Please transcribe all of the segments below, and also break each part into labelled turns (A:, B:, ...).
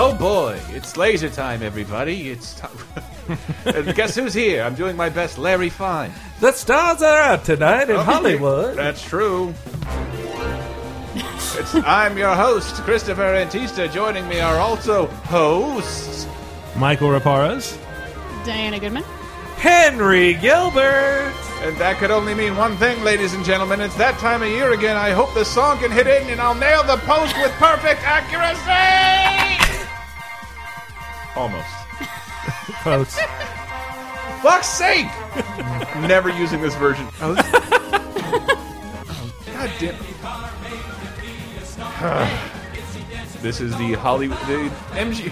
A: Oh boy, it's laser time, everybody. It's time. Guess who's here? I'm doing my best, Larry Fine. Oh,
B: The stars are out tonight in Hollywood.
A: That's true. It's, I'm your host, Christopher Antista. Joining me are also hosts.
C: Michael Raparas.
D: Diana Goodman.
B: Henry Gilbert.
A: And that could only mean one thing, ladies and gentlemen. It's that time of year again. I hope the song can hit in and I'll nail the post with perfect accuracy! Almost.
B: Folks,
A: Fuck's sake! Never using this version. Oh, this- God damn. this is the Hollywood. The MG,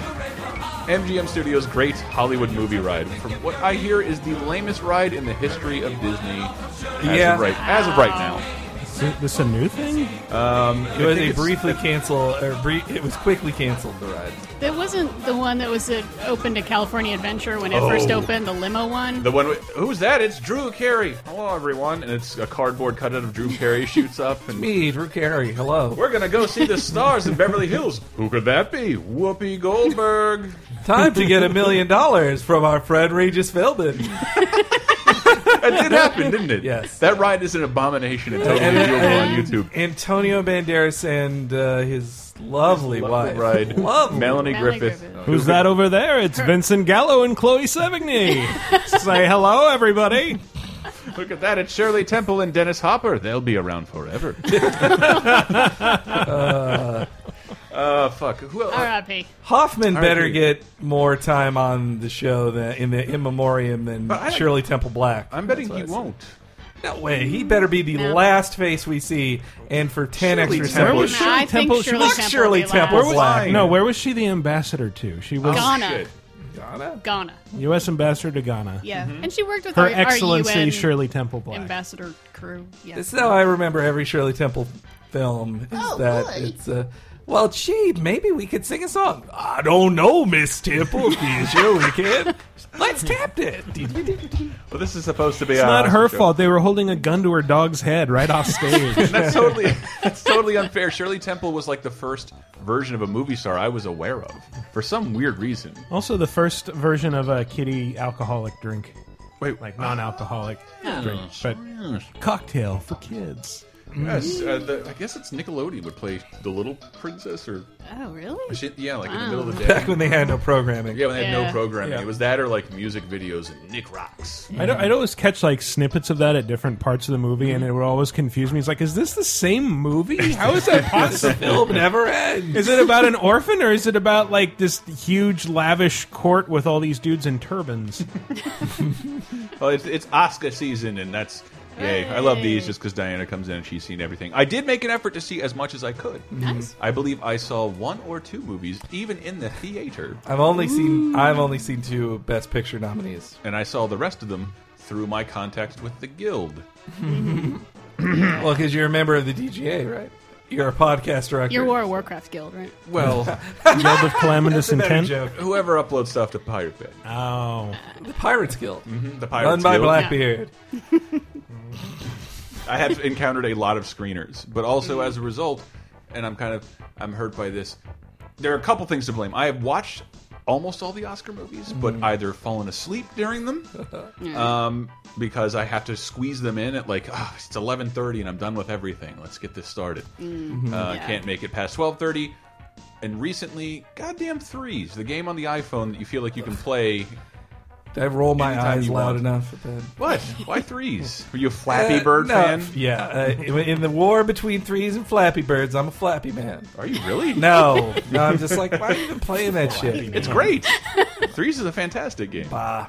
A: MGM Studios' great Hollywood movie ride. From what I hear, is the lamest ride in the history of Disney. As
B: Yeah.
A: Of right, as of right now.
C: Is it- this a new thing?
B: where
A: think
B: they
A: it's-
B: briefly cancel, or bre- it was quickly canceled the ride.
D: That wasn't the one that was uh, open to California Adventure when it first opened, the limo one.
A: The one with, who's that? It's Drew Carey. Hello, everyone. And it's a cardboard cutout of Drew Carey shoots up and
B: Me, Drew Carey. Hello.
A: We're gonna go see the stars in Beverly Hills. Who could that be? Whoopi Goldberg.
B: Time to get a million dollars from our friend Regis Philbin.
A: That did happen, didn't it?
B: Yes.
A: That ride is an abomination and totally
B: And-
A: viewable on
B: and
A: YouTube.
B: Antonio Banderas and uh, his lovely wife.
A: Ride.
B: Lovely.
A: Melanie
D: Melanie
A: Griffith.
D: Griffith.
C: Who's that over there? It's Vincent Gallo and Chloe Sevigny. Say hello, everybody.
A: Look at that. It's Shirley Temple and Dennis Hopper. They'll be around forever. uh, fuck. Who else?
D: R.I.P.
B: Hoffman better
A: R.I.P.
B: get more time on the show than in the in memoriam than
A: But I don't-
B: Shirley Temple Black.
A: I'm betting
B: That's
A: he
B: what I said.
A: won't.
B: No way. He better be the
D: No.
B: last face we see, and for ten
A: Shirley
B: extra
A: Temple
B: seconds.
A: is-
C: Shirley
D: I think
C: Temple-
D: Shirley
B: Fuck
D: Temple.
B: Shirley
D: would be
B: Temple
D: last.
B: Black.
C: No, where was she the ambassador to? She was
D: Ghana.
A: Oh, Shit.
D: Ghana.
C: U.S. ambassador to Ghana.
D: Yeah. And she worked with
C: Her
D: our, our
C: Excellency
D: UN
C: Shirley Temple Black.
D: ambassador crew. Yeah.
B: This is how I remember every Shirley Temple film. Is
D: Oh,
B: that it's uh, well, gee, maybe we could sing a song. I don't know, Miss Temple. Yeah, sure we can. Let's tap it.
A: Well, this is supposed to be.
C: it's not her fault. They were holding a gun to her dog's head right off stage.
A: That's totally. That's totally unfair. Shirley Temple was like the first version of a movie star I was aware of for some weird reason.
C: also, the first version of a kitty alcoholic drink,
A: Wait,
C: like non-alcoholic
D: Oh,
C: drink, but cocktail for kids.
A: Yes, uh,
D: Mm.
A: the, I guess it's Nickelodeon would play the Little Princess or
D: Oh, really?
A: shit. Yeah, like in the
D: Wow.
A: middle of the day.
B: Back when they had no programming.
A: yeah, when they had no
D: Yeah.
A: programming,
B: Yeah.
A: it was that or like music videos and Nick Rocks.
C: I'd, I'd always catch like snippets of that at different parts of the movie,
D: Mm-hmm.
C: and it would always confuse me. It's like, is this the same movie? How is that
B: The
C: possible?
B: film never ends.
C: is it about an orphan, or is it about like this huge, lavish court with all these dudes in turbans?
A: Well, it's, it's Oscar season, and that's yay. I love these just because Diana comes in and she's seen everything. I did make an effort to see as much as I could.
D: Nice.
A: I believe I saw one or two movies, even in the theater,
B: I've only seen I've only seen two Best Picture nominees.
A: and I saw the rest of them through my contacts with the guild.
B: Well, because you're a member of the DGA, right? You're a podcast director.
D: Your War of Warcraft guild, right?
A: Well,
C: Guild of Calamitous
B: Better
C: Intent.
B: joke.
A: whoever uploads stuff to Pirate Bay,
C: Oh,
B: The Pirates Guild,
A: the Mm-hmm. Pirates
B: Ah. run by
A: Guild.
B: Blackbeard.
A: I have encountered a lot of screeners, but also as a result, and I'm kind of I'm hurt by this. There are a couple things to blame. I have watched almost all the Oscar movies, but
B: Mm-hmm.
A: either fallen asleep during them, um, because I have to squeeze them in at like oh, it's 11:30 and I'm done with everything. Let's get this started. Uh,
D: Yeah.
A: Can't make it past 12:30. And recently, goddamn threes, the game on the iPhone that you feel like you can play.
B: Did I roll my
A: Anytime
B: eyes
A: you
B: loud
A: want.
B: enough at that?
A: What? Why threes? Were you a Flappy
B: Uh,
A: Bird
B: no,
A: fan?
B: Yeah, uh, in in the war between threes and Flappy Birds, I'm a Flappy Man.
A: Are you really?
B: No, no, I'm just like, why are you even playing that shit?
A: It's great. Threes is a fantastic game.
B: Bah.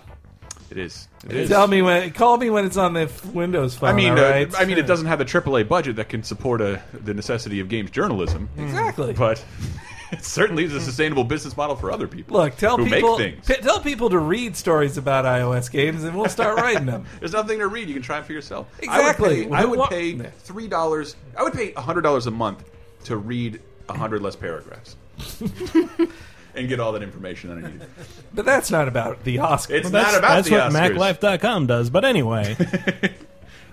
A: It is. It is.
B: Tell me when, call me when it's on the f- Windows phone.
A: I mean,
B: all right?
A: uh, I mean, it doesn't have the AAA budget that can support a, the necessity of games journalism,
B: Mm. exactly.
A: but it certainly is a sustainable business model for other people.
B: Look, tell
A: who
B: people,
A: make things.
B: p- tell people to read stories about iOS games, and we'll start writing them.
A: There's nothing to read. You can try it for yourself.
B: Exactly.
A: I would pay, I
B: Wha-
A: would pay three dollars. I would pay hundred dollars a month to read hundred less paragraphs. And get all that information that I need.
B: But that's not about the Oscars.
A: It's
C: that's,
A: not about
C: that's
A: the
C: what
A: Oscars.
C: MacLife.com does. But anyway,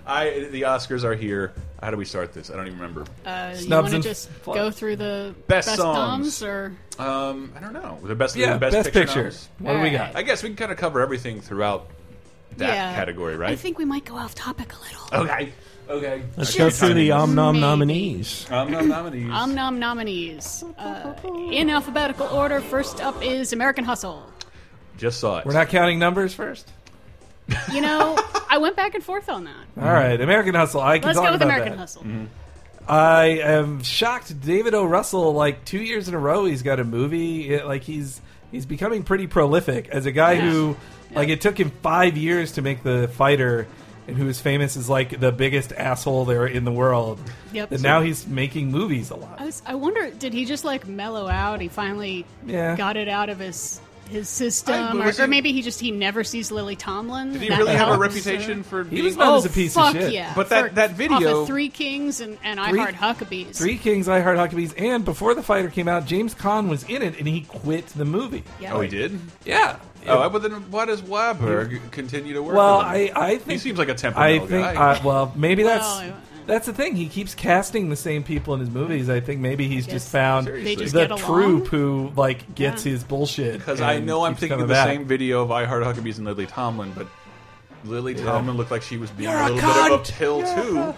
A: I the Oscars are here. How do we start this? I don't even remember.
D: Uh, you
B: Snubs
D: want to
B: and
D: just
B: fl-
D: go through the
A: Best songs.
D: noms or
A: Um, I don't know. The best,
B: Yeah,
A: the
B: best,
A: best,
B: picture.
A: noms?
B: What do we
D: All
B: got?
D: right.
A: I guess we can kind of cover everything throughout that category, right?
D: I think we might go off topic a little.
A: okay. Okay.
C: Let's go through the Om
B: um,
C: Nom
D: Maybe.
C: nominees.
A: um, nom nominees.
D: Om Nom nominees. Uh, in alphabetical order, first up is American Hustle.
A: Just saw it.
B: We're not counting numbers first.
D: You know, I went back and forth on that.
B: All right, American Hustle. I can
D: Let's
B: talk
D: go with
B: about
D: American
B: that. Mm-hmm.
D: Hustle.
B: I am shocked. David O. Russell, like two years in a row, he's got a movie. It, like he's he's becoming pretty prolific as a guy who, like, it took him five years to make the fighter, and who is famous as like the biggest asshole there in the world.
D: Yep.
B: And now he's making movies a lot.
D: I, was, I wonder, did he just like mellow out? He finally
B: Yeah.
D: got it out of his his
A: I-
D: system,
A: but
D: or,
A: was
D: or
A: he-
D: maybe he just he never sees Lily Tomlin.
A: Did he
D: That
A: really have a
D: helps, or-
A: reputation for being?
B: was not-
D: Oh,
B: As a piece of
D: fuck
B: shit.
D: yeah!
A: But that-
D: For-
A: that
D: off
A: video-
D: of Three Kings and, and I
B: Three-
D: Heart Huckabees.
B: Three Kings, I Heart Huckabees, and before the fighter came out, James Caan was in it, and he quit the movie.
D: Yeah.
A: oh, he did.
B: Yeah.
A: Oh, but then why does Wahlberg continue to work?
B: Well,
A: with him?
B: I, I think
A: he seems like a
B: I
A: temperamental
B: think
A: guy.
B: uh, well maybe that's
D: I-
B: that's the thing. He keeps casting the same people in his movies. I think maybe he's just
D: Yes.
B: found
D: They just
B: the
D: get along.
B: troop who like gets
D: Yeah.
B: his bullshit.
A: Because I
B: and
A: know I'm
B: keeps
A: thinking of
B: coming
A: the
B: back.
A: same video of I Heart Huckabees and Lily Tomlin, but Lily Tomlin looked like she was being
B: You're
A: a
B: a
A: little bit of a
B: cunt.
A: pill too.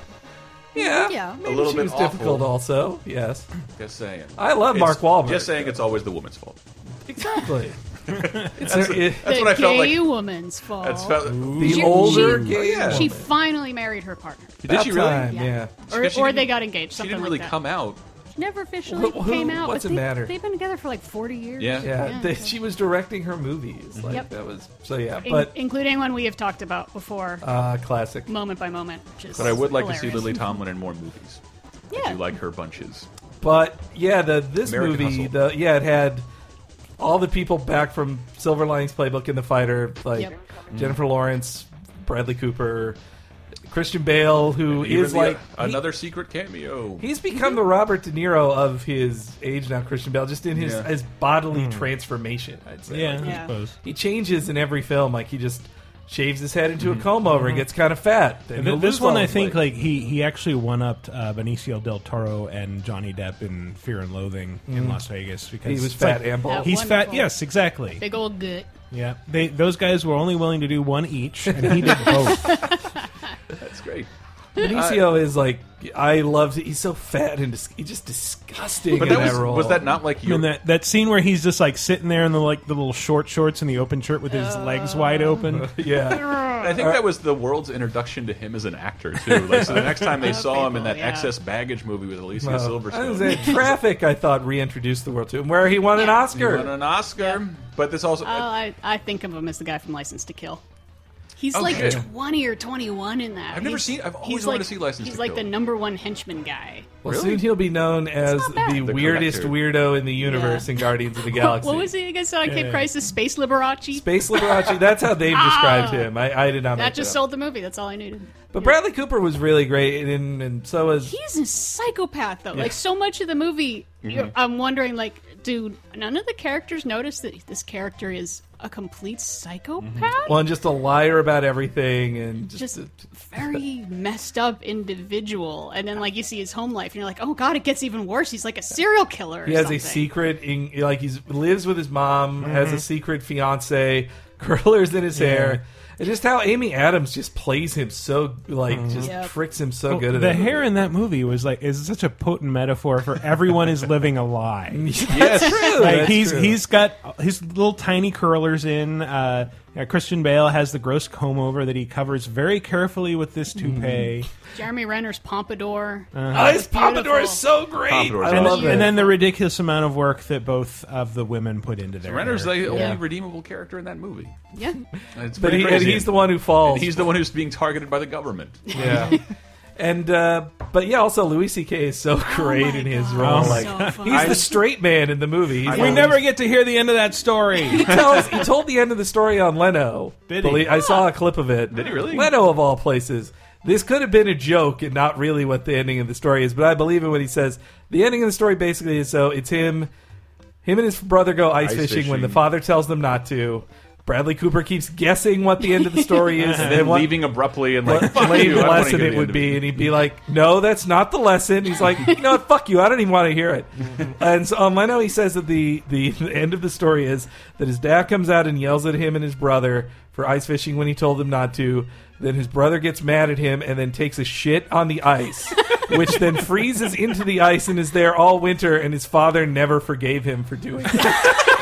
B: Yeah,
D: Yeah.
B: Maybe
A: A little
B: she
A: bit
B: was
A: awful.
B: difficult. Also, yes,
A: Just saying.
B: I love
A: It's-
B: Mark Wahlberg.
A: Just saying, it's always the woman's fault.
B: exactly. it's her, it-
A: That's
D: the
A: what I felt
D: gay
A: like.
D: woman's fault.
A: That's felt,
B: the
D: She-
B: older
D: she-
B: gay
A: yeah.
D: She
B: woman.
D: finally married her partner,
A: did she
B: About
A: really?
B: time,
D: Yeah.
B: yeah.
D: or,
A: Because she
D: or
A: didn't-
D: they got engaged.
A: She
D: Something
A: didn't really
D: like that.
A: come out.
D: Never officially
B: Who- who-
D: came out.
B: what's
D: but
B: the
D: they,
B: matter?
D: They've been together for like forty years.
A: Yeah.
B: Yeah,
D: Yeah.
B: they- she was directing her movies. Like
D: Yep.
B: that was so. Yeah,
D: In-
B: but
D: including one we have talked about before,
B: uh, classic.
D: moment by moment. Which is
A: But I would like to see
D: hilarious.
A: Lily Tomlin in more movies. I
D: Yeah.
A: do like her bunches.
B: But yeah, the this
A: American
B: movie,
A: Hustle.
B: the yeah, it had all the people back from Silver Linings Playbook in the Fighter, like
D: Yep.
B: Jennifer Lawrence, Bradley Cooper, Christian Bale, who
A: Even
B: is
A: the- uh,
B: like
A: another secret cameo.
B: he- he's become the Robert De Niro of his age now. Christian Bale, just in his
A: Yeah.
B: his bodily transformation, I'd say.
C: Hmm. Yeah,
D: Yeah.
C: I suppose.
B: he changes in every film. Like he just shaves his head
A: Hmm.
B: into a comb over and gets kind of fat. Then
C: Hmm. Th-
B: he'll
C: this
B: lose
C: one,
B: all
C: I
B: his
C: think,
B: weight.
C: like he he actually one upped uh, Benicio del Toro and Johnny Depp in Fear and Loathing in Las Vegas because
B: Mm. he was
C: it's
B: fat
C: like-
B: and bald.
D: That
C: He's fat.
D: Wonderful.
C: Yes, exactly.
D: Big old good.
C: Yeah, they those guys were only willing to do one each, and he did both.
A: That's great.
B: Benicio is like I loved. He's so fat and dis- he's just disgusting.
A: But
B: in
A: that was,
B: role.
A: was that not like
C: I
A: you?
C: mean that that scene where he's just like sitting there in the like the little short shorts and the open shirt with his legs wide
B: Uh,
C: open.
B: Yeah,
A: I think
B: uh,
A: that was the world's introduction to him as an actor too. Like, so the next time they
D: Other
A: saw him in
D: people,
A: that
D: yeah.
A: excess baggage movie with Alicia
B: Uh, I was
A: Silverstone,
B: at Traffic. I thought reintroduced the world to him, where he won an Oscar.
A: He won an Oscar. But this also uh,
D: Oh, I, I think of him as the guy from License to Kill. He's
A: Oh,
D: like
A: good.
D: 20 or 21 in that.
A: I've never
D: He's-
A: seen- I've always
D: he's
A: wanted
D: like-
A: to see License
D: He's
A: to
D: like
A: Kill.
D: the number one henchman guy.
B: well, soon he'll be known as
D: not bad.
B: the,
A: The
B: weirdest
A: collector.
B: weirdo in the universe
D: Yeah.
B: in Guardians of the Galaxy.
D: What was he against uh, Cape
C: Yeah.
D: Crisis? Space Liberace?
B: Space Liberace. That's how they've described him. I, I did not.
D: Ah! that
B: make
D: just
B: it up.
D: sold the movie. That's all I needed.
B: But Bradley Cooper was really great, and, and so was.
D: He's a psychopath, though. Like, so much of the movie,
A: Mm-hmm.
D: you're, I'm wondering, like, do none of the characters notice that this character is a complete psychopath?
A: Mm-hmm.
B: One just a liar about everything, and just,
D: just a very messed up individual. And then like you see his home life, and you're like, oh god, it gets even worse. He's like a serial killer. Or
B: He has
D: something.
B: a secret, in, like he lives with his mom, has a secret fiance, curlers in his hair. And just how Amy Adams just plays him so, like, just
D: Yep.
B: tricks him so good. at
C: the
B: it.
C: hair in that movie was like is such a potent metaphor for everyone is living a lie.
B: That's true.
C: Like
B: that's
C: he's
B: true.
C: he's got his little tiny curlers in. Uh, uh, Christian Bale has the gross comb over that he covers very carefully with this
B: Mm-hmm.
C: toupee,
D: Jeremy Renner's pompadour.
A: Uh-huh.
B: Oh, his
D: beautiful.
B: Pompadour is so great.
A: Pompadour's
B: I love
D: awesome.
B: it.
C: and then the ridiculous amount of work that both of the women put into their.
A: Renner's the
C: hair.
A: only
B: Yeah.
A: redeemable character in that movie.
D: yeah,
A: It's
B: but
A: pretty
B: he, and
A: crazy.
B: he's the one who falls.
A: He's the one who's being targeted by the government.
B: yeah. and uh, but yeah, also Louis C.K. is so great in his role.
D: Oh
A: Oh
D: God,
B: like
D: so funny.
B: he's the straight man in the movie. He's
C: we
B: like-
C: never get to hear the end of that story.
B: He tells he told the end of the story on Leno.
C: Did he?
B: Believe- I saw a clip of it.
A: Did he really?
B: Leno of all places. This could have been a joke and not really what the ending of the story is, but I believe in what he says. The ending of the story basically is so it's him him and his brother go ice,
A: Ice
B: fishing, when the
A: fishing.
B: father tells them not to. Bradley Cooper keeps guessing what the end of the story is,
A: and then
B: what,
A: leaving abruptly and like
B: what
A: fuck
B: lame
A: you, I don't wanna
B: lesson
A: hear
B: it
A: the
B: would
A: end of
B: be, and he'd be like, "No, that's not the lesson." He's like, "You know what? Fuck you! I don't even want to hear it." and so um, I know he says that the, the the end of the story is that his dad comes out and yells at him and his brother for ice fishing when he told them not to. Then his brother gets mad at him and then takes a shit on the ice, which then freezes into the ice and is there all winter. And his father never forgave him for doing it.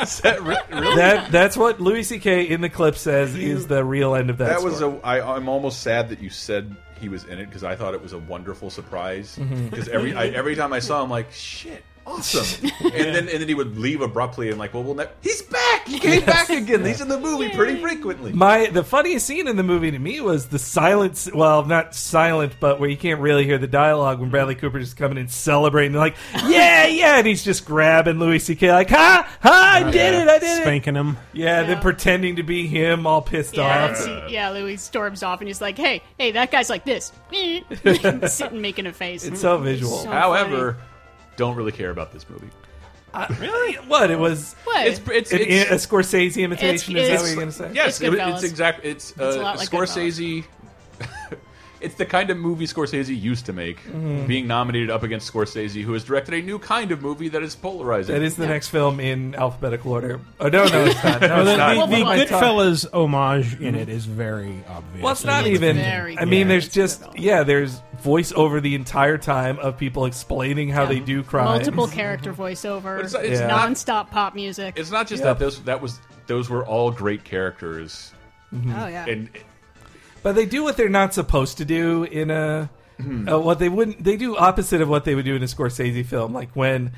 A: Is that re- really?
B: that that's what Louis C.K. in the clip says is the real end of that.
A: That was
B: story.
A: a. I, I'm almost sad that you said he was in it because I thought it was a wonderful surprise.
B: Mm-hmm.
A: Because every I, every time I saw him, like shit, awesome. and then and then he would leave abruptly and like, well, we'll ne- he's back. He came back again. He's in the movie pretty frequently.
B: my the funniest scene in the movie to me was the silence. Well, not silent, but where you can't really hear the dialogue when Bradley Cooper's just coming and celebrating, like yeah, yeah, and he's just grabbing Louis C.K. like ha ha,
A: Oh,
B: I did it, I did it.
C: Spanking him.
B: Yeah,
D: Yeah.
B: then pretending to be him, all pissed
D: Yeah,
B: off.
D: it's- yeah, Louis storms off and he's like, "Hey, hey, that guy's like this," sitting making a face.
B: It's so visual.
D: So-
A: However, don't really care about this movie.
B: really? What it was?
D: what?
A: It's it's,
B: An,
A: it's
B: a Scorsese imitation? is that
D: it's-
B: what you're gonna say?
A: Yes,
D: It's
A: it- it's,
D: Goodfellas.
A: exactly. It's, uh,
D: a lot like
A: Scorsese. it's the kind of movie Scorsese used to make. Being nominated up against Scorsese, who has directed a new kind of movie that is polarizing.
B: That is the next film in alphabetical order. Oh no, no, it's not. No,
C: The,
B: it's not.
C: the, the
D: What am I
C: Goodfellas homage in it is very obvious.
B: Well, it's not
D: It's
B: even.
D: very
B: I mean,
D: good.
B: there's
D: It's
B: just
D: developed.
B: yeah, there's voice over the entire time of people explaining how they do crime.
D: Multiple character voiceover.
A: But
D: It's,
A: it's- it's
B: Yeah.
A: not-
D: nonstop pop music.
A: It's not just
B: Yeah.
A: that those that was those were all great characters,
D: oh yeah.
A: and
B: But they do what they're not supposed to do in a
C: Mm-hmm.
B: uh, what they wouldn't. They do opposite of what they would do in a Scorsese film, like when,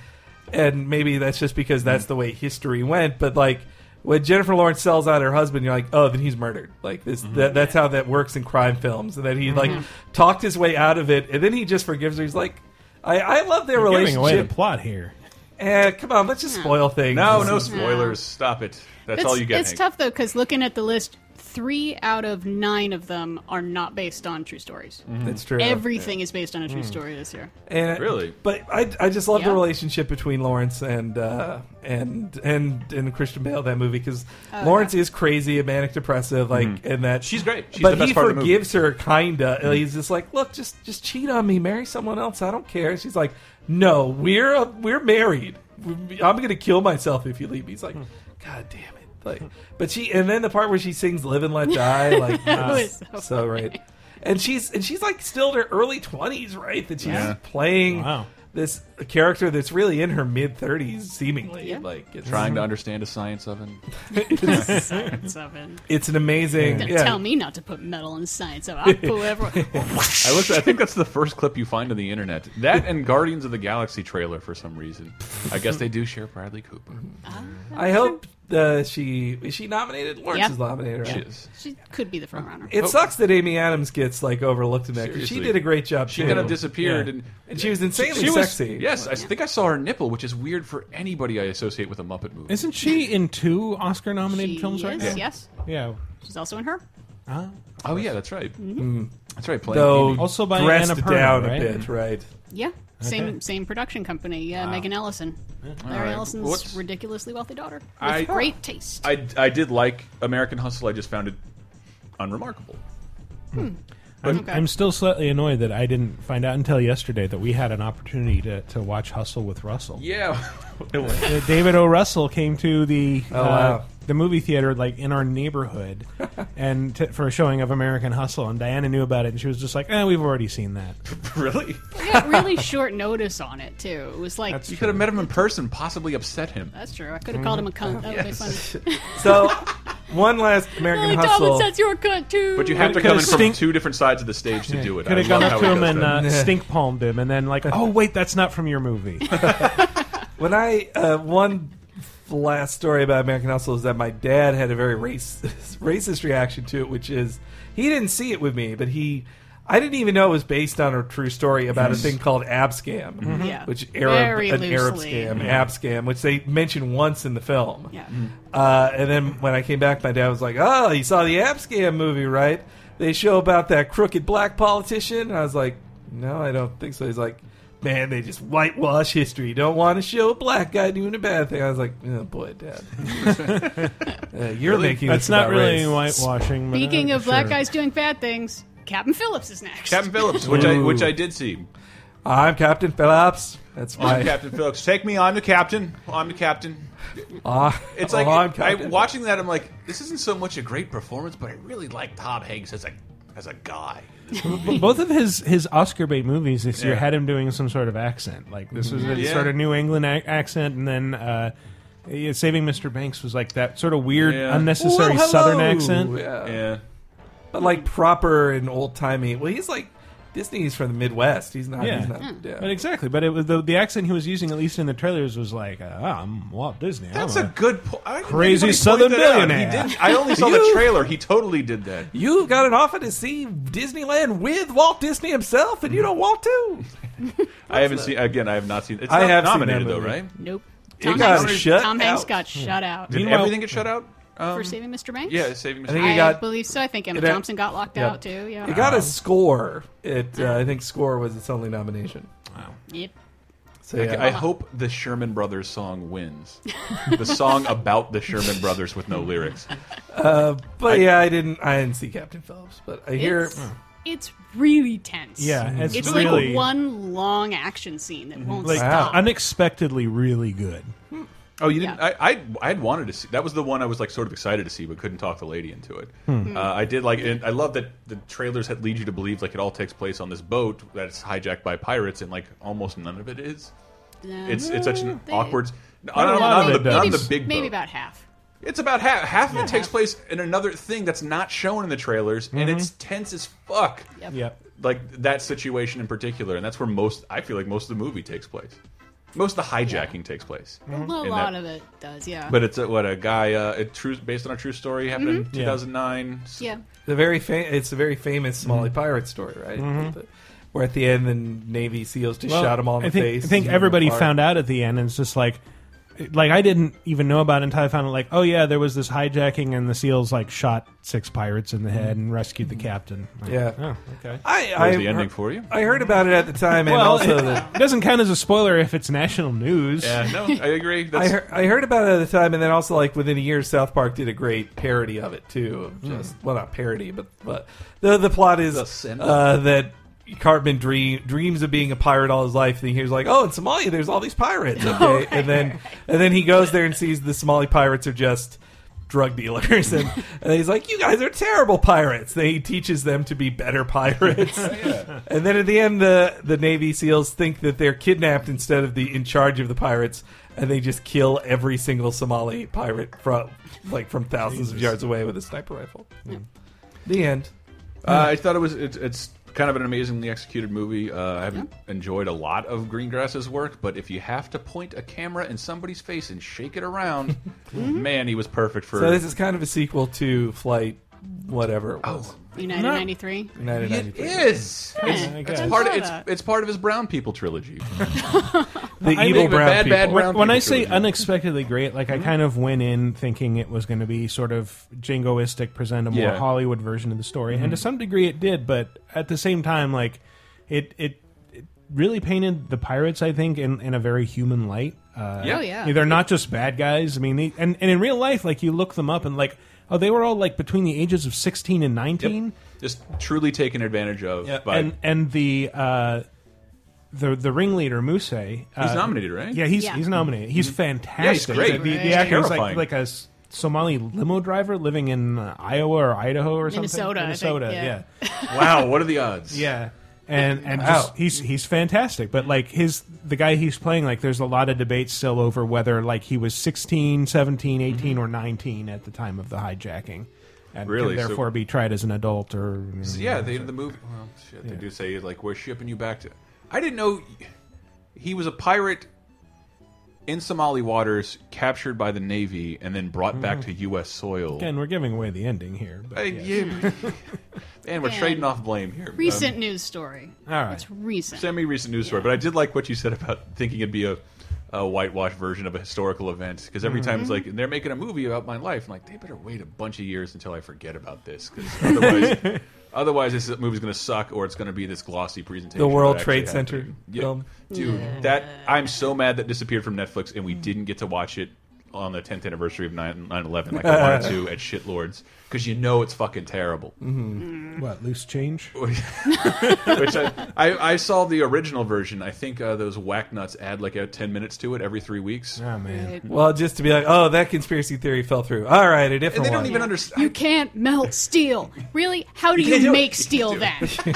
B: and maybe that's just because
C: Mm-hmm.
B: that's the way history went. But like when Jennifer Lawrence sells out her husband, you're like, oh, then he's murdered. Like this,
C: Mm-hmm.
B: that, that's how that works in crime films. And then he like
D: Mm-hmm.
B: talked his way out of it, and then he just forgives her. He's like. I, I love their
C: giving away the
B: relationship.
C: plot here.
B: Eh, come on, let's just spoil things.
A: no,
B: This
A: no
B: is-
A: spoilers. Stop it. That's
D: it's,
A: all you get.
D: It's
A: Hank.
D: tough though because looking at the list, three out of nine of them are not based on true stories.
B: That's true.
D: Everything is based on a true story this year.
B: And-
A: Really?
B: Eh, but I, I just love the
D: Yeah.
B: relationship between Lawrence and uh, and and and Christian Bale that movie because
D: Oh,
B: Lawrence is crazy, a manic depressive, like and
A: Mm-hmm.
B: that
A: She's great. She's
B: but
A: the best
B: he
A: part of the movie. Mm-hmm.
B: forgives her, kinda. He's just like, look, just just cheat on me, marry someone else. I don't care. She's like, no, we're uh we're married. We- I'm gonna kill myself if you leave me. He's
A: Hmm.
B: like, god damn it. Like, but she and then the part where she sings "Live and Let Die," like
D: was
B: so,
D: so
B: right. And she's and she's like still in her early twenties, right? That she's
A: Yeah.
B: playing
C: Wow.
B: this character that's really in her mid thirties, seemingly.
D: Yeah.
B: Like it's,
A: Trying to understand a science oven.
D: Science oven.
B: it's an amazing.
D: Don't
B: yeah.
D: Tell me not to put metal in science oven. I'll pull everyone.
A: I looked. I think that's the first clip you find on the internet. That and Guardians of the Galaxy trailer for some reason. I guess they do share Bradley Cooper.
B: I hope uh, she is she nominated. Lawrence
D: Yeah.
B: is nominated. Right?
A: She is.
D: she could be the front runner.
B: It sucks that Amy Adams gets like overlooked in that. 'cause She
A: Seriously.
B: did a great job.
A: She
B: too.
A: kind of disappeared,
C: Yeah.
A: and
B: and she was insanely
A: she was-
B: sexy.
A: Yes, I think I saw her nipple, which is weird for anybody I associate with a Muppet movie.
C: Isn't she in two Oscar-nominated
D: She
C: films right
D: is,
C: now?
D: Yes,
C: Yeah.
D: she's also in her.
C: Huh?
A: oh yeah, that's right.
C: Mm-hmm.
A: That's right. Playing
B: Though
A: Amy.
C: Also by
B: dressed
C: Anna Perman,
B: down
C: right?
B: a bit, right?
D: Yeah, same same production company. Yeah, Megan Ellison, Larry
A: right.
D: Ellison's
A: What's-
D: ridiculously wealthy daughter with
A: I-
D: great taste.
A: I, I did like American Hustle. I just found it unremarkable.
C: I'm,
D: Okay.
C: I'm still slightly annoyed that I didn't find out until yesterday that we had an opportunity to, to watch Hustle with Russell.
A: Yeah.
C: Uh, David O. Russell came to the uh,
B: Oh, wow.
C: the movie theater like in our neighborhood, and t- for a showing of American Hustle, and Diana knew about it, and she was just like, "Eh, we've already seen that."
A: really?
D: We got really short notice on it too. It was like that's
A: You
D: true.
A: could have met him in person, possibly upset him.
D: I could have called him a cunt. That would be funny.
B: So, one last American
D: Lily
B: Hustle.
D: Thomas, that's your cunt too.
A: But you have to
C: Could
A: come
C: have
A: in from
C: stink-
A: two different sides of the stage to do it.
C: Could
A: I
C: have gone
A: love
C: up
A: how
C: to
A: he
C: him
A: does that.
C: and uh, stink palmed him, and then like, "Oh wait, that's not from your movie."
B: When I uh, one last story about American Hustle is that my dad had a very race, racist reaction to it, which is he didn't see it with me, but he. I didn't even know it was based on a true story about a thing called Ab Scam,
D: Yeah.
B: which
D: Mm-hmm. Very
B: Arab, an Arab
D: loosely.
B: scam, Ab Scam, which they mention once in the film.
D: Yeah.
B: Uh, and then when I came back, my dad was like, "Oh, you saw the Ab Scam movie, right? They show about that crooked black politician." And I was like, "No, I don't think so." He's like, man, they just whitewash history. Don't want to show a black guy doing a bad thing. I was like, oh boy, Dad, Uh, you're making
C: That's
B: this
C: not
B: about
C: really
B: race.
C: whitewashing. but, uh,
D: Speaking of black
C: sure.
D: guys doing bad things, Captain Phillips is next.
A: Captain Phillips, which I
B: Ooh.
A: which I did see.
B: I'm Captain Phillips. That's my
A: I'm Captain Phillips. Take me. I'm the captain. I'm the captain.
B: Ah,
A: It's
B: oh,
A: like
B: I'm
A: I,
B: Captain.
A: watching that. I'm like, this isn't so much a great performance, but I really like Tom Hanks as a as a guy.
C: But both of his his Oscar bait movies this year
A: Yeah.
C: had him doing some sort of accent. Like this was a
A: Yeah.
C: sort of New England ac accent, and then uh, yeah, Saving Mr. Banks was like that sort of weird,
A: Yeah.
C: unnecessary
B: Well, hello.
C: Southern accent.
B: Yeah.
A: Yeah,
B: but like proper and old timey. Well, he's like Disney's from the Midwest. He's not.
C: Yeah.
B: He's not yeah.
C: But exactly, but it was the, the accent he was using, at least in the trailers, was like, uh, "I'm Walt Disney." I'm
A: that's
C: a-
A: a good po- I didn't anybody
C: Crazy
A: point
C: Southern
A: that out.
C: billionaire.
A: He did. I only saw the trailer. He totally did that.
B: You got an offer to see Disneyland with Walt Disney himself, and you don't want to.
A: I haven't seen again. I have not seen. It's
B: I
A: not
B: have seen
A: nominated
B: that
A: though,
B: movie.
A: right?
D: Nope.
B: You
D: Tom,
B: got
D: Hanks,
B: shut
D: Tom Hanks
B: out.
D: got shut
C: Hmm.
D: out
A: Did
C: Meanwhile-
A: everything get shut out? Um,
D: for saving Mr. Banks.
A: yeah, Saving Mr.
B: think
A: Banks.
B: You got-
D: I believe so. I think Emma
B: It-
D: Thompson got locked
B: yeah.
D: out too. Yeah.
B: It got a score. It uh, I think score was its only nomination.
D: Yep.
B: So yeah.
A: I hope the Sherman Brothers song wins. the song about the Sherman Brothers with no lyrics.
B: but yeah, I didn't. I didn't see Captain Phillips, but I hear.
D: It's,
A: Hmm.
D: it's really tense.
C: yeah, it's,
D: It's
C: really
D: like one long action scene that won't
C: like,
B: Wow.
D: stop.
C: unexpectedly really good.
A: Oh, you didn't?
D: Yeah.
A: I, I I had wanted to see. That was the one I was like sort of excited to see, but couldn't talk the lady into it.
D: Hmm.
A: Uh, I did like. And I love that the trailers had lead you to believe like it all takes place on this boat that's hijacked by pirates, and like almost none of it is.
D: No.
A: It's it's such an
D: Mm-hmm. They-
A: awkward. Not,
C: a
A: not,
C: lot of
A: not
C: it
A: the, not
C: does.
A: the big
D: maybe
A: boat.
D: about half.
A: It's about half. Half of it takes place in another thing that's not shown in the trailers, and it's tense as fuck.
D: Yep.
C: Yep.
A: like that situation in particular, and that's where most I feel like most of the movie takes place. Most of the hijacking takes place,
D: A
A: Mm-hmm. And
D: lot
A: that-
D: of it does. Yeah.
A: but it's a, what a guy uh, a true based on a true story happened in
C: Yeah.
A: 2009.
D: yeah.
B: The very fa- it's a very famous Somali pirate story, right? The- where at the end the Navy SEALs just shot him all in
C: I
B: the
C: think,
B: face.
C: I think
B: and
C: everybody
B: apart.
C: found out at the end, and it's just like, like I didn't even know about it until I found out. Like, oh yeah, there was this hijacking, and the seals like shot six pirates in the head and rescued the captain. Like,
B: Mm-hmm. Yeah.
C: oh, okay.
B: I, I
A: There's the ending
B: heard,
A: for you.
B: I heard about it at the time, and
C: Well,
B: also the,
C: it doesn't count as a spoiler if it's national news.
A: Yeah, no, I agree.
B: I
A: That's,
B: heard, I heard about it at the time, and then also like within a year, South Park did a great parody of it too. Of just well, not parody, but but the the plot is
A: send-
B: uh, that Cartman dream, dreams of being a pirate all his life, and he hears like, oh, in Somalia, there's all these pirates, okay, and then and then he goes there and sees the Somali pirates are just drug dealers and, and he's like you guys are terrible pirates then he teaches them to be better pirates and then at the end, the the Navy SEALs think that they're kidnapped instead of the in charge of the pirates, and they just kill every single Somali pirate from like from thousands of yards away with a sniper rifle. The end.
A: uh, I thought it was it's it's kind of an amazingly executed movie. Uh, I haven't enjoyed a lot of Greengrass's work, but if you have to point a camera in somebody's face and shake it around, man, he was perfect for.
B: So this is kind of a sequel to Flight, whatever it
A: Oh.
B: was.
D: United
C: No. Um,
D: ninety three.
A: it
B: 1993.
A: is. It's,
C: I
A: it's
C: guess.
A: part. Of,
D: I saw
A: it's
D: that.
A: it's part of his brown people trilogy.
B: The
C: I
B: evil
C: think-
B: brown
A: bad,
B: people.
A: bad brown-
C: When, when I say
A: trilogy.
C: unexpectedly great, like
A: Mm-hmm.
C: I kind of went in thinking it was going to be sort of jingoistic, present a more
A: Yeah. Mm-hmm.
C: Hollywood version of the story, and to some degree it did. But at the same time, like it it, it really painted the pirates, I think, in, in a very human light. Uh,
A: Yeah.
D: Oh yeah.
C: they're not just bad guys. I mean, they, and and in real life, like you look them up and like oh, they were all like between the ages of sixteen and nineteen.
A: Just truly taken advantage of by.
C: and and the uh, the the ringleader Muse. Uh,
A: he's nominated, right?
C: Yeah, he's
D: Yeah.
C: he's nominated. He's fantastic.
A: Mm-hmm. great.
C: The, the,
D: He's
C: actor is like
A: terrifying.
C: like a s- Somali limo driver living in uh, Iowa or Idaho or something.
D: Minnesota, I think,
C: Minnesota.
D: yeah.
C: yeah,
A: Wow, what are the odds?
C: yeah. And and
B: Wow.
C: just, he's he's fantastic. But like his the guy he's playing, like there's a lot of debate still over whether like he was 16, 17,
A: Mm-hmm.
C: 18, or nineteen at the time of the hijacking, and
A: Really?
C: can
A: So-
C: therefore be tried as an adult or you know,
A: Yeah, they the movie. Well, shit, they do say like we're shipping you back to. I didn't know he was a pirate in Somali waters, captured by the navy, and then brought back to U.S. soil.
C: Again, we're giving away the ending here. But,
A: Uh,
C: yeah.
A: yeah. and we're
D: Yeah.
A: trading off blame here. Um,
D: Recent news story.
C: All right.
D: It's recent.
A: semi-recent news story, but I did like what you said about thinking it'd be a, a whitewash version of a historical event. Because every time it's like they're making a movie about my life, I'm like, they better wait a bunch of years until I forget about this, because otherwise, Otherwise, this movie's going to suck, or it's going to be this glossy presentation.
B: The
A: of what
B: World
A: actually
B: Trade
A: happened.
B: Center
A: Yeah.
B: film.
A: dude. That I'm so mad that disappeared from Netflix, and we didn't get to watch it on the 10th anniversary of 9 11 like I wanted to at shitlords because you know it's fucking terrible.
C: What loose change?
A: Oh, Which I, I, I saw the original version. I think uh, those whack nuts add like a 10 minutes to it every three weeks.
C: Oh man.
B: Well, just to be like, oh, that conspiracy theory fell through. All right, a different
A: And they don't
B: one.
A: even
D: You
A: understand.
D: can't melt steel. Really? How do you,
A: can't do it.
D: make
A: You
D: steel
A: can't
D: then?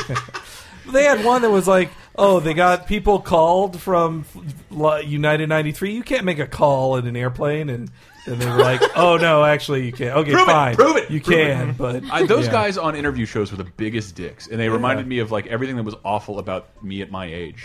B: They had one that was like, oh, they got people called from L- United 93. You can't make a call in an airplane. And, and they were like, oh, no, actually, you can't. Okay,
A: Prove it,
B: fine.
A: prove it,
B: You
A: prove it.
B: can, but.
A: I, those
B: Yeah.
A: guys on interview shows were the biggest dicks, and they reminded me of like everything that was awful about me at my age.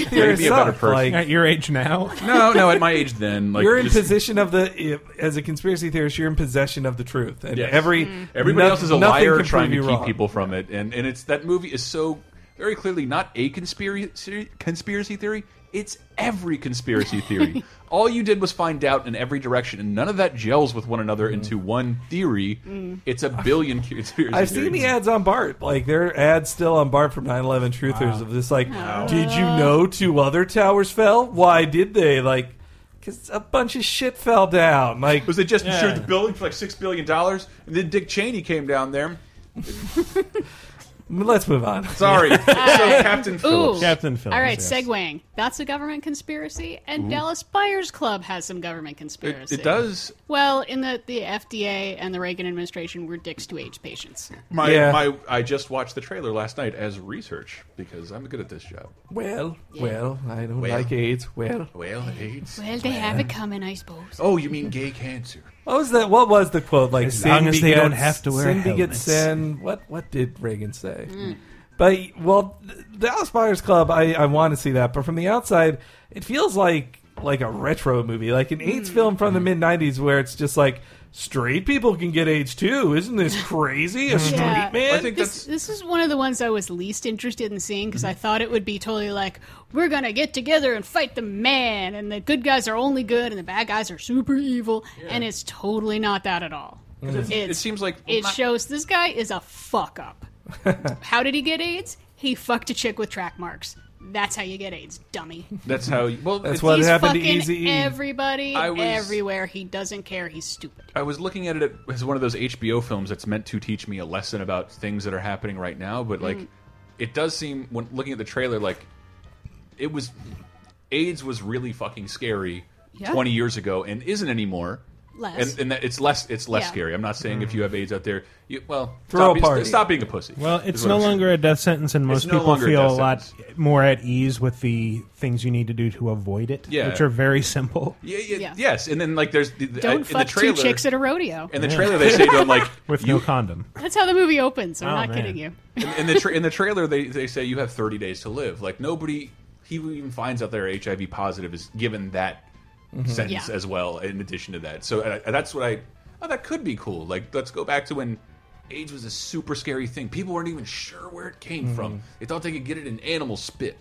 C: Made
B: theories
A: me a better
B: suck.
A: person.
B: Like,
C: At your age now,
A: No, no, at my age then, like
B: you're in
A: just-
B: possession of the as a conspiracy theorist you're in possession of the truth and
A: Yes.
B: every
A: Everybody
B: no-
A: else is a
B: nothing can
A: liar
B: prove
A: trying to
B: you
A: keep
B: wrong.
A: people from it, and and it's that movie is so very clearly not a conspiracy conspiracy theory. It's every conspiracy theory. All you did was find doubt in every direction, and none of that gels with one another into one theory. It's a billion conspiracy.
B: I've seen the
A: theories.
B: ads on BART. Like there are ads still on BART from 9/11 truthers of this. Like, did you know two other towers fell? Why did they? Like, because a bunch of shit fell down. Like,
A: Was it just
C: Yeah.
A: insured the building for like six billion dollars, and then Dick Cheney came down there?
B: let's move on.
A: Sorry, so Captain Phillips.
C: Captain Phillips.
D: All right,
C: yes.
D: segueing. That's a government conspiracy, and Dallas Buyers Club has some government
A: It,
D: conspiracy.
A: it does.
D: Well, in the, the FDA and the Reagan administration were dicks to AIDS patients.
A: My,
B: Yeah.
A: my, I just watched the trailer last night as research because I'm good at this job.
B: Well, well, I don't
A: Well.
B: like AIDS. Well,
A: Well, AIDS.
D: Well, they have it coming, I suppose.
A: Oh, you mean gay cancer?
B: what was that? What was the quote? Like,
C: As
B: sin
C: long as they
B: begets-
C: don't have to wear
B: sin begets
C: helmets.
B: sin. What what did Reagan say?
A: Mm.
B: But well, th- Dallas Buyers Club, I, I want to see that. But from the outside, it feels like like a retro movie, like an AIDS
A: Mm.
B: film from the
C: Mm.
B: mid '90s, where it's just like straight people can get AIDS too. Isn't this crazy? A street
D: Yeah.
B: man.
A: I think that's
D: This, this is one of the ones I was least interested in seeing because
A: Mm-hmm.
D: I thought it would be totally like, we're going to get together and fight the man, and the good guys are only good, and the bad guys are super evil, and it's totally not that at all.
A: Mm. it seems like
D: it shows this guy is a fuck up. how did he get AIDS? He fucked a chick with track marks. That's how you get AIDS, dummy.
A: that's how. You, well, that's
B: what
D: He's
B: happened to
D: fucking
B: Eazy-E.
D: everybody,
A: I was-
D: everywhere. He doesn't care. He's stupid.
A: I was looking at it as one of those HBO films that's meant to teach me a lesson about things that are happening right now. But like,
D: Mm.
A: it does seem when looking at the trailer, like it was AIDS was really fucking scary
D: Yeah.
A: 20 years ago and isn't anymore.
D: Less.
A: and, and that it's less it's less
D: Yeah.
A: scary. I'm not saying if you have AIDS out there, you, well,
B: Throw
A: stop,
B: a party.
A: stop being a pussy.
C: Well,
A: is
C: it's
A: what
C: no
A: I'm saying.
C: longer a death sentence, and most
A: no
C: people
A: longer a
C: feel a
A: death
C: lot more at ease with the things you need to do to avoid it,
A: Yeah.
C: which are very simple.
A: Yeah, yeah,
D: Yeah.
A: Yes, and then like there's the, the,
D: Don't
A: in
D: fuck
A: the trailer,
D: two chicks at a rodeo.
A: in the trailer they say to him like
C: With
A: you
C: no condom.
D: That's how the movie opens. I'm
C: Oh,
D: not
C: man.
D: kidding you.
A: in, in the tra- in the trailer they, they say you have 30 days to live like nobody he even finds out they're hiv positive is given that
B: Mm-hmm.
A: sentence
D: Yeah.
A: as well in addition to that so uh, that's what i oh that could be cool like let's go back to when aids was a super scary thing people weren't even sure where it came from
B: Mm-hmm.
A: they thought they could get it in animal spit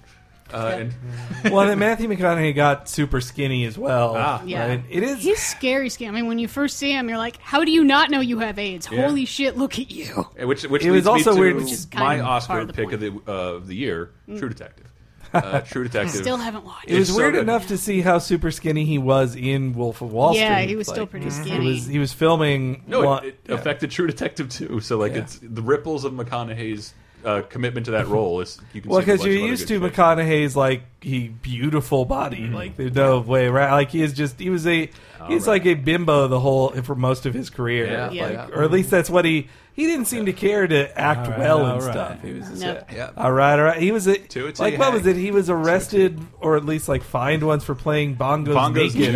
A: uh, and
B: well, then Matthew McConaughey got super skinny as well.
A: Ah.
D: Yeah.
B: right? it is.
D: He's scary, scary. I mean, when you first see him, you're like, how do you not know you have AIDS?
A: Yeah.
D: Holy shit, look at you.
A: And Which, which
B: It
A: leads
B: was also
A: me to
B: weird- Which is
D: kind
A: my
D: of part
A: Oscar
D: of the Mm.
A: pick of the, uh, of the year, True Detective. Uh, True Detective.
D: Still haven't watched.
B: It was
A: It's so
B: weird
A: good.
B: enough to see how super skinny he was in Wolf of Wall Street.
D: Yeah, he was still pretty
B: He
D: skinny.
B: was he was filming.
A: Mm-hmm. No,
B: one-
A: it, it affected True Detective too. So like,
B: Yeah.
A: it's the ripples of McConaughey's uh, commitment to that role is you can.
B: well,
A: see in a
B: because
A: bunch of
B: you're
A: other
B: used
A: good Mm-hmm.
B: to
A: shit.
B: McConaughey's like he beautiful body, like there's no way around. Like he is just he was a he's like a bimbo the whole for most of his career,
A: Yeah.
B: like
D: Yeah.
B: or at least that's what he he didn't seem to care to act
C: All right,
B: well
C: all
B: and
C: right.
A: Mm-hmm.
B: stuff. He was just
D: Nope.
B: yeah.
A: Yeah.
B: all right, all right. He was a,
A: To it till
B: like
A: you
B: what
A: hang.
B: was it? He was arrested or at least like fined once for playing bongos,
A: Bongos
B: naked
A: nude.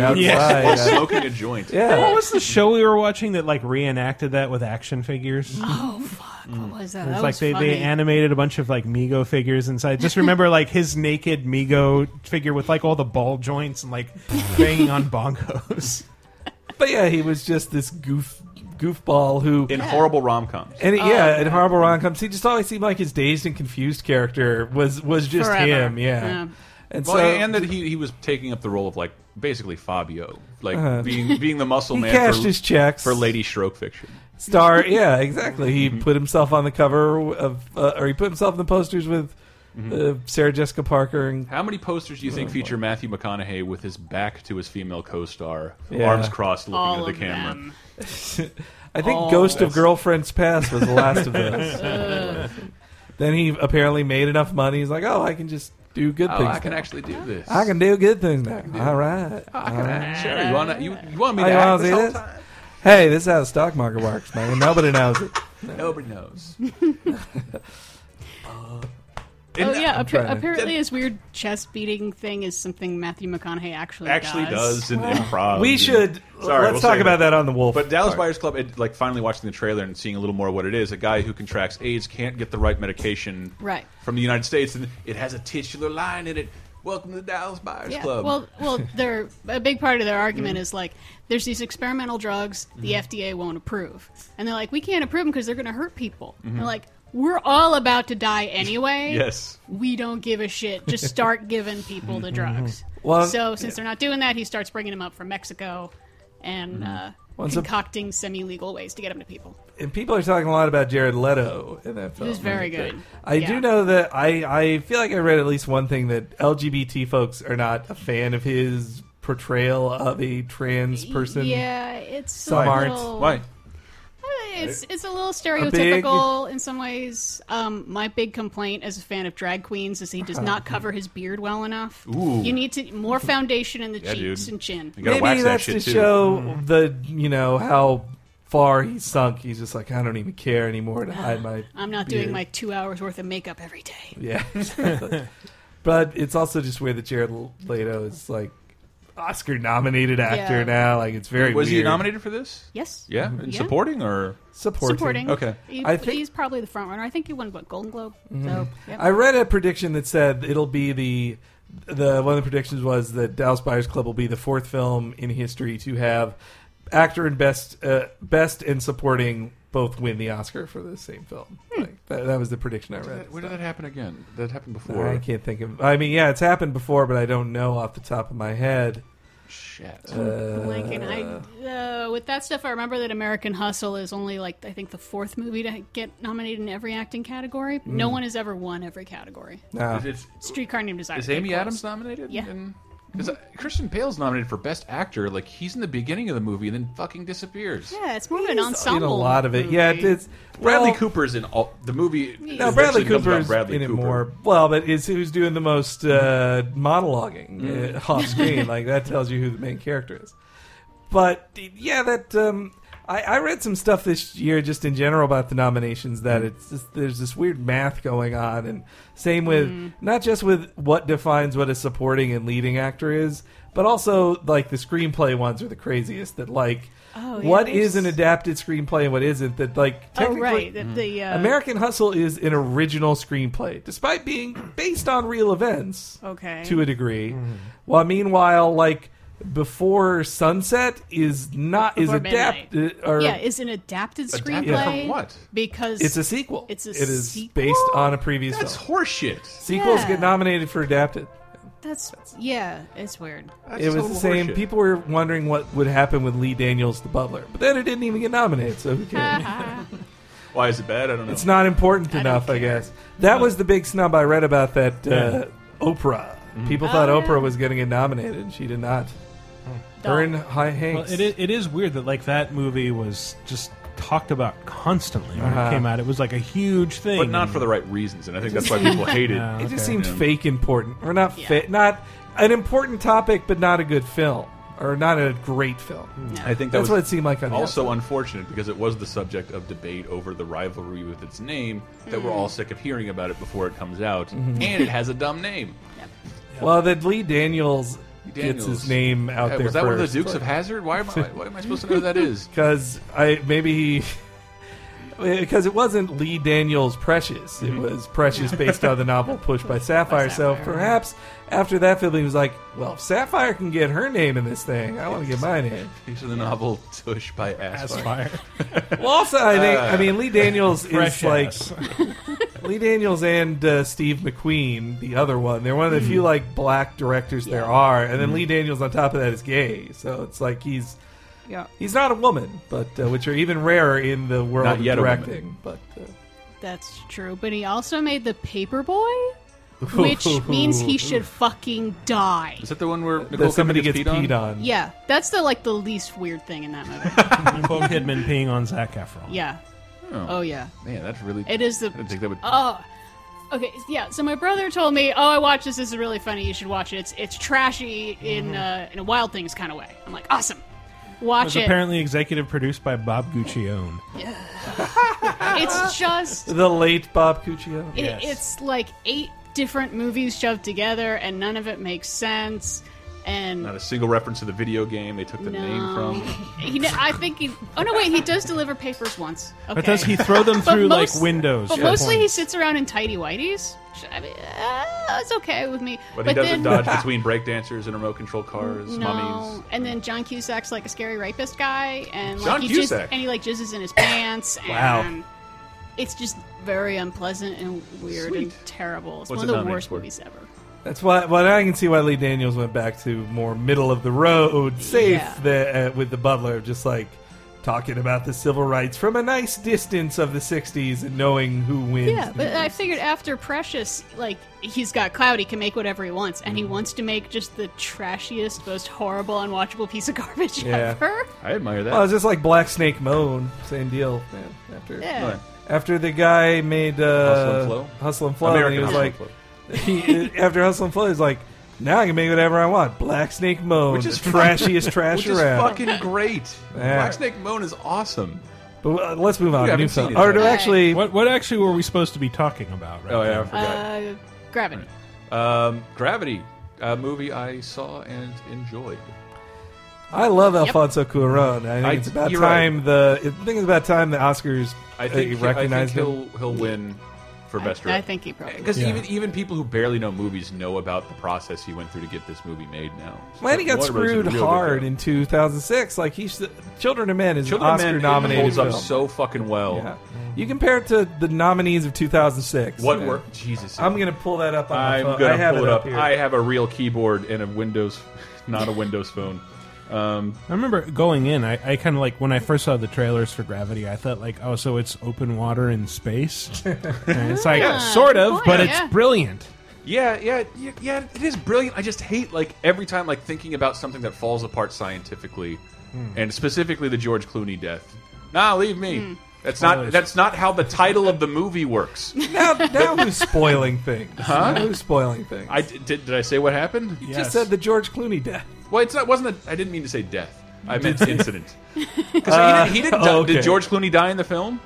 B: outside.
A: while
B: Yeah.
A: smoking a joint.
B: yeah.
C: What was the show we were watching that like reenacted that with action figures?
D: Oh fuck! What was that?
C: It's
D: that
C: like
D: was
C: they,
D: funny.
C: they animated a bunch of like Mego figures inside. Just remember like his naked Mego figure with like all the ball joints and like banging on bongos.
B: But yeah, he was just this goof goofball who
A: In horrible rom coms.
B: and it- yeah,
D: Oh.
B: in horrible rom coms, he just always seemed like his dazed and confused character was was just
D: Forever.
B: him. Yeah,
D: Yeah.
B: and
A: Well,
B: so
A: and that he, he was taking up the role of like basically Fabio, like being being the muscle
B: Uh-huh. he
A: man
B: cashed
A: for,
B: his checks
A: for Lady Mm-hmm. Stroke fiction.
B: star. Yeah, exactly. He put himself on the cover of, uh, or he put himself in the posters with
A: Mm-hmm.
B: uh, Sarah Jessica Parker and
A: How many posters do you think feature Matthew McConaughey with his back to his female co-star,
B: Yeah.
A: arms crossed, looking
D: all
A: at the
D: of
A: camera?
D: them.
B: I think
D: Oh,
B: Ghost of Girlfriend's Past was the last of those.
D: Uh.
B: then he apparently made enough money. He's like, oh, I can just do good
A: Oh,
B: things.
A: I can
B: now.
A: actually do this.
B: I can do good things now. All right.
A: I can act. Sure, you want you, you want me
B: Oh,
A: to
B: you
A: act
B: wanna
A: this
B: see
A: whole
B: this?
A: time?
B: Hey, this is how the stock market works, man. Nobody knows it.
A: Nobody knows.
D: Oh yeah, appa-
B: trying to-
D: apparently his weird chest beating thing is something Matthew McConaughey actually
A: Actually, does in improv.
B: We should
A: Oh, Sorry,
B: let's
A: we'll
B: talk
A: save
B: about
A: it.
B: that on the wolf.
A: But Dallas
B: part.
A: Buyers Club, it, like finally watching the trailer and seeing a little more of what it is, a guy who contracts AIDS can't get the right medication
D: Right.
A: from the United States, and it has a titular line in it. Welcome to Dallas Buyers
D: Yeah.
A: Club.
D: Well, well, they're a big part of their argument is like there's these experimental drugs the FDA won't approve, and they're like we can't approve them because they're going to hurt people. And They're like we're all about to die anyway.
A: yes.
D: We don't give a shit. Just start giving people the drugs.
B: Mm-hmm. Well,
D: so since they're not doing that, he starts bringing them up from Mexico and uh,
B: Mm-hmm. Well, so-
D: concocting semi-legal ways to get them to people.
B: and people are talking a lot about Jared Leto in that film.
D: was very good.
B: I
D: Yeah.
B: do know that I, I feel like I read at least one thing that LGBT folks are not a fan of his portrayal of a trans person.
D: Yeah, it's
B: Some
D: a
B: aren't.
D: little, uh,
A: Why?
D: It's it's a little
B: A big-
D: stereotypical in some ways. Um, my big complaint as a fan of drag queens is he does not cover his beard well enough.
A: Ooh.
D: You need to more foundation in the
A: Yeah,
D: cheeks
A: dude.
D: and chin.
A: You gotta
B: Maybe
A: wax that
B: that's
A: shit
B: to
A: too.
B: show
A: Mm-hmm.
B: the you know how far he's sunk. He's just like I don't even care anymore to hide my.
D: I'm not
B: beard."
D: doing my two hours worth of makeup every day.
B: Yeah. exactly. but it's also just weird that Jared Leto is like Oscar nominated actor
D: Yeah.
B: now. Like it's very
A: Was he
B: weird.
A: nominated for this?
D: Yes.
A: Yeah, in
D: Yeah.
A: supporting or
B: Supporting.
D: Supporting.
A: Okay.
D: He-
B: I thi-
D: he's probably the front runner. I think he won what Golden Globe. So yep.
B: I read a prediction that said it'll be the the one of the predictions was that Dallas Buyers Club will be the fourth film in history to have actor and best uh, best and supporting both win the Oscar for the same film.
D: Hmm.
B: Like, that, that was the prediction I read.
A: Where did that happen again? That happened before.
B: I can't think of. I mean, yeah, it's happened before, but I don't know off the top of my head.
A: Shit.
D: Lincoln. I uh, with that stuff, I remember that American Hustle is only like I think the fourth movie to get nominated in every acting category.
B: Mm.
D: No one has ever won every category.
B: No.
A: Is it-
D: Streetcar Named Desire.
A: is Amy
D: came close.
A: Adams nominated?
D: Yeah.
A: And, is, Christian Bale's nominated for Best Actor. Like he's in the beginning of the movie and then fucking disappears.
D: Yeah, it's more of an
B: He's
D: ensemble.
B: in a lot of it. Yeah, it-
D: movie.
B: it's
A: Bradley
B: well,
A: Cooper's in all the movie.
B: No,
A: eventually
B: Bradley
A: becomes about
B: Cooper's
A: Bradley
B: in it
A: Cooper. Mm-hmm.
B: more. Well, but it's who's doing the most uh, monologuing uh, off screen. like that tells you who the main character is. But yeah, that um, I, I read some stuff this year just in general about the nominations that
A: Mm-hmm.
B: it's just, there's this weird math going on, and same with
D: Mm-hmm.
B: not just with what defines what a supporting and leading actor is, but also like the screenplay ones are the craziest. That like.
D: Oh, yeah,
B: what
D: there's-
B: is an adapted screenplay and what isn't? That like
D: Oh
B: technically,
D: right, the, the
A: Mm-hmm.
D: uh,
B: American Hustle is an original screenplay, despite being based on real events
D: Okay.
B: to a degree.
A: Mm-hmm.
B: While meanwhile, like before sunset is not
D: Before
B: is adapted or
D: yeah is an adapted screenplay.
A: Adapted from what?
D: Because
B: it's a sequel.
D: It's a
B: it is
D: sequel?
B: based on a previous
A: That's
B: film.
A: horseshit.
B: Sequels
D: Yeah.
B: get nominated for adapted.
D: that's yeah, it's weird.
A: That's
B: it was
A: total
B: the same.
A: horseshit.
B: People were wondering what would happen with Lee Daniels, the butler, but then it didn't even get nominated. So who
D: Uh,
B: cares?
A: Why is it bad? I don't know.
B: It's not important enough, I guess. That was the big snub I read about that uh, Oprah.
A: Mm-hmm.
B: People thought
D: Oh, yeah.
B: Oprah was going to get nominated, and she did not. Her and Hi
C: Well,
B: Hanks.
C: it is, it is weird that like that movie was just talked about constantly when
B: Uh-huh.
C: it came out. It was like a huge thing,
A: but not for the right reasons, and I think that's why people hate it.
C: Yeah.
B: It just
C: Okay.
B: seemed
A: Yeah.
B: fake important, or not
D: Yeah.
B: fit, not an important topic, but not a good film, or not a great film.
D: Mm.
A: I think that
B: That's
A: was
B: what it seemed like on the
A: also unfortunate because it was the subject of debate over the rivalry with its name that we're all sick of hearing about it before it comes out,
B: Mm-hmm.
A: and it has a dumb name.
B: outside. Well, that Lee Daniels, gets
A: Daniels.
B: his name out
A: Hey,
B: there
A: was that one of
B: first.
A: the Dukes of Hazard? Why am I? Why am I supposed to know who that is?
B: because I maybe he because it wasn't Lee Daniels Precious. It was Precious based on the novel Push by Sapphire. So
D: Mm-hmm. Sapphire.
B: perhaps after that film, he was like, "Well, if Sapphire can get her name in this thing, I want to get my name."
A: These are the novel Tush by Aspire.
C: Aspire.
B: Well, also I think I mean Lee Daniels is
C: Fresh
B: like
C: ass.
B: Lee Daniels and uh, Steve McQueen, the other one. They're one of the few like black directors there
D: Mm. Yeah. Mm.
B: are, and then Lee Daniels on top of that is gay. So it's like he's
D: Yeah.
B: He's not a woman, but uh, which are even rarer in the world
A: Not
B: of
A: yet a woman.
B: directing. But uh,
D: That's true. But he also made the Paperboy, which means he should fucking die.
A: Is that the one where Nicole
B: that
A: Kidman
B: somebody gets
A: peed on?
B: on.
D: Yeah, that's the like the least weird thing in that movie.
C: Nicole Kidman peeing on Zach Efron.
D: Yeah. Oh yeah.
A: Man, that's really.
D: It is the
A: I didn't think that would.
D: Oh. Okay, yeah. So my brother told me, "Oh, I watched this. This is really funny. You should watch it. It's it's trashy in
A: Mm-hmm.
D: uh, in a Wild Things kind of way." I'm like, "Awesome,
C: It was
D: watch it.
C: apparently executive produced by Bob Guccione.
D: It's just
B: The late Bob Cuccio.
D: it,
C: Yes.
D: it's like eight different movies shoved together, and none of it makes sense." And
A: not a single reference to the video game they took the name from.
D: he, ne- I think he. Oh no, wait. He does deliver papers once. Okay.
C: But does he throw them
D: But
C: through
D: most-
C: like windows?
D: But
C: at
D: mostly he
C: points?
D: sits around in tidy whities. Should I mean, uh, it's okay with me.
A: But, he doesn't
D: then,
A: dodge between breakdancers and remote control cars,
D: No,
A: mummies.
D: and then John Cusack's like a scary rapist guy, and like
A: John
D: he
A: Cusack?
D: Just, and he like jizzes in his pants.
C: Wow.
D: and it's just very unpleasant and weird and
A: Sweet.
D: terrible. It's
A: What's
D: one
A: it
D: of the
A: nominated
D: worst
A: for?
D: movies ever.
B: That's why. Well, now I can see why Lee Daniels went back to more middle of the road, safe
D: Yeah.
B: the, uh, with the Butler, just like talking about the civil rights from a nice distance of the '60s and knowing who wins.
D: Yeah,
B: the
D: but I
B: race.
D: figured after Precious, like he's got clout, he can make whatever he wants, and he wants to make just the trashiest, most horrible, unwatchable piece of garbage
B: Yeah.
D: ever.
A: I admire that.
B: Well, it's just like Black Snake Moan, same deal. Man, after
D: Yeah.
A: Right.
B: after the guy made uh,
A: Hustle and Flow?
B: Hustle and Flow,
A: American
B: and he was
A: Hustle
B: like,
A: and Flow.
B: he, uh, after Hustle and Flow, he's like, now I can make whatever I want. Black Snake Moan,
A: Which is
B: the trashiest trash
A: Which is
B: around.
A: fucking great.
B: Yeah.
A: Black Snake Moan is awesome.
B: But uh, let's move on.
A: You
B: to new
A: haven't seen
B: film.
A: it,
B: Or no,
A: have
D: you?
B: actually,
C: What what actually were we supposed to be talking about? Right
A: Oh yeah, I
C: now?
A: forgot.
D: Uh, Gravity.
A: um, Gravity, a movie I saw and enjoyed.
B: I love Alfonso Cuarón. I think
A: I-
B: it's about
A: you're right.
B: time the I think it's about time the Oscars
A: I think,
B: uh, recognized
A: I think he'll
B: him.
A: he'll win for best.
D: I, I
A: director.
D: think he probably.
A: Because
B: Yeah.
A: even even people who barely know movies know about the process he went through to get this movie made now. So
B: Lanny got
A: Waterbird's a
B: screwed
A: real good
B: hard
A: job.
B: in 2006. Like he's Children of Men is
A: Children
B: an
A: of Men
B: Oscar nominated
A: holds
B: film.
A: up so fucking well.
B: Yeah. You compare it to the nominees of 2006.
A: What
B: man.
A: work? Jesus,
B: I'm gonna pull that up. On my
A: I'm
B: phone.
A: gonna
B: I have
A: pull
B: it
A: it up.
B: here.
A: I have a real keyboard and a Windows, not a Windows phone. Um,
C: I remember going in. I, I kind of like when I first saw the trailers for Gravity. I thought like, oh, so it's open water in space. and it's like sort of,
D: good
C: but
D: point,
C: it's
D: yeah.
C: brilliant.
A: yeah, yeah, yeah, yeah. It is brilliant. I just hate like every time like thinking about something that falls apart scientifically, and specifically the George Clooney death. Nah, leave me. That's not.
C: Spoilers.
A: That's not how the title of the movie works.
B: now, now who's spoiling things? Now who's spoiling things?
A: I did. Did I say what happened?
B: just
C: Yes.
B: said the George Clooney death.
A: Well, it's not. Wasn't a, I didn't mean to say death. I meant incident. Because he, didn't- he didn't.
B: Uh,
A: die-
B: okay.
A: Did George Clooney die in the film?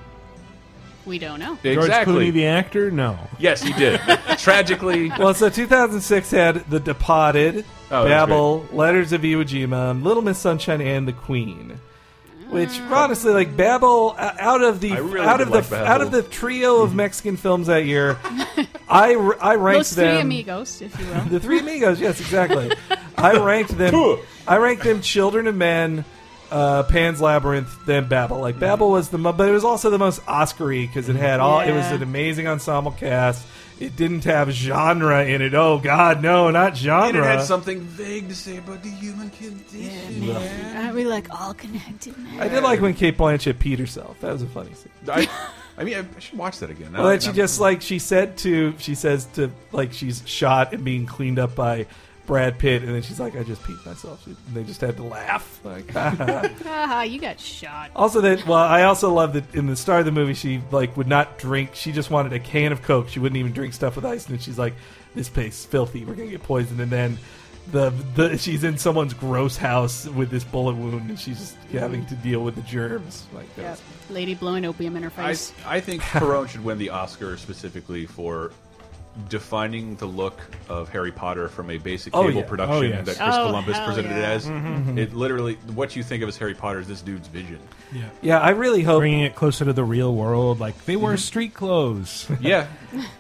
D: We don't know.
A: exactly.
C: George Clooney, the actor, no.
A: yes, he did. Tragically,
B: Well, so 2006 had The Departed,
A: Oh, that's
B: Babel, Letters of Iwo Jima, Little Miss Sunshine, and The Queen. Which honestly, like Babel, uh, out of the
A: Ah. I really
B: out
A: did
B: of the
A: like Babel. Mm-hmm.
B: out of the trio of Mexican films that year, I r- I ranked
D: Those three
B: them
D: amigos, if you will.
B: the Three Amigos. Yes, exactly. I ranked them. I ranked them Children of Men, uh, Pan's Labyrinth, then Babel. Like Babel was the, mo- but it was also the most Oscary because it had all. It was
D: Yeah.
B: an amazing ensemble cast. It didn't have genre in it. Oh God, no, not
A: and it
B: genre.
A: had something vague to say about the human condition.
D: Aren't we like all connected, man?
B: I did like when Kate Blanchett peed herself. That was a funny scene.
A: I, I mean, I, I should watch that again.
B: Well, then she just like she said to she says to like she's shot and being cleaned up by Brad Pitt, and then she's like, "I just peed myself." And they just had to laugh. Like,
D: Haha, you got shot.
B: Also, that well, I also love that in the start of the movie, she like would not drink. She just wanted a can of Coke. She wouldn't even drink stuff with ice, and she's like, "This place is filthy. We're gonna get poisoned." And then the the she's in someone's gross house with this bullet wound, and she's just having to deal with the germs. Like, that
D: Yep.
B: was-
D: Lady blowing opium in her
A: I,
D: face.
A: I think Perron should win the Oscar specifically for defining the look of Harry Potter from a basic
B: Oh,
A: cable
B: yeah.
A: production
C: Oh, yes.
A: that Chris
D: Oh,
A: Columbus
D: hell
A: presented it
D: yeah. Mm-hmm,
A: as. It literally, what you think of as Harry Potter is this dude's vision.
B: yeah, I really hope.
C: Bringing it closer to the real world, like they
A: Mm-hmm.
C: wear street clothes.
A: Yeah,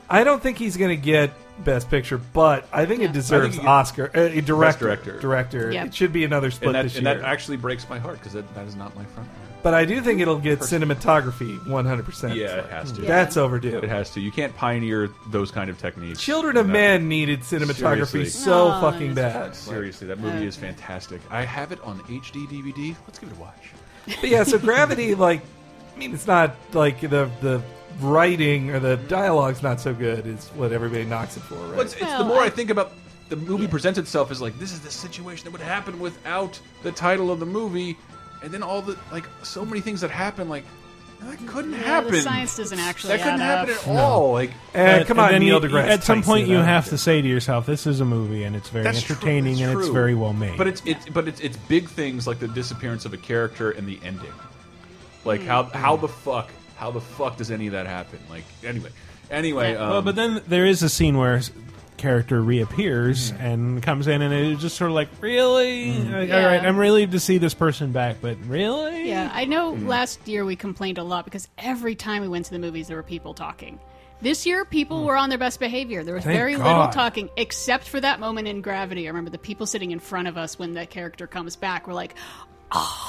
B: I don't think he's gonna get Best Picture, but I think it deserves
A: he gets
B: Oscar. Uh, a director,
A: Director.
B: director.
D: Yep.
B: It should be another split
A: and that,
B: this
A: and
B: year.
A: that actually breaks my heart because that, that is not my front.
B: But I do think it'll get cinematography 100%.
A: Yeah, it has to.
B: That's overdue.
A: It has to. You can't pioneer those kind of techniques.
B: Children of
A: No.
B: Men needed cinematography
A: Seriously.
B: so
D: Oh,
B: fucking bad.
A: Seriously, that movie is fantastic. I have it on HD DVD. Let's give it a watch.
B: But yeah, so Gravity, like, I mean, it's not like the the writing or the dialogue's not so good. Is what everybody knocks it for, right?
A: But it's, it's the
D: Well,
A: more I,
D: I-
A: think about the movie presents itself as like this is the situation that would happen without the title of the movie, and then all the like so many things that happen like that couldn't happen.
D: The science doesn't actually
A: that couldn't
D: add
A: happen
D: up.
A: at all. Like
B: Eh,
C: And-
B: come
C: and
B: on,
C: then
B: Neil
C: you-
B: deGrasse.
C: At some
B: Tyson,
C: point, you
B: I don't
C: have
B: do
C: to say to yourself, "This is a movie, and it's very
A: That's true,
C: entertaining,
A: that's
C: and it's
A: true.
C: very well made."
A: But it's it's but it's it's big things like the disappearance of a character and the ending. Like
D: Hmm.
A: how how the fuck how the fuck does any of that happen? Like anyway, anyway. Um,
C: well, but then there is a scene where s- character reappears and comes in, and it's just sort of like, "Really? Like, All
D: Yeah.
C: right, I'm relieved to see this person back, but really?
D: Yeah, I know last year we complained a lot because every time we went to the movies, there were people talking. This year, people were on their best behavior. There was
C: Thank
D: very
C: God.
D: little talking, except for that moment in Gravity. I remember the people sitting in front of us when that character comes back were like, oh,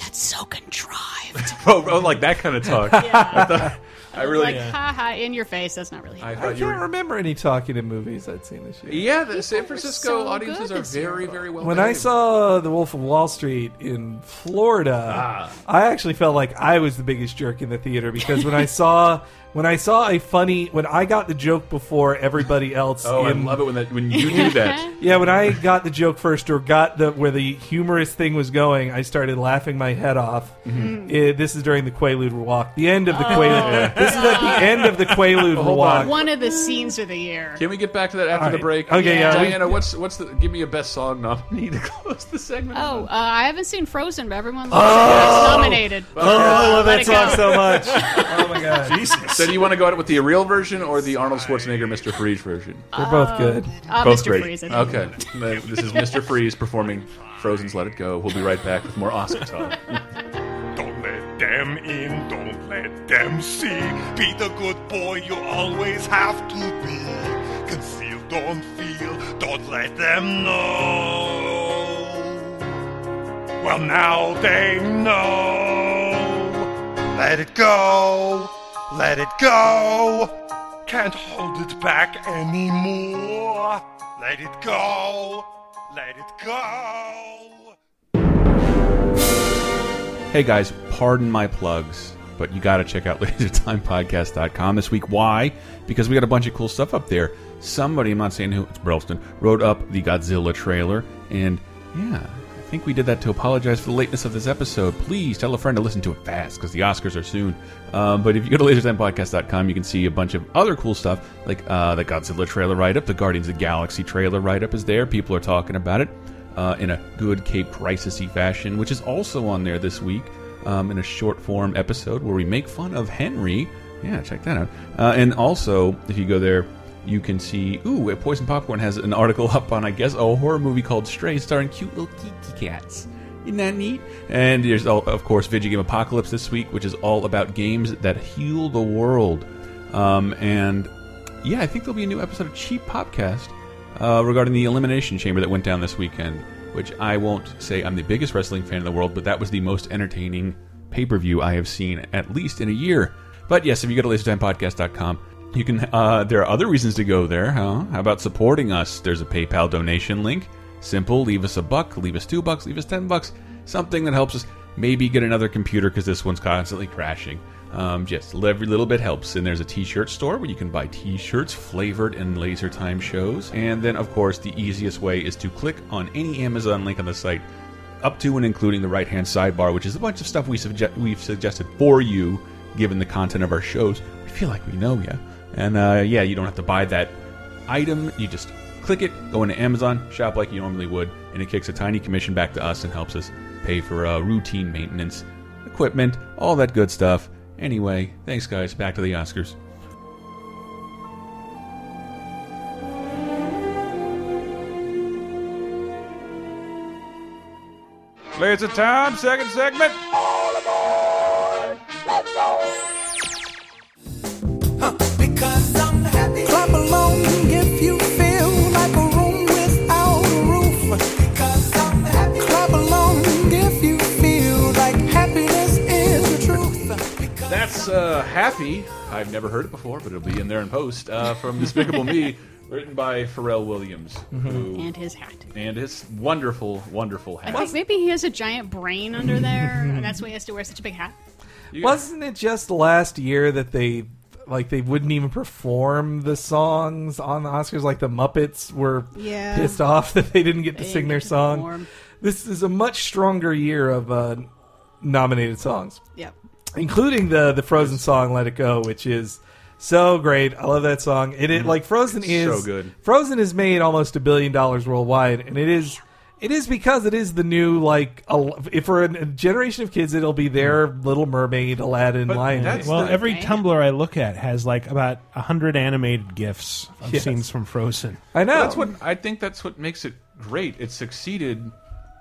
D: that's so contrived.
A: oh, oh, like that kind of talk. I, thought- I really.
D: like, haha, in your face. That's not really.
A: I
B: that.
A: thought
B: I
A: you
B: can't
A: were.
B: remember any talking in movies I'd seen this year.
C: E-
A: Yeah, the San
D: were
A: Francisco
D: so
A: audiences
D: good
A: are
D: this year.
A: very, very well.
B: When I
A: behaved.
B: saw The Wolf of Wall Street in Florida,
C: Ah.
B: I actually felt like I was the biggest jerk in the theater because when I saw when I saw a funny when I got the joke before everybody else
A: Oh, I
B: in
A: love it when that when you do that.
B: Yeah, when I got the joke first or got the where the humorous thing was going, I started laughing my head off.
D: Mm-hmm.
B: Eh, this is during the Quaalude walk. The end of the Quaalude. This is at the end of the Quaalude
A: Hold
B: walk.
A: on.
D: One of the scenes of the year.
A: Can we get back to that after
B: All
A: the
B: right.
A: break?
B: Okay,
D: yeah,
A: Diana, what's what's the give me a best song nominee to close the segment?
D: Oh, uh, I haven't seen Frozen, but everyone loves it. It's nominated.
B: Oh, I love that
D: Let it go.
B: song so much. Oh my god,
D: uh,
A: So do you want to go out with the real version or the Arnold Schwarzenegger Mr. Freeze version?
B: they're both good.
D: Uh,
A: Both
D: Mr.
A: great.
D: Freeze, I think.
A: Okay, this is Mr. Freeze performing Frozen's "Let It Go." We'll be right back with more Oscar talk.
E: Don't let them in, don't let them see. Be the good boy you always have to be. Conceal, don't feel, don't let them know. Well, now they know. Let it go, let it go. Can't hold it back anymore. Let it go, let it go.
A: Hey guys, pardon my plugs, but you got to check out lasertimepodcast.com this week. Why? Because we got a bunch of cool stuff up there. Somebody, I'm not saying who, it's Brelston, wrote up the Godzilla trailer, and yeah, I think we did that to apologize for the lateness of this episode. Please tell a friend to listen to it fast because the Oscars are soon. Um, but if you go to lasertimepodcast.com, you can see a bunch of other cool stuff like uh, the Godzilla trailer write up, the Guardians of the Galaxy trailer write up is there. People are talking about it uh, in a good Cape Crisisy fashion, which is also on there this week um, in a short form episode where we make fun of Henry. Yeah, check that out. Uh, and also, if you go there, you can see. Ooh, Poison Popcorn has an article up on, I guess, a horror movie called Stray, starring cute little geeky cats. Isn't that neat? And there's, oh, of course, Video Game Apocalypse this week, which is all about games that heal the world. Um, and yeah, I think there'll be a new episode of Cheap Popcast uh, regarding the Elimination Chamber that went down this weekend, which I won't say I'm the biggest wrestling fan in the world, but that was the most entertaining pay per view I have seen, at least in a year. But yes, if you go to lasertimepodcast.com, you can. Uh, there are other reasons to go there, huh? How about supporting us? There's a PayPal donation link. Simple, leave us a buck, leave us two bucks, leave us ten bucks, something that helps us maybe get another computer because this one's constantly crashing. Um, just every little bit helps. And there's a t shirt store where you can buy t shirts flavored in laser time shows. And then, of course, the easiest way is to click on any Amazon link on the site, up to and including the right hand sidebar, which is a bunch of stuff we suggest we've suggested for you given the content of our shows. We feel like we know you. And uh, yeah, you don't have to buy that item. You just click it, go into Amazon, shop like you normally would, and it kicks a tiny commission back to us and helps us pay for uh, routine maintenance, equipment, all that good stuff. Anyway, thanks guys. Back to the Oscars. It's a time, second segment.
F: Because I'm happy. Clap along if you feel like a room without a roof. Because I'm happy. Clap along if you feel like happiness
A: uh, Happy. I've never heard it before, but it'll be in there in post. Uh, from Despicable Me, written by Pharrell Williams,
B: Mm-hmm.
A: who
D: and his hat.
A: and his wonderful, wonderful
D: I
A: hat.
D: think maybe he has a giant brain under there, and that's why he has to wear such a big hat.
A: You-
B: Wasn't it just last year that they like they wouldn't even perform the songs on the Oscars? Like the Muppets were
D: Yeah.
B: pissed off that they didn't get to
D: They
B: sing
D: didn't
B: their
D: get to
B: song.
D: perform.
B: This is a much stronger year of uh, nominated songs,
D: Yep.
B: including the the Frozen song "Let It Go," which is so great. I love that song. It, it like Frozen
A: Mm-hmm. It's
B: is
A: so good.
B: Frozen has made almost a billion dollars worldwide, and it is it is because it is the new like al- if for a generation of kids, it'll be their Little Mermaid,
A: Mm-hmm.
B: Aladdin,
A: But
B: Lion.
A: that's
B: King.
C: Well,
A: the-
C: every
D: Right.
C: Tumblr I look at has like about a hundred animated gifs of
B: Yes.
C: scenes from Frozen.
B: I know
A: That's what I think. That's what makes it great. It succeeded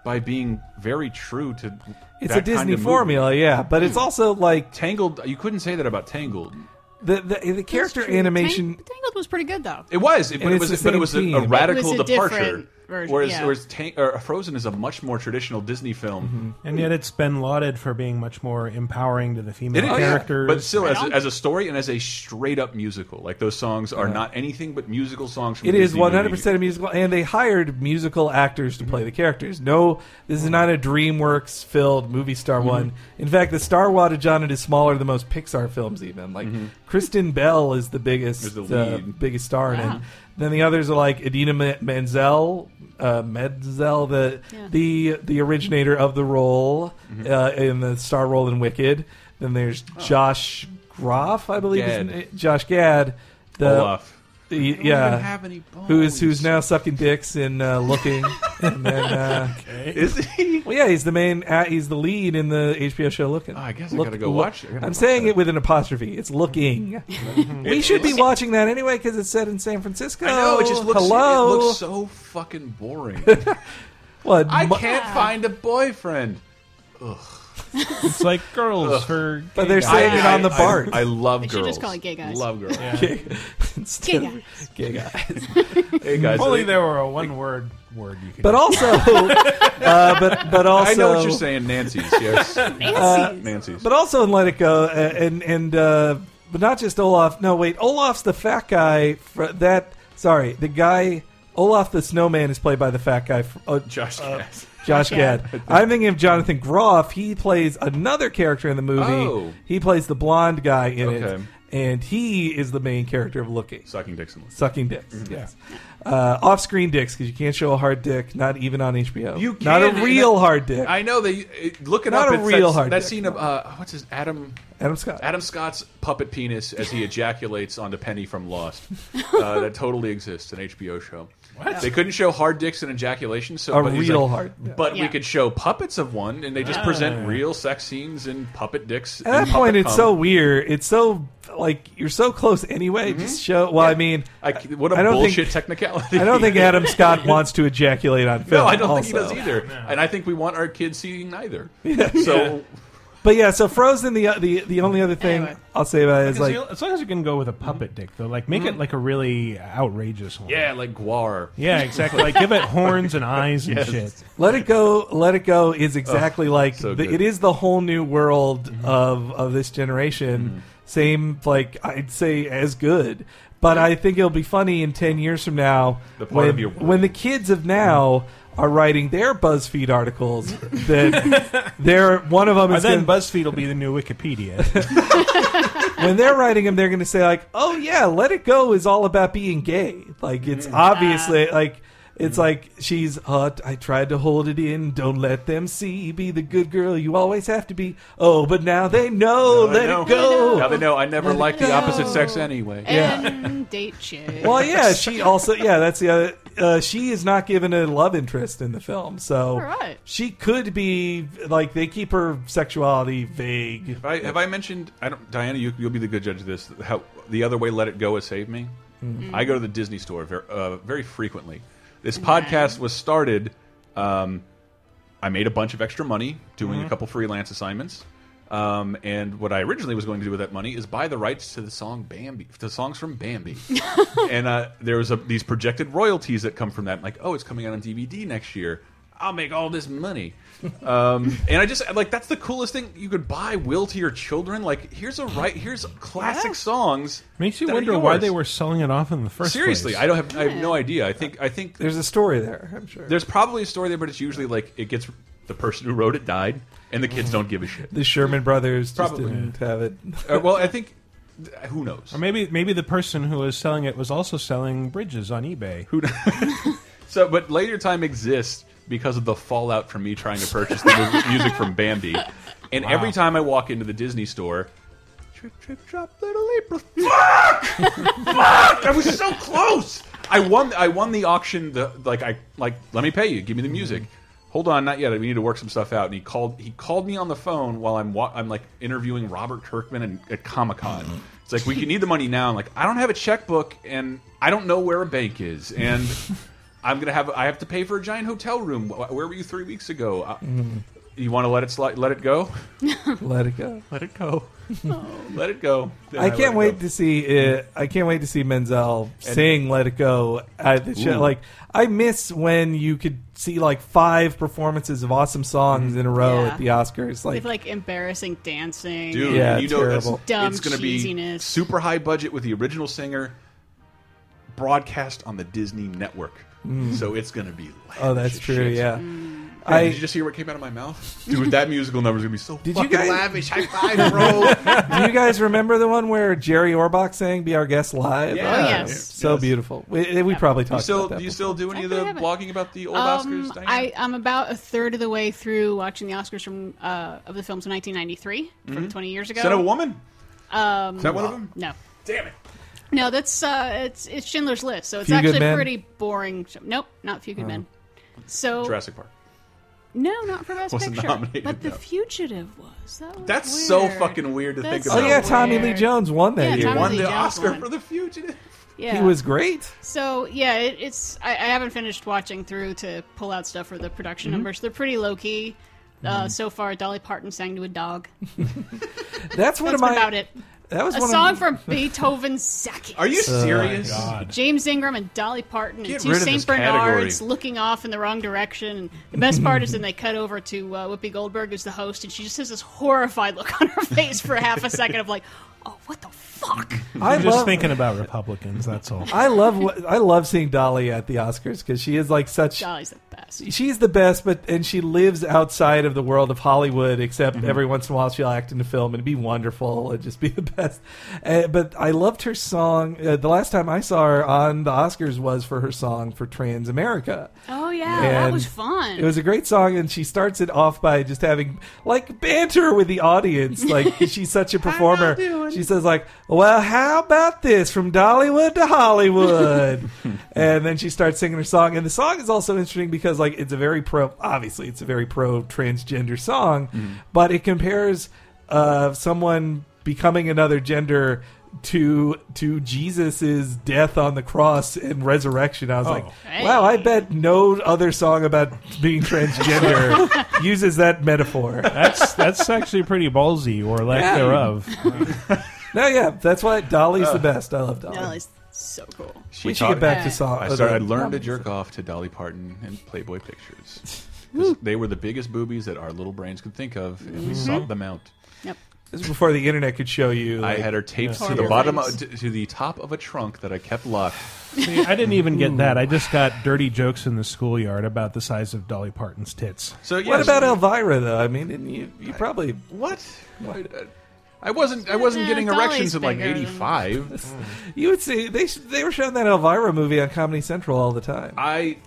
A: by being very true to.
B: it's
A: that
B: a Disney
A: kind of movie.
B: formula, yeah, but it's also like
A: Tangled. You couldn't say that about Tangled.
B: the the, the character
D: That's true.
B: animation.
D: Tang- Tangled was pretty good though.
A: It was, it, but
B: And
A: it was,
B: it's the
A: but it
B: same
A: was a,
B: theme.
A: a
B: It was
A: radical
D: a
A: departure.
D: different version,
A: whereas,
D: yeah.
A: whereas Tang or Frozen is a much more traditional Disney
B: Mm-hmm.
A: film.
C: And yet it's been lauded for being much more empowering to the female
A: It is, Oh,
C: characters.
A: but still, as a,
D: Well-
A: as a story and as a straight up musical, like those songs are not anything but musical songs. From
B: It
A: the
B: is
A: Disney movie.
B: 100% a musical, and they hired musical actors to
A: Mm-hmm.
B: play the characters. No, this is not a DreamWorks filled movie star
A: Mm-hmm.
B: one. In fact, the star wattage on it is smaller than most Pixar films, even. Like, Kristen Bell is the
A: Mm-hmm. Is
B: biggest
A: the
B: uh,
A: lead.
B: biggest star in
D: Yeah.
B: it. Then the others are like Edina Ma- Menzel, uh, Menzel, the,
D: Yeah.
B: the the originator of the role
A: Mm-hmm.
B: uh, in the star role in Wicked. Then there's Josh Groff, I believe. his
A: Gad.
B: na- Josh Gad. The,
A: Olaf.
B: the- yeah,
A: Oh,
B: who's who's now sucking dicks and uh, looking. and then, uh,
A: Is he?
B: well, yeah, he's the main. Uh, he's the lead in the HBO show. Looking.
A: I guess I gotta go watch it. I gotta
B: I'm
A: watch
B: saying
A: that.
B: it with an apostrophe. It's looking. we should be watching that anyway because it's set in San Francisco.
A: Mm-hmm. I know. It just looks.
B: Hello.
A: It looks so fucking boring.
B: What,
A: I
B: mu-
A: can't find a boyfriend.
C: it's like girls for.
B: But they're
C: gay
B: saying
C: guys.
B: it on the
A: I-
B: BART.
A: I, love
D: They
A: girls.
D: should just call it gay guys.
A: Love girls.
B: Gay-
D: Gay
B: instead of-
D: guy.
B: gay guy.
A: Hey guys.
C: If only there were a one word word you could.
B: But also, uh, but but also,
A: I know what you're saying, Nancy's. Yes,
B: Uh,
D: Nancy's.
A: Nancy's.
B: But also in Let It Go, uh, and and uh, but not just Olaf. No, wait, Olaf's the fat guy. Fr- that sorry, the guy Olaf the Snowman is played by the fat guy, fr- uh,
A: Josh Gad.
B: Josh Gad. I'm thinking of Jonathan Groff. He plays another character in the movie.
A: Oh.
B: He plays the blonde guy in it,
A: Okay.
B: and he is the main character of Looking.
A: Sucking dicks and
B: Sucking dicks,
A: Mm-hmm.
B: yes. Uh, off-screen dicks because you can't show a hard dick, not even on HBO.
A: You
B: not a
A: can,
B: real
A: and-
B: hard dick.
A: I know they it- look it
B: Not
A: up.
B: a
A: it's
B: real
A: that,
B: hard
A: that
B: dick.
A: scene of uh, what's his Adam
B: Adam Scott.
A: Adam Scott's puppet penis as he ejaculates onto Penny from Lost. Uh, that totally exists, an HBO show. What? They couldn't show hard dicks and ejaculation, so
B: A
A: but he's
B: real
A: like,
B: hard- yeah.
A: But we
D: Yeah.
A: could show puppets of one, and they just present real sex scenes and puppet dicks.
B: At that point, it's so weird. It's so like you're so close anyway.
A: Mm-hmm.
B: Just show. Well, I mean,
A: I, what a
B: I don't
A: bullshit
B: think-
A: technicality.
B: I don't think Adam Scott wants to ejaculate on film.
A: No, I don't think he
B: also.
A: does either. And I think we want our kids seeing neither. So
B: But yeah, so Frozen. The the the only other thing
D: Anyway.
B: I'll say about it is
C: As,
B: like Mm-hmm.
C: as long as you can go with a puppet dick, though, like make it like a really outrageous one.
A: yeah, like Guar.
C: Yeah, exactly. Like give it horns and eyes and shit.
B: Let It Go. Let It Go is exactly like
A: Oh, so
B: the,
A: good. Mm-hmm.
B: it is the whole new world of of this generation. Same like I'd say as good, but I think it'll be funny in ten years from now
A: The part
B: when
A: of your Mm-hmm. world.
B: when the kids of now. Are writing their BuzzFeed articles that they're one of them
C: And
B: is
C: then
B: going
C: BuzzFeed will be the new Wikipedia.
B: when they're writing them, they're going to say like, "Oh yeah, Let It Go is all about being gay." Like it's
A: Mm-hmm.
B: obviously like it's like she's hot. I tried to hold it in. Don't let them see. Be the good girl you always have to be. Oh, but now they know.
A: Now they
B: let
A: know.
B: it go.
A: Now they know I never liked the
D: go.
A: opposite sex anyway.
B: Yeah.
D: And date chick.
B: Well, yeah, she also yeah. That's the other. Uh, she is not given a love interest in the film, so
D: right.
B: she could be like they keep her sexuality vague.
A: Have I, have I mentioned? I don't, Diana. You, you'll be the good judge of this. How the other way? Let it go is save me.
B: Mm-hmm.
A: I go to the Disney store very, uh, very frequently. This podcast was started. Um, I made a bunch of extra money doing
C: Mm-hmm.
A: a couple freelance assignments. Um, and what I originally was going to do with that money is buy the rights to the song Bambi, to the songs from Bambi. and uh, there was a, these projected royalties that come from that. like, oh, it's coming out on DVD next year. I'll make all this money. Um, and I just like that's the coolest thing you could buy will to your children. Like here's a right here's classic songs.
C: Makes you
A: that are
C: wonder why
A: yours.
C: they were selling it off in the first
A: Seriously,
C: place.
A: I don't have I have no idea. I think I think
B: There's a story there, I'm sure.
A: there's probably a story there, but it's usually like it gets the person who wrote it died, and the kids don't give a shit.
B: the Sherman brothers just
A: Probably.
B: didn't have it.
A: Uh, well, I think who knows?
C: Or maybe maybe the person who was selling it was also selling bridges on eBay. Who
A: So, but later time exists because of the fallout from me trying to purchase the mu- music from Bambi, and every time I walk into the Disney store. Trip, trip, drop, little April. Fuck! Fuck! I was so close. I won. I won the auction. The like. I like. Let me pay you. Give me
C: Mm-hmm.
A: the music. Hold on, not yet. We need to work some stuff out. And he called. He called me on the phone while I'm. Wa I'm like interviewing Robert Kirkman and, at Comic Con.
C: Mm-hmm.
A: It's like we can need the money now. I'm like I don't have a checkbook and I don't know where a bank is and. I'm gonna have. I have to pay for a giant hotel room. Wh- Where were you three weeks ago? Uh,
C: Mm-hmm.
A: You want to let it slide? Let it go.
B: Let it go.
C: let it go?
A: Let it go. Then
B: I
A: let
B: can't
A: it
B: wait
A: go.
B: to see it. I can't wait to see Menzel sing "Let It Go" at the show.
A: Ooh.
B: Like I miss when you could see like five performances of awesome songs
A: Mm.
B: in a row
D: Yeah.
B: at the Oscars. Like,
D: With like embarrassing dancing.
A: dude.
B: Yeah,
A: and you know that's-
B: terrible.
D: Dumb
A: it's gonna be
D: cheesiness.
A: super high budget with the original singer. Broadcast on the Disney Network, so it's gonna be. loud
B: Mm. oh,
A: as
B: that's
A: shit. mm.
B: true. Yeah,
A: Hey, did
B: I
A: you just hear what came out of my mouth, dude? That musical number's gonna be so
B: Did you
A: fucking
B: guys-
A: lavish. High five, bro.
B: do. You guys remember the one where Jerry Orbach sang "Be Our Guest" live?
A: Yeah. Oh,
D: yes.
B: It's so
A: Yes.
B: beautiful. We, we probably
A: you
B: talked
A: still,
B: about that.
A: do you still do any of
D: I
A: the
D: haven't.
A: blogging about the old
D: Um,
A: Oscars? Diana?
D: I, I'm about a third of the way through watching the Oscars from uh, of the films in 1993 from 20 years ago.
A: Mm-hmm. Is that a woman? Um, Is that one of them?
D: No,
A: Damn it!
D: no, that's uh, it's it's Schindler's List, so it's
B: Few Good
D: actually
B: Men?
D: pretty boring. sh- Nope, not Few Good
A: Oh.
D: Men. So
A: Jurassic Park.
D: no, not for Best
A: Wasn't
D: Picture,
A: nominated,
D: but The
A: no.
D: Fugitive was. That was
A: That's
D: weird.
A: so fucking weird to think
D: That's
A: about.
B: Oh yeah, Tommy Lee
D: Weird.
B: Jones won that
D: Yeah,
B: year.
D: Tommy
A: won
D: Lee
A: the
D: Jones
A: Oscar
D: won.
A: for The Fugitive.
D: Yeah.
B: He was great.
D: So yeah, it, it's I, I haven't finished watching through to pull out stuff for the production
B: Mm-hmm.
D: numbers. They're pretty low key. Uh, so far, Dolly Parton sang to a dog.
B: That's one
D: That's
B: of my.
D: about it.
B: That was
D: A
B: one
D: song
B: of,
D: from Beethoven's Second.
A: Are
B: Oh
A: you serious?
D: James Ingram and Dolly Parton
A: Get
D: and two
A: rid of this
D: Saint
A: category.
D: Bernards looking off in the wrong direction. And the best part is then they cut over to uh, Whoopi Goldberg, who's the host, and she just has this horrified look on her face for half a second of like, "Oh, what the fuck."
B: I
C: I'm just
B: love-
C: thinking about Republicans. That's all.
B: I love I love seeing Dolly at the Oscars because she is like such.
D: Dolly's the best.
B: She's the best, but and she lives outside of the world of Hollywood. Except every once in a while, she'll act in a film and be wonderful and just be the best. Uh, but I loved her song. Uh, the last time I saw her on the Oscars was for her song for Trans America.
D: Oh yeah,
B: And
D: that was fun.
B: It was a great song, and she starts it off by just having like banter with the audience. Like she's such a performer. She says like, "Well, how about this from Dollywood to Hollywood?" and then she starts singing her song, and the song is also interesting because like it's a very pro. Obviously, it's a very pro transgender song,
D: Mm-hmm.
B: but it compares uh, someone becoming another gender. To to Jesus's death on the cross and resurrection, I was like,
D: Hey.
B: "Wow, I bet no other song about being transgender uses that metaphor."
C: That's that's actually pretty ballsy, or lack thereof.
B: No, yeah, that's why Dolly's
A: Oh.
B: the best. I love Dolly.
D: Dolly's so cool.
A: She
B: we should get back to
D: Yeah.
B: song.
A: I started. I learned to jerk off to Dolly Parton and Playboy Pictures. 'Cause they were the biggest boobies that our little brains could think of, and
B: Mm-hmm.
A: we sought them out.
D: Yep.
B: This is before the internet could show you.
A: I
B: like-
A: had her taped to the
D: Horrible
A: bottom,
D: things.
A: of, to, to the top of a trunk that I kept locked.
C: See, I didn't even get that. I just got dirty jokes in the schoolyard about the size of Dolly Parton's tits.
A: So
B: what
A: yes,
B: about Elvira though? I mean, didn't you you probably
A: what? uh, I wasn't. I wasn't
D: Yeah,
A: getting
D: Dolly's
A: erections in like
D: bigger than-
A: '85.
B: you would see they they were showing that Elvira movie on Comedy Central all the time.
A: I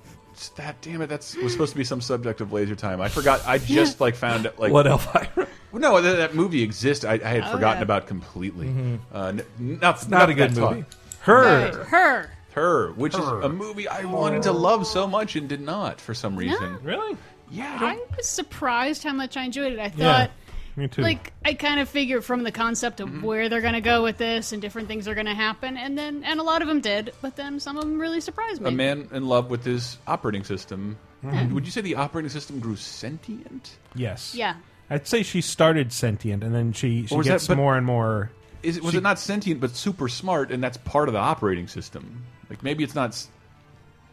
A: that damn it that's was supposed to be some subject of laser time. I forgot. I just like found out like
B: what Elvira?
A: no that, that movie exists. I, I had
D: Oh,
A: forgotten
D: yeah.
A: about completely. Uh, n- not it's
B: Mm-hmm. Not a good movie. Her.
D: Right. Her.
A: Her, which is a movie I wanted to love so much and did not for some reason.
C: Really?
A: Yeah, I
D: I
A: don't,
D: was surprised how much I enjoyed it. I
C: Yeah.
D: thought,
C: Me too.
D: like, I kind of figured from the concept of where they're going to go with this and different things are going to happen, and then and a lot of them did, but then some of them really surprised me.
A: a man in love with his operating system. Would you say the operating system grew sentient?
C: yes.
D: Yeah.
C: I'd say she started sentient, and then she she
A: was
C: gets
A: that- but-
C: more and more.
A: Is it was it not sentient but super smart, and that's part of the operating system? Like maybe it's not s-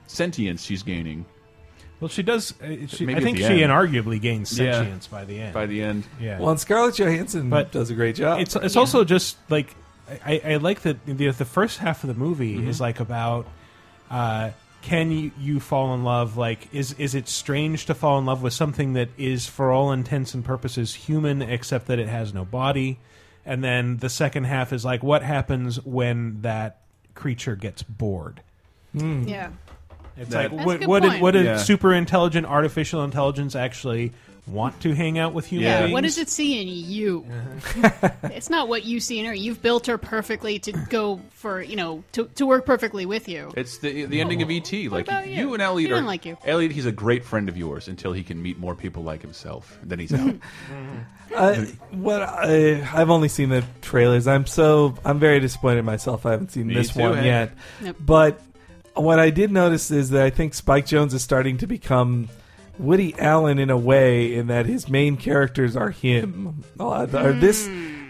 A: sentience she's gaining.
C: Well, she does. uh, She,
A: Maybe
C: I
A: at
C: think
A: the
C: she
A: end.
C: inarguably gains
B: Yeah.
C: sentience by the end.
A: by the end.
C: yeah.
B: Well, and Scarlett Johansson
C: But-
B: does a great job.
C: it's it's also just like I, I like that the the first half of the movie
A: Mm-hmm.
C: is like about uh, can you, you fall in love like is is it strange to fall in love with something that is for all intents and purposes human except that it has no body and then the second half is like what happens when that creature gets bored
D: Yeah.
C: it's
A: That-
D: That's
C: like
D: a
C: what
D: good
C: what did,
D: point.
C: what did
A: Yeah.
C: super intelligent artificial intelligence actually want to hang out with human
A: Yeah.
C: beings
D: What does it see in you? it's not what you see in her. You've built her perfectly to go for, you know, to, to work perfectly with you.
A: It's the the ending of ET. Like
D: about
A: you?
D: you?
A: and Elliot
D: He
A: are
D: didn't like you.
A: Elliot, he's a great friend of yours until he can meet more people like himself. Then he's out.
B: Uh, what I, I've only seen the trailers. I'm so I'm very disappointed in myself. I haven't seen
A: Me
B: this
A: too, eh?
B: one
A: Hank.
B: yet.
D: Nope.
B: But what I did notice is that I think Spike Jones is starting to become Woody Allen in a way, in that his main characters are him. Uh, the- or this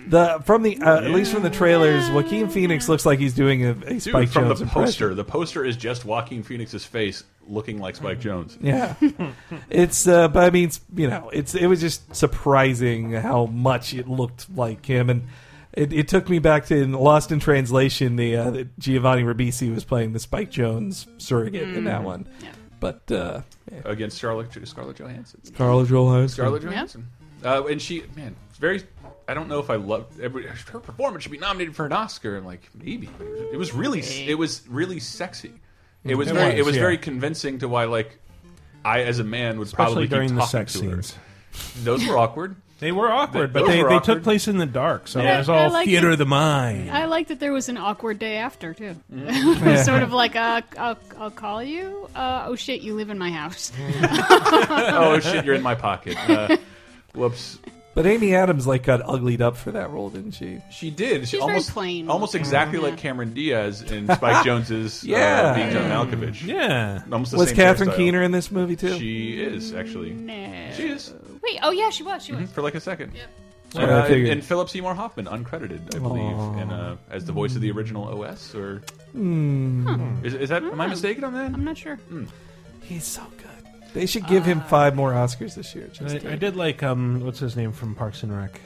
B: the from the uh, at least from the trailers, Joaquin Phoenix looks like he's doing a, a
A: Dude,
B: Spike
A: from
B: Jones
A: the
B: impression.
A: poster, the poster is just Joaquin Phoenix's face looking like Spike Jones.
B: Yeah, it's uh, but I mean, it's- you know, it's it was just surprising how much it looked like him, and it, it took me back to in Lost in Translation. The, uh, the Giovanni Ribisi was playing the Spike Jones surrogate in that one, but uh, yeah.
A: Against Scarlett Scarlett Johansson.
B: Scarlett Johansson.
A: Scarlett Johansson. Uh, and she, man, it's very. I don't know if I love every her performance should be nominated for an Oscar. And like maybe it was really, it was really sexy. It was
C: Mm, It
A: very, it
C: was,
A: was
C: yeah.
A: very convincing to why like I as a man would probably
C: especially
A: keep
C: during the
A: talking
C: sex
A: to
C: scenes
A: her. Those were awkward.
C: They were awkward,
A: They-
C: but
A: those
C: they,
A: were
C: they
A: awkward.
C: took place in the dark, so
D: Yeah.
C: it was
D: I
C: all
D: like
C: theater
D: it.
C: of the mind.
D: I like that there was an awkward day after, too.
A: Mm-hmm.
D: it was sort of like, uh, I'll, I'll call you. Uh, oh, shit, you live in my house.
A: oh shit, you're in my pocket. Uh, whoops.
B: But Amy Adams like got uglied up for that role, didn't she?
A: She did. She
D: She's very
A: almost
D: plain.
A: almost exactly like Cameron Diaz in Spike Jones's uh,
B: Yeah.
A: being John Malkovich.
C: yeah,
A: Almost the
B: Was
A: same
B: Catherine
A: hairstyle.
B: Keener in this movie too?
A: She is actually.
D: No.
A: She Mm-hmm. is
D: Wait, oh, yeah, she was. She was.
A: for like a second. Yep.
B: That's what I
A: Uh, and,
B: figured.
A: and Philip Seymour Hoffman, uncredited, I believe, and uh, as the voice of the original OS. Or
C: Hmm.
A: is, is that? Am I mistaken on that?
D: I'm not sure.
B: He's so good. They should give him five more Oscars this year. Just
C: I, I did like um, what's his name from Parks and Rec,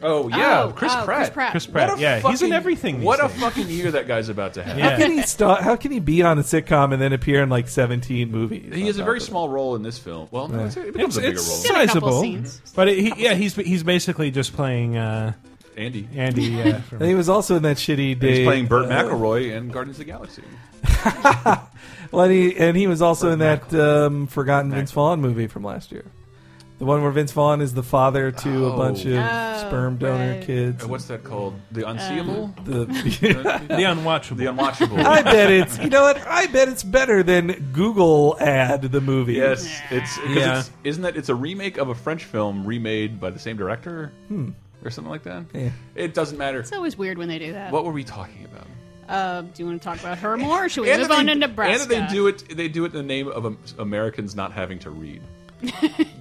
A: Oh yeah,
D: Oh,
A: Chris
D: oh,
A: Pratt.
D: Chris Pratt.
C: Chris Pratt.
A: What a
C: yeah,
A: fucking,
C: he's in everything. these
A: What a
C: days.
A: fucking year that guy's about to have.
B: How
C: Yeah.
B: can he start, How can he be on a sitcom and then appear in like seventeen movies?
A: He
B: on
A: has a
B: top
A: very
B: of it?
A: small role in this film. Well, no, it's, it becomes
C: It's,
A: a bigger
C: it's
A: role.
D: Did a couple
C: sizable,
D: scenes.
A: Mm-hmm.
C: but it, he, yeah, he's he's basically just playing uh,
A: Andy.
C: Andy. Uh, from-
B: And he was also in that shitty day.
A: He's playing Burt
B: uh,
A: McElroy in Guardians of the Galaxy.
B: Well, and he, and he was also
A: Burt
B: in that um, forgotten Vince
A: McElroy.
B: Vaughn movie from last year. The one where Vince Vaughn is the father to
A: Oh.
B: a bunch of
D: Oh,
B: sperm donor
D: right.
B: kids.
A: Uh, What's that called?
D: Uh,
A: The Unseeable.
B: the,
A: the,
C: the unwatchable.
A: the Unwatchable.
B: I bet it's you know what I bet it's better than Google ad the movie.
A: Yes, it's 'cause
C: Yeah.
A: it's- isn't that it's a remake of a French film remade by the same director or something like that.
B: Hmm. Yeah.
A: It doesn't matter.
D: It's always weird when they do that.
A: What were we talking about?
D: Uh, do you want to talk about her more, or should we
A: And
D: move
A: that
D: on
A: they-
D: to Nebraska?
A: And that they do it. They do it in the name of um, Americans not having to read.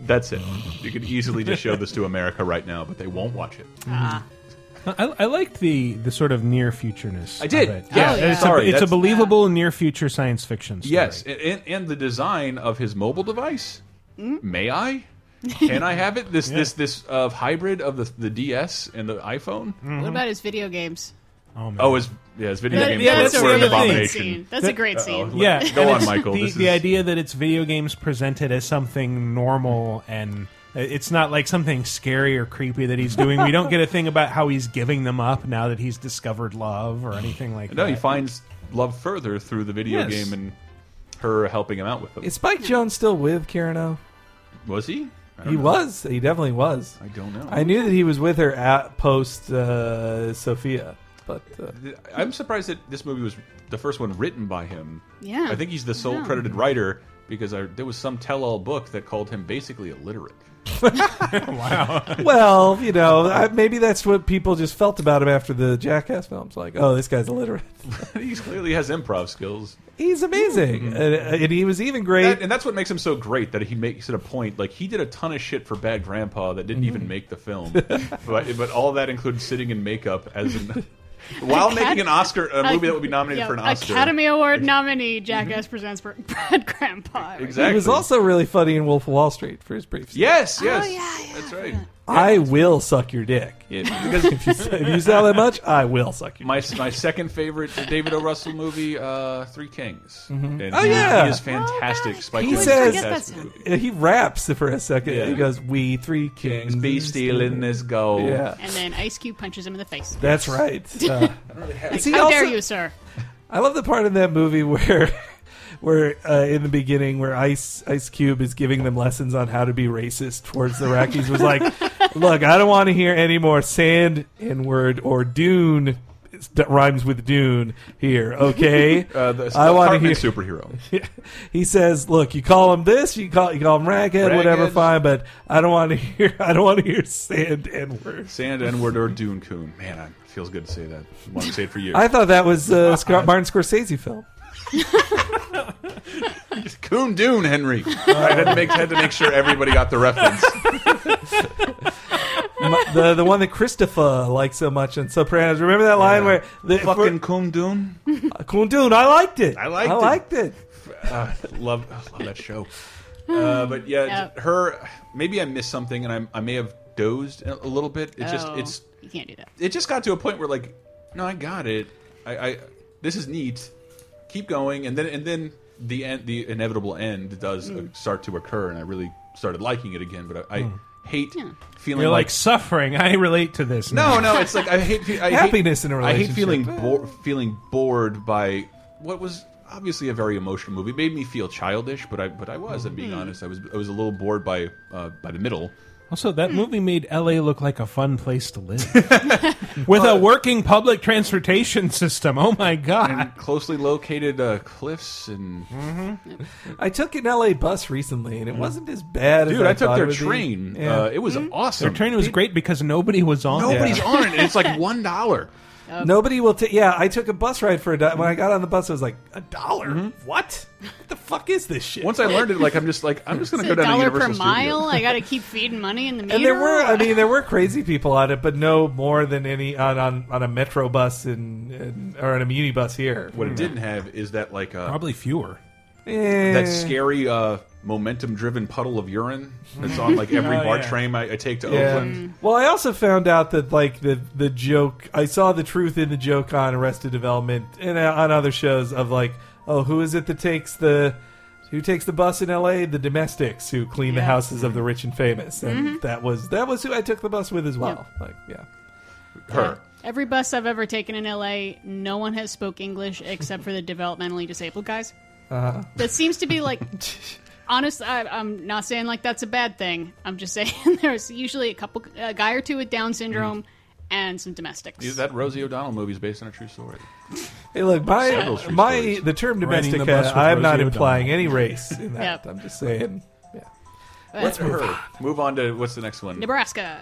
A: That's it. You could easily just show this to America right now, but they won't watch it.
C: I, I liked the the sort of near futureness.
A: I did.
C: Of it.
A: Yeah.
D: Oh, yeah.
C: It's,
A: Sorry,
C: a, it's a
A: that's-
C: believable near future science fiction. Story.
A: Yes, and- and, and the design of his mobile device.
C: Mm-hmm.
A: May I? Can I have it? This this this uh, hybrid of the the DS and the iPhone.
C: Mm.
D: What about his video games?
C: Oh, man.
A: Oh, his Mm-hmm. yeah, his video
D: That-
A: game.
C: yeah,
A: that's
C: that's
A: were
C: a
A: an
C: really great
A: abomination.
D: scene. That's a great scene.
A: Uh-oh.
C: yeah.
A: Oh, Go
C: and
A: on,
C: it's
A: Michael.
C: The,
A: This
C: the
A: is-
C: idea that it's video games presented as something normal and it's not like something scary or creepy that he's doing. we don't get a thing about how he's giving them up now that he's discovered love or anything like
A: No,
C: that.
A: he finds love further through the video
C: Yes.
A: game and her helping him out with them.
B: Is Spike Jones still with Karen O?
A: was he? I don't
B: He
A: know.
B: was. He definitely was.
A: I don't know.
B: I knew that he was with her at post uh, Sophia, but uh,
A: I'm surprised that this movie was the first one written by him.
D: Yeah.
A: I think he's the sole
D: Yeah.
A: credited writer because I, there was some tell-all book that called him basically illiterate.
B: well, you know, I, maybe that's what people just felt about him after the Jackass films. Like, oh, this guy's illiterate.
A: he clearly has improv skills,
B: He's amazing, and, uh, and he was even great.
A: Hmm. That- and that's what makes him so great. That he makes it a point. Like he did a ton of shit for Bad
B: Mm-hmm.
A: Grandpa that didn't even make the film, but but all that includes sitting in makeup as an While
D: Acad-
A: making an Oscar, a movie that would be nominated
D: Yeah,
A: for an Oscar. Mm-hmm.
D: Academy Award nominee Jackass presents Br- Brad Grandpa.
A: Exactly.
B: He was also Oh, really funny in Wolf of Wall Street for his brief. stint.
A: Yes, yes.
D: yeah, yeah,
A: That's right.
B: I will suck your dick.
A: Yeah,
B: if you, say- if you sell that much, I will suck your dick.
A: my my second favorite David O. Russell movie, uh, Three Kings. And
B: Oh,
A: he-
B: yeah.
A: he is fantastic.
D: Oh,
A: Spike
B: He
A: Lee is
B: says-
A: fantastic in the movie.
B: He raps for a second.
A: Yeah.
B: He goes, "We three
A: Kings
B: kings
A: be stealing this gold.
B: Yeah,
D: And then Ice Cube punches him in the face.
B: that's right. Uh, is he
D: How
B: also-
D: dare you, sir?
B: I love the part in that movie where, where uh, in the beginning, where Ice Ice Cube is giving them lessons on how to be racist towards the Iraqis. was like, look, I don't want to hear any more sand n word or dune that rhymes with dune here. Okay,
A: Uh, the,
B: I want to
A: Cartman
B: hear.
A: superhero.
B: He says, look, you call him this, you call you call him raghead, whatever,
A: Raghead.
B: fine, but I don't want to hear I don't want to hear sand n word.
A: Sand N-word or Dune Coon. Man, I feels good to say that. I want to say it for you.
B: I thought that was a Sc- Martin Scorsese film.
A: Coon Dune, Henry. I had to, make, had to make sure everybody got the reference.
B: My- the the one that Christopher likes so much in Sopranos. Remember that line where the
A: Fucking Coon Dune.
B: for- Coon Dune? I liked it.
A: I liked
B: I
A: it.
B: liked it.
A: Uh, love, love that show. Uh, but yeah,
D: Yeah.
A: j- her. Maybe I missed something, and I, I may have dozed a a little bit. It just,
D: Oh,
A: it's,
D: you can't do that.
A: it just got to a point where like, no, I got it. I, I this is neat. Keep going, and then and then the end, the inevitable end does
B: Hmm.
A: uh, start to occur, and I really started liking it again. But I, I
B: Hmm.
A: hate feeling
C: You're like
A: like
C: suffering. I relate to this.
A: No, no, it's like I hate fe- I hate-
B: Happiness in a
A: I hate
B: relationship.
A: feeling bo- feeling bored by what was obviously a very emotional movie. It made me feel childish, but I but I was. I'm
B: Hmm.
A: being honest. I was I was a little bored by uh, by the middle.
C: Also, that movie made L.A. look like a fun place to live, with a working public transportation system. Oh my god!
A: Closely located uh, cliffs and
B: I took an LA bus recently and it wasn't as bad as
A: dude,
B: I,
A: I took
B: thought it
A: their
B: would be.
A: train.
B: Yeah.
A: Uh, it was awesome.
C: Their train was great because nobody was on. it.
A: Nobody's on it. And it's like one dollar.
B: Nobody will take. Yeah, I took a bus ride for a dollar. When I got on the bus, I was like, a dollar? What? What the fuck is this shit?
A: Mm-hmm. Once I learned it, like I'm just like I'm just gonna
D: It's
A: go
D: a
A: down to
D: dollar per
A: Universal
D: mile.
A: Studios.
D: I got to keep feeding money in the meter.
B: and there were, I mean, there were crazy people on it, but no more than any on on, on a metro bus and, and or on a muni bus here.
A: What it didn't have is that like uh,
C: probably fewer.
B: Eh.
A: that scary uh, momentum-driven puddle of urine that's on like every
C: Oh,
A: bar
C: yeah.
A: train I, I take to
B: Yeah.
A: Oakland.
B: Well, I also found out that like the the joke. I saw the truth in the joke on Arrested Development and uh, on other shows of like, oh, who is it that takes the who takes the bus in L.A. The domestics who clean the
D: Yeah. Mm-hmm.
B: houses of the rich and famous, and that was that was who I took the bus with as well. Like, yeah.
A: Her.
D: Every bus I've ever taken in LA, no one has spoke English except for the developmentally disabled guys. That seems to be like, honest. I, I'm not saying like that's a bad thing. I'm just saying there's usually a couple, a guy or two with Down syndrome, and some domestics.
A: Dude, That Rosie O'Donnell movie is based on a true story.
B: Hey,
A: Several
B: look, my
A: street
B: my
A: stories.
B: the term
C: Riding
B: domestic.
C: the bus
B: uh,
C: with
B: I'm not
C: Rosie
B: implying any race in that.
D: Yep.
B: I'm just saying. Yeah.
A: Let's move on. Move on to what's the next one,
D: Nebraska.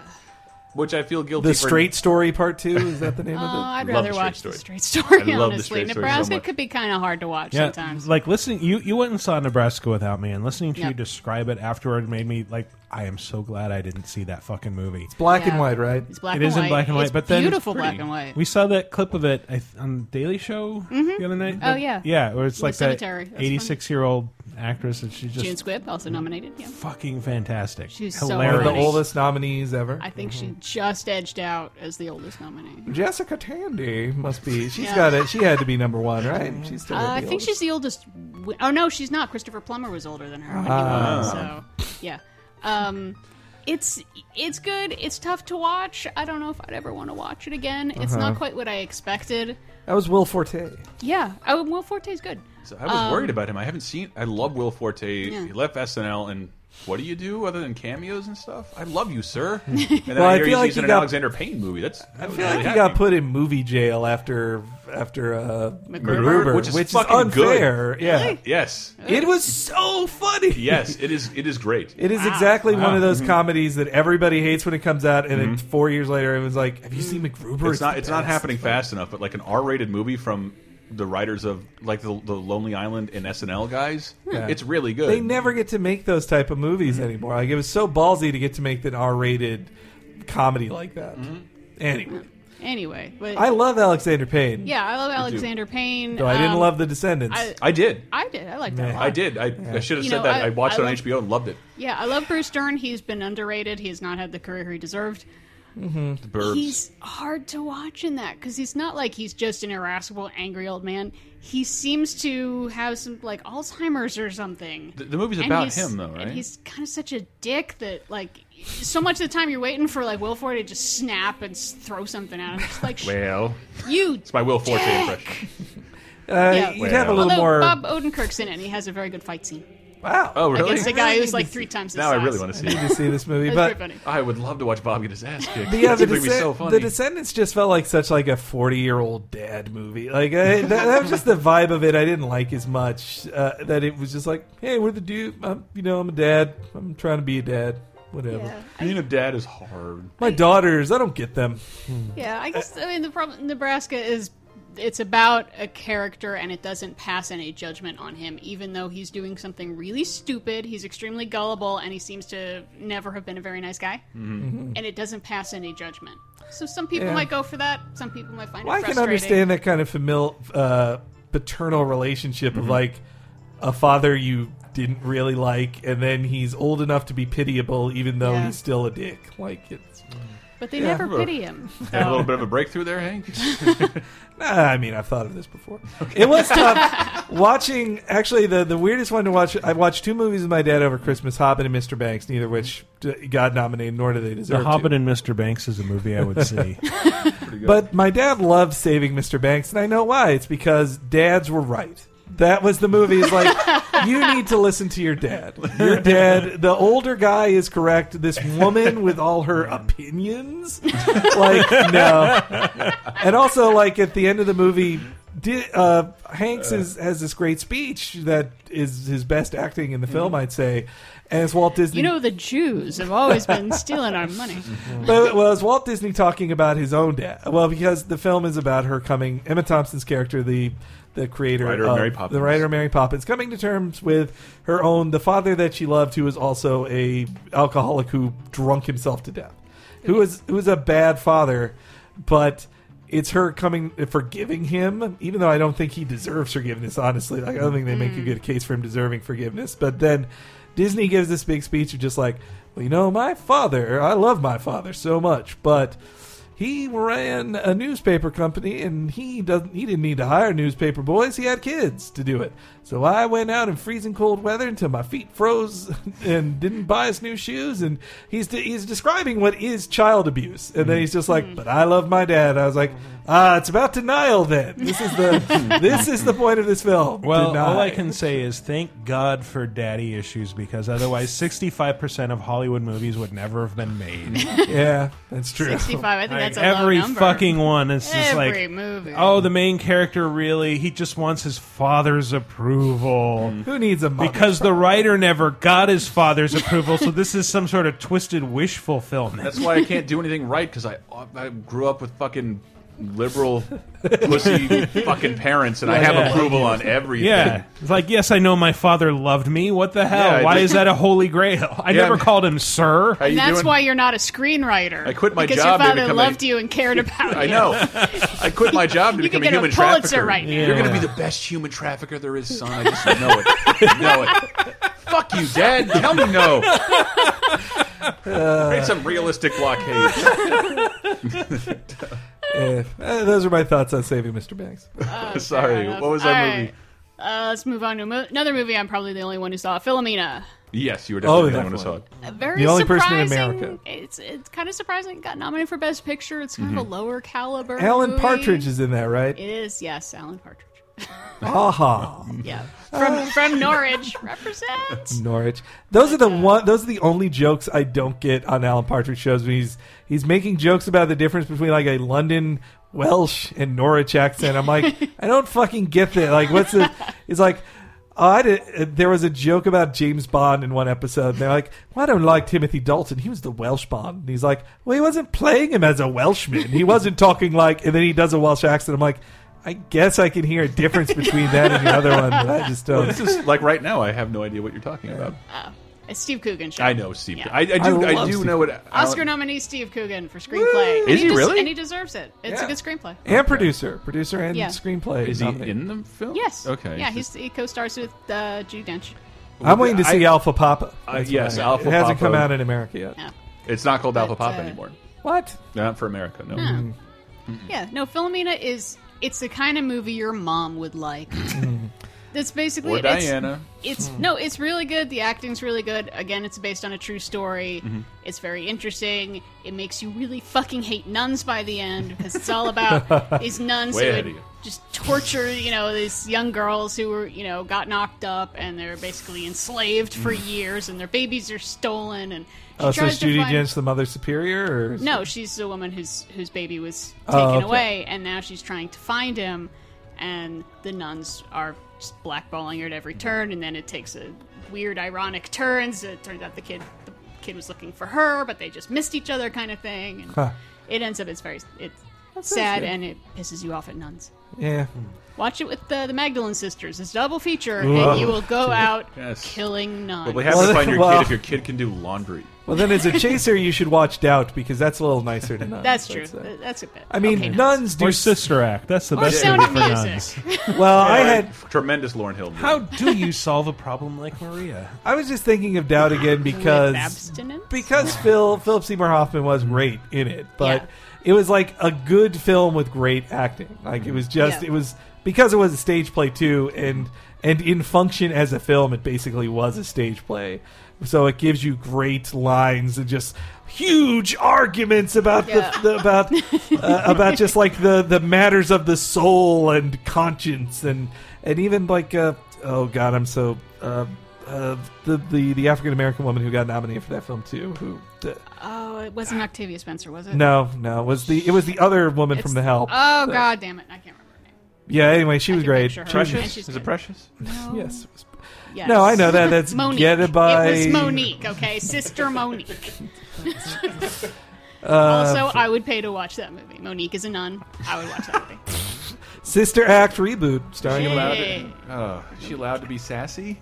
A: which I feel guilty
B: The
A: for.
B: Straight Story Part Two is that the name
D: Oh,
B: of it?
D: I'd
A: Love
D: rather
A: the straight
D: watch
A: story.
D: the straight story.
A: I love the
D: honestly,
A: straight story so
D: Nebraska
A: much.
D: could be kind of hard to watch
C: Yeah,
D: sometimes.
C: like listening, you you went and saw Nebraska without me, and listening to
D: Yeah.
C: you describe it afterward made me like, I am so glad I didn't see that fucking movie.
B: Black
D: Yeah.
B: and white, right?
D: it's black
C: It
D: and
C: is
D: white.
C: in black and white,
D: It's
C: but then it's
D: beautiful
A: pretty.
D: black and white.
C: We saw that clip of it I th- on Daily Show the other night.
D: Oh, yeah.
C: yeah. Where it's like that
D: cemetery. That's
C: eighty-six year old actress, and she's just
D: June Squibb
B: Mm-hmm.
D: also nominated. Yeah,
C: fucking fantastic.
D: She's so
C: hilarious.
B: One of
D: funny.
B: the oldest nominees ever.
D: I think
B: Mm-hmm.
D: she just edged out as the oldest nominee.
B: Jessica Tandy must be. She's
D: Yeah.
B: got it. She had to be number one, right? She's still.
D: Uh,
B: the
D: I think
B: oldest.
D: she's the oldest. wi- Oh no, she's not. Christopher Plummer was older than her. When he
B: Ah.
D: won, so yeah, um, it's it's good. It's tough to watch. I don't know if I'd ever want to watch it again. It's
B: Uh-huh.
D: not quite what I expected.
B: That was Will Forte.
D: Yeah, oh, Will Forte's good.
A: So I was
D: Um,
A: worried about him. I haven't seen. I love Will Forte. He left SNL, and what do you do other than cameos and stuff? I love you, sir. And then
B: Well,
A: I
B: I
A: hear he's
B: feel like
A: in
B: he
A: an
B: got-
A: Alexander Payne movie. That's
B: I feel like he got put in movie jail after after uh,
D: MacGruber,
B: which
A: which
B: is,
A: is fucking good.
B: unfair. Yeah,
A: Yes,
B: it was so funny.
A: yes, it is. It is great.
B: It is exactly one of
A: Mm-hmm.
B: those comedies that everybody hates when it comes out, and then four years later, it was like, "Have you seen MacGruber?"
A: it's not
B: the
A: it's not
B: best.
A: happening fast enough but like an r-rated movie from the writers of like the, the lonely island and snl guys
D: Hmm.
A: it's really good
B: They never get to make those type of
A: Mm-hmm.
B: movies anymore.
A: Mm-hmm.
B: Like it was so ballsy to get to make an R-rated comedy like that. Anyway,
D: Anyway, but
B: I love Alexander Payne.
D: yeah, I love Alexander Payne.
B: Though I didn't
D: Um,
B: love The Descendants.
D: I-
A: I did.
D: I did. I liked that. a
B: Yeah.
D: lot.
A: I did. I, I should have
D: You
A: said
D: know,
A: that. I,
D: I-
A: watched
D: I
A: it on
D: love-
A: HBO and loved it.
D: Yeah, I love Bruce Dern. He's been underrated. He has not had the career he deserved.
A: The Burbs.
D: He's hard to watch in that because he's not like he's just an irascible, angry old man. He seems to have some like Alzheimer's or something.
A: The- the movie's
D: And
A: about
D: he's-
A: him, though, right?
D: And he's kind of such a dick that like so much of the time you're waiting for like Will Forte to just snap and s- throw something at him. Just like "Sh-
A: well,
D: you.
A: it's my Will Forte
D: dick!"
A: impression.
B: Uh,
D: yeah.
B: You'd have a little
D: Although
B: more.
D: Bob Odenkirk's in it, and he has a very good fight scene
B: wow.
A: Oh, really?
D: against a guy who's like three times his
A: now I
D: size.
A: really want to see.
B: I need
A: it.
B: to see this movie,
D: That's
B: but
D: pretty funny.
A: I would love to watch Bob get his ass kicked.
B: But yeah,
A: That's
B: the,
A: gonna be
B: Descend-
A: so
B: the
A: funny.
B: Descendants just felt like such like a forty year old dad movie. Like I, that, that was just the vibe of it. I didn't like as much. Uh, that it was just like, hey, we're the dude. I'm, you know, I'm a dad. I'm trying to be a dad. Whatever.
D: Yeah.
A: Being a dad is hard.
B: My daughters, I don't get them.
D: Yeah, I guess I mean the problem Nebraska is it's about a character and it doesn't pass any judgment on him even though he's doing something really stupid. He's extremely gullible and he seems to never have been a very nice guy. And it doesn't pass any judgment. So some people
B: Yeah.
D: might go for that. Some people might find
B: Well,
D: it
B: I can
D: frustrating.
B: understand that kind of familial, uh, paternal relationship
C: Mm-hmm.
B: of like a father you didn't really like, and then he's old enough to be pitiable, even though
D: Yeah.
B: he's still a dick. Like it's.
D: But they never pity him.
A: Had a little bit of a breakthrough there, Hank.
B: Nah, I mean, I've thought of this before. It was tough watching. Actually, the the weirdest one to watch. I watched two movies with my dad over Christmas: Hobbit and Mr. Banks. Neither which d- got nominated, nor do they deserve.
C: The Hobbit
B: to.
C: and Mr. Banks is a movie I would see.
B: But my dad loved Saving Mr. Banks, and I know why. It's because dads were right. That was the movie. It's like you need to listen to your dad. Your dad, the older guy, is correct. This woman with all her opinions, like no. And also, like at the end of the movie, di uh, Hanks is, has this great speech that is his best acting in the film, I'd say. And it's Walt Disney
D: Mm-hmm. You know the Jews have always been stealing our money.
B: but well, it's Walt Disney talking about his own dad. Well, because the film is about her coming, Emma Thompson's character, the the creator,
A: Writer of Mary Poppins.
B: the writer of Mary Poppins, coming to terms with her own the father that she loved, who was also a alcoholic who drunk himself to death, who was who was a bad father, but. It's her coming, forgiving him, even though I don't think he deserves forgiveness, honestly. Like, I don't think they make a good case for him deserving forgiveness. But then Disney gives this big speech of just like, well, you know, my father, I love my father so much, but he ran a newspaper company and he doesn't he didn't need to hire newspaper boys, he had kids to do it. So I went out in freezing cold weather until my feet froze and didn't buy us new shoes and he's de- he's describing what is child abuse. And then he's just like, "But I love my dad." I was like, "Ah, it's about denial then. This is the this is the point of this film."
C: Well, all I
B: Deny.
C: can say is thank God for daddy issues because otherwise, sixty-five percent of Hollywood movies would never have been made.
B: Yeah, that's true.
D: 65, I think
C: Like,
D: that's a
C: every
D: low number.
C: fucking one. It's just
D: every
C: like,
D: movie.
C: oh, the main character really he just wants his father's approval.
B: Who needs a mother?
C: Because the writer never got his father's approval, so this is some sort of twisted wish fulfillment.
A: That's why I can't do anything right because I I grew up with fucking liberal pussy fucking parents, and I have
C: yeah.
A: approval on everything.
C: Yeah. It's like, yes, I know my father loved me. What the hell?
A: Yeah, I
C: Why
A: just-
C: is that a holy grail? I
A: Yeah,
C: never
A: man.
C: called him sir.
A: How you
D: That's
A: doing?
D: why you're not a screenwriter.
A: I quit my
D: because
A: job to
D: your father
A: become a-
D: loved you and cared about
A: I
D: you.
A: know. I quit my job to
D: You
A: become
D: could
A: a
D: get
A: human
D: a Pulitzer
A: trafficker.
D: right now.
A: You're going to be the best human trafficker there is, son. I just know it. I know it. Fuck you, Dad. Tell me no.
B: Uh,
A: Create some realistic blockade.
B: Eh, eh, those are my thoughts on saving Mr. Banks.
A: Sorry.
D: enough.
A: What was that
D: Oh, All
A: movie?
D: right. Uh, let's move on to a mo- another movie. I'm probably the only one who saw Philomena.
A: Yes, you were
B: Oh,
A: definitely the one who saw it.
D: A very
B: The only person
D: surprising.
B: in America.
D: It's it's kind of surprising. It got nominated for Best Picture. It's kind
A: Mm-hmm.
D: of a lower caliber.
B: Alan
D: movie.
B: Partridge is in that, right?
D: It is yes, Alan Partridge.
B: Aha.
A: Mm-hmm.
D: Yeah,
A: Ah.
D: from from Norwich represents.
B: Norwich. Those are the one. Those are the only jokes I don't get on Alan Partridge shows. When he's he's making jokes about the difference between like a London Welsh and Norwich accent. I'm like, I don't fucking get that. Like, what's the? It's like. Oh, I did, there was a joke about James Bond in one episode. And they're like, well, I don't like Timothy Dalton. He was the Welsh Bond. And he's like, well, he wasn't playing him as a Welshman. He wasn't talking like, and then he does a Welsh accent. I'm like, I guess I can hear a difference between that and the other one, but I just don't.
A: This is like right now. I have no idea what you're talking about.
D: It's Steve Coogan show.
A: I know Steve.
D: Yeah.
A: I, I do. I,
B: love
A: do
B: Steve.
A: know what
D: Oscar
A: Alan-
D: nominee Steve Coogan for screenplay. And
A: Is he
D: des-
A: really?
D: And he deserves it. It's
B: Yeah.
D: a good screenplay.
B: and producer, producer and
D: Yeah.
B: screenplay.
A: Is he
B: nominated.
A: in the film?
D: Yes.
A: Okay.
D: Yeah,
A: it's
D: he's,
A: just-
D: he co-stars with uh, Judy Dench.
B: I'm waiting to see
A: I-
B: Alpha Papa.
A: Uh,
B: That's
A: yes,
B: what I-
A: Alpha
B: It hasn't
A: Papa.
B: come out in America yet.
D: Yeah.
A: It's not called Alpha
D: But,
A: Pop
D: uh,
A: anymore.
B: What?
A: Not for America. No.
D: Yeah, no, Philomena is it's the kind of movie your mom would like. That's basically
A: Or
D: it. It's-
A: Diana.
D: It's
B: Hmm.
D: no, it's really good. The acting's really good. Again, it's based on a true story.
A: Mm-hmm.
D: It's very interesting. It makes you really fucking hate nuns by the end because it's all about these nuns
A: Way
D: who
A: ahead
D: would
A: of you.
D: just torture, you know, these young girls who were, you know, got knocked up and they're basically enslaved for
A: Mm.
D: years and their babies are stolen and she
B: Oh, so
D: tries
B: is Judy
D: to find
B: Dench the mother superior? Or is-
D: no, she's the woman whose whose baby was taken
B: Oh, okay.
D: away, and now she's trying to find him. And the nuns are just blackballing her at every turn, and then it takes a weird, ironic turns. It turns out the kid the kid was looking for her, but they just missed each other, kind of thing. And
B: Huh.
D: it ends up it's very it's
B: sounds
D: sad,
B: good.
D: and it pisses you off at nuns.
B: Yeah.
D: Watch it with the, the Magdalene sisters. It's a double feature, and you will go out
A: Yes.
D: killing nuns.
A: But we have
B: Well,
A: to find your
B: well-
A: kid if your kid can do laundry.
B: Well, then as a chaser, you should watch Doubt because that's a little nicer than nuns.
D: that's true.
B: uh,
D: Th- That's a bit.
B: I mean,
D: okay, nuns.
B: nuns do.
C: Or
B: s-
C: Sister Act. That's the
D: Or
C: best
D: Sound
C: movie
D: of
C: for nuns.
D: Music.
B: Well, I had.
A: tremendous Lauren Hill. Movie.
C: How do you solve a problem like Maria?
B: I was just thinking of Doubt again because
D: abstinence?
B: because Phil Philip Seymour Hoffman was great in it, but
D: Yeah.
B: it was like a good film with great acting. Like it was just
D: Yeah.
B: it was because it was a stage play too, and and in function as a film, it basically was a stage play. So it gives you great lines and just huge arguments about
D: Yeah.
B: the, the about uh, about just like the the matters of the soul and conscience and and even like uh, oh god I'm so uh, uh, the the the African American woman who got nominated for that film too who uh,
D: Oh, it wasn't Octavia Spencer, was it?
B: no no it was the it was the other woman from
D: It's-
B: the help
D: Oh god damn it! I can't remember her name.
B: yeah anyway she was
D: can
B: great
D: picture her.
B: She was-
D: And
A: precious?
D: she's
A: Is it
D: good.
A: precious?
B: yes it was-
D: Yes.
B: no I know that that's
D: Monique.
B: get it by
D: It was Monique. Okay, sister Monique.
B: Uh,
D: also, I would pay to watch that movie. Monique is a nun. I would watch that movie.
B: Sister Act reboot starring
D: Yay.
B: about
A: Oh, is she allowed to be sassy?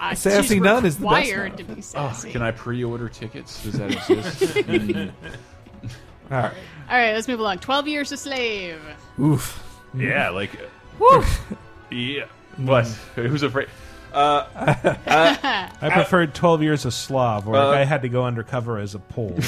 D: I-
B: Sassy
D: she's
B: nun is the best
D: required
B: nun.
D: to be
A: Oh,
D: sassy.
A: can I pre-order tickets? Does that exist?
B: all right
D: All right, let's move along. Twelve Years a Slave.
B: oof
A: yeah, like
D: Woo!
A: yeah. What? Who's afraid?
C: I preferred Twelve Years a Slav, where
A: Uh,
C: I had to go undercover as a Pole.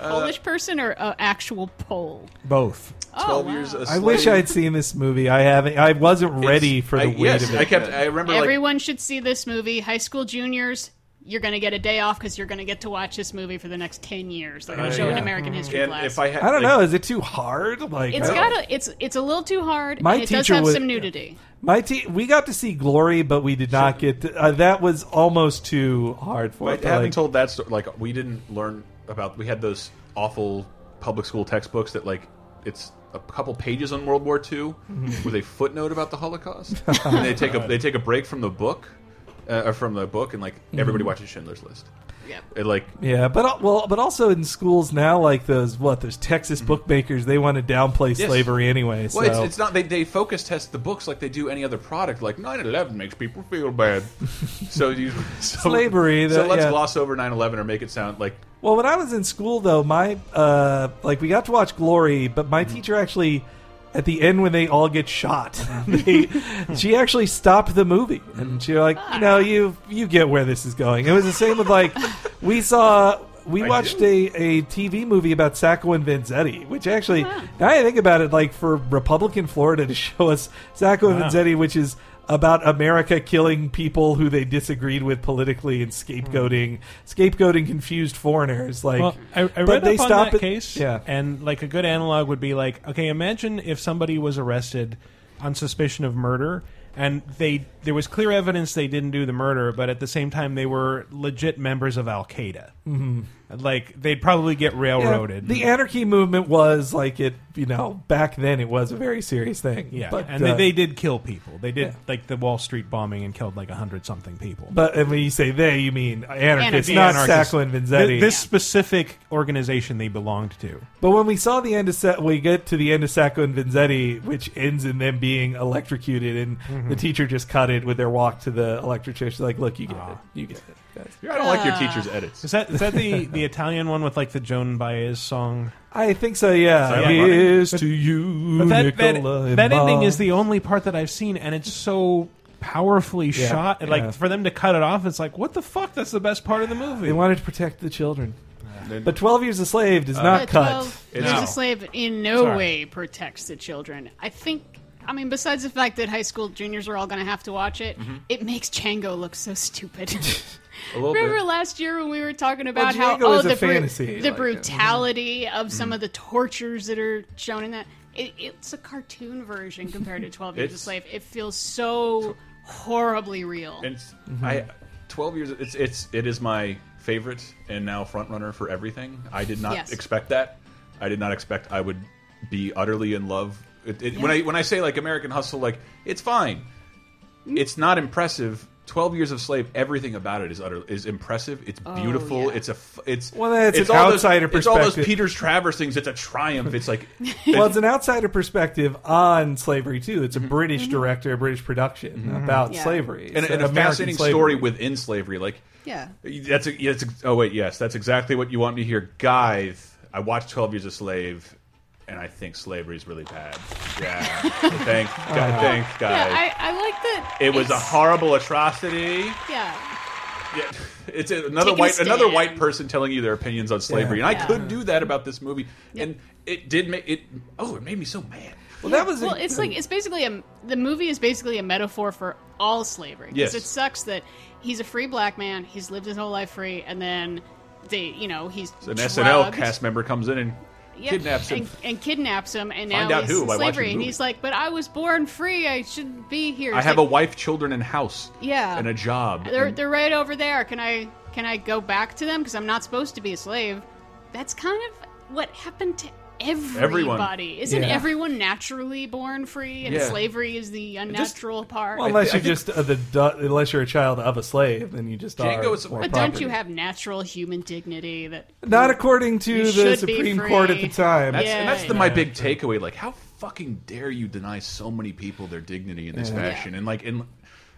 D: Polish person or uh, actual Pole?
C: Both.
D: Oh,
A: Twelve
D: wow.
A: years. A
B: I wish
A: Slave.
B: I'd seen this movie. I haven't. I wasn't ready for the
A: I,
B: weight
A: yes,
B: of it.
A: I kept. I remember like
D: Everyone should see this movie. High school juniors, you're going to get a day off because you're going to get to watch this movie for the next ten years. They're going to show an
B: yeah.
D: American history
A: Uh, Mm-hmm. and
D: class.
A: if I had,
B: I don't
A: like,
B: know. Is it too hard? Like uh,
D: It's
B: I don't-
D: got a, it's it's a little too hard.
B: My
D: and it does
B: teacher
D: have
B: was-
D: some nudity.
B: my te- We got to see Glory, but we did not get. To, uh, that was almost too hard for
A: But
B: it.
A: having
B: like-
A: told that story, like we didn't learn about. We had those awful public school textbooks that like it's a couple pages on World War II
B: Mm-hmm.
A: with a footnote about the Holocaust, and they take a they take a break from the book, uh, or from the book, and like
B: Mm-hmm.
A: everybody watches Schindler's List.
D: Yeah.
A: It, like
B: yeah, but al- well, but also in schools now, like those what those Texas bookmakers, they want to downplay
A: Mm-hmm. Yes.
B: slavery anyway. So
A: well, it's, it's not they they focus test the books like they do any other product. Like 9/11 makes people feel bad, so you so,
B: Slavery,
A: So
B: the-
A: let's
B: yeah.
A: gloss over 9/11 or make it sound like
B: Well, when I was in school, though, my uh, like we got to watch Glory, but my teacher actually, at the end when they all get shot, they, she actually stopped the movie and she was like, you know, you you get where this is going. It was the same with like we saw. We
A: I
B: watched a, a TV movie about Sacco and Vanzetti, which actually, now I think about it, like for Republican Florida to show us Sacco and Vanzetti, which is about America killing people who they disagreed with politically and scapegoating, scapegoating confused foreigners. Like,
C: Well, I, I read
B: but they
C: up on
B: stop
C: that
B: it-
C: case,
B: Yeah,
C: and like a good analog would be like, okay, imagine if somebody was arrested on suspicion of murder, and they there was clear evidence they didn't do the murder, but at the same time they were legit members of Al Qaeda. Mm-hmm. like they'd probably get railroaded.
B: The anarchy movement was like it, you know, back then it was a very serious thing.
C: yeah,
B: but
C: and
B: uh,
C: they, they did kill people. They did
B: yeah.
C: like the Wall Street bombing and killed like a hundred something people.
B: But and when you say they, you mean anarchists,
D: Anarchists.
B: not
C: Anarchists.
B: Sacco and
C: Th-
B: Vanzetti.
C: this specific organization they belonged to.
B: but when we saw the end of Sa- we get to the end of Sacco and Vanzetti, which ends in them being electrocuted, and
C: Mm-hmm.
B: the teacher just cut it with their walk to the electric chair. She's like, "Look, you get it, you get it." Guys.
A: I don't like your teacher's edits.
C: Is that is that the, the Italian one with like the Joan Baez song?
B: I think so. Yeah,
A: that
B: Here's
A: funny?
B: to you,
C: But that that,
B: Nicola and
C: that ending
B: Bob.
C: is the only part that I've seen, and it's so powerfully
B: Yeah,
C: shot. And, Like
B: yeah.
C: for them to cut it off, it's like what the fuck? That's the best part of the movie.
B: They wanted to protect the children,
A: They-
B: but Twelve Years a Slave
C: Uh,
B: does not
D: But
B: cut.
D: 12
A: It's
D: Years
A: no.
D: a Slave in no
C: Sorry.
D: way protects the children. I think, I mean, besides the fact that high school juniors are all going to have to watch it,
A: Mm-hmm.
D: it makes Django look so stupid.
A: A little
D: Remember
A: bit.
D: last year when we were talking about how
B: Django
D: oh
B: is a
D: the, bru-
B: fantasy,
D: the
B: like, uh, mm-hmm.
D: brutality of some of the tortures that are shown in that it, it's a cartoon version compared to 12 Years a
A: It's-
D: Slave. It feels so horribly real.
A: And it's,
B: Mm-hmm.
A: I, twelve years. It's it's it is my favorite and now front runner for everything. I did not
D: Yes.
A: expect that. I did not expect I would be utterly in love. It, it, When I
D: Yeah.
A: when I say like American Hustle, like it's fine.
D: Mm-hmm.
A: It's not impressive. Twelve Years of Slave. Everything about it is utter is impressive. It's beautiful.
D: Oh, yeah.
A: It's a f- it's
B: Well, that's
A: it's
B: an
A: all
B: outsider
A: those, It's all those
B: perspective.
A: Peters Travers things. It's a triumph. It's like
B: well, it's an outsider perspective on slavery too. It's a British director, a British production
C: Mm-hmm.
B: about
D: Mm-hmm. Yeah.
B: slavery,
A: Mm-hmm. and,
B: It's
A: and a
B: American
A: fascinating
B: slavery.
A: story within slavery. Like
D: yeah.
A: That's a, yeah, that's a, oh wait yes that's exactly what you want me to hear, guys. I watched Twelve Years a Slave, and I think slavery is really bad. Yeah, so thank God, thank God.
D: Yeah, I, I like that.
A: it was a
D: it's-
A: horrible atrocity.
D: Yeah.
A: Yeah, it's another
D: Taking a
A: white another
D: stand.
A: white person telling you their opinions on slavery,
B: Yeah.
A: and I could do that about this movie, and it did make it. Oh, it made me so mad.
B: Well, that was
D: well it's like it's basically a the movie is basically a metaphor for all slavery 'Cause
A: Yes.
D: it sucks that he's a free black man he's lived his whole life free and then they you know he's
A: An
D: drugged,
A: SNL cast member comes in and
D: yeah,
A: kidnaps him.
D: and, and kidnaps him and
A: Find
D: now
A: out
D: he's
A: who
D: in
A: by watching the
D: slavery and
A: movie.
D: he's like but i was born free i shouldn't be here
A: I
D: It's
A: have a
D: like,
A: wife, children, and house.
D: Yeah.
A: and a job.
D: they're,
B: Mm.
A: and-
D: they're right over there can i can i go back to them because i'm not supposed to be a slave that's kind of what happened to
A: Everyone.
D: Everybody isn't
B: Yeah.
D: everyone naturally born free, and
A: Yeah.
D: slavery is the unnatural part.
B: Well, unless
A: I
B: you're
A: think-
B: just uh, the du- unless you're a child of a slave, then you just
A: Django
B: are.
A: is-
B: more
A: But
D: But don't
B: property.
D: you have natural human dignity that
B: Not according to
D: You
B: the
D: should be
B: Supreme
D: free.
B: Court at the time.
A: That's, and
D: Yeah,
A: that's the,
D: yeah.
A: my big takeaway. Like, how fucking dare you deny so many people their dignity in this fashion? And like, and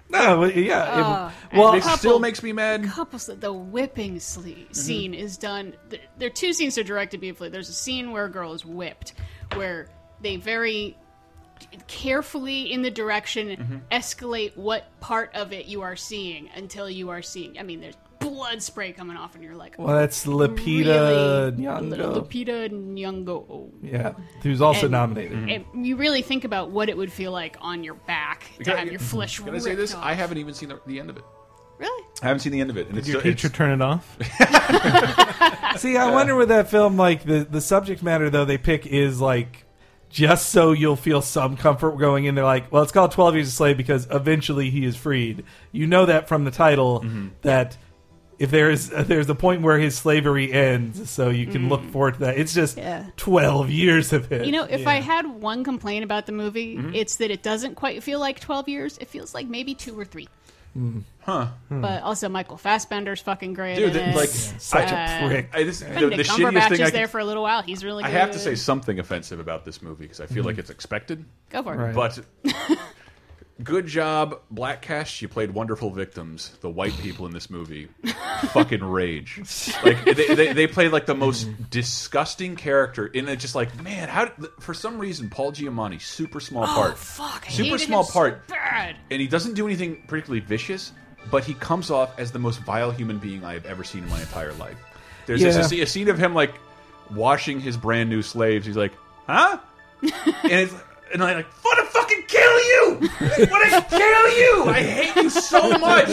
B: No, well, yeah. it-
D: Oh, and
B: well,
A: it
D: Couple-
A: still makes me mad.
D: couples that the whipping
A: Mm-hmm.
D: sle- scene is done? There, there are two scenes that are directed beautifully. There's a scene where a girl is whipped, where they very carefully in the direction
A: Mm-hmm.
D: escalate what part of it you are seeing until you are seeing. I mean, there's blood spray coming off, and you're like,
B: well, that's Lupita
D: really?
B: Nyong'o.
D: Lupita Nyong'o.
B: yeah, who's also
D: And-
B: nominated.
A: Mm-hmm.
D: And you really think about what it would feel like on your back to
A: Can I-
D: have your flesh
A: Can I
D: ripped
A: say this?
D: off.
A: I haven't even seen the, the end of it.
D: really.
A: I haven't seen the end of it. And it's,
C: Your
A: still- it's-
C: teacher turn it off.
B: See, I wonder with that film, like the the subject matter though they pick is like just so you'll feel some comfort going in. They're like, well, it's called Twelve Years a Slave because eventually he is freed. You know that from the title
A: Mm-hmm.
B: that if there is uh, there's a point where his slavery ends, so you can look forward to that. It's just
D: Mm. Yeah.
B: twelve years of it.
D: You know, if I had one complaint about the movie,
A: Mm-hmm.
D: it's that it doesn't quite feel like 12 years. It feels like maybe two or three. Huh. But also, Michael Fassbender's fucking great.
A: Mm-hmm. Hmm. dude,
D: in
A: that-
D: it.
A: like,
B: such
A: I-
D: uh,
B: a prick.
A: I, this, the,
D: Benedict
A: the shittiest
D: Cumberbatch is
A: thing I,
D: there
A: can,
D: for a little while. He's really
A: I
D: good.
A: have to say something offensive about this movie because I feel like it's expected.
D: Go for it.
B: Right.
A: But good job, Black Cash. You played wonderful victims. The white people in this movie fucking rage. Like they, they, they played like the most disgusting character, and it's just like, man, how? did- For some reason, Paul Giamatti, super small
D: Oh,
A: part,
D: fuck. I
A: super
D: hated him
A: small
D: so
A: part,
D: bad.
A: and he doesn't do anything particularly vicious, but he comes off as the most vile human being I have ever seen in my entire life. There's this,
B: Yeah.
A: a, scene- a scene of him like washing his brand new slaves. He's like, huh? and it's and I'm like, want to fucking kill you! want to kill you! I hate you so much.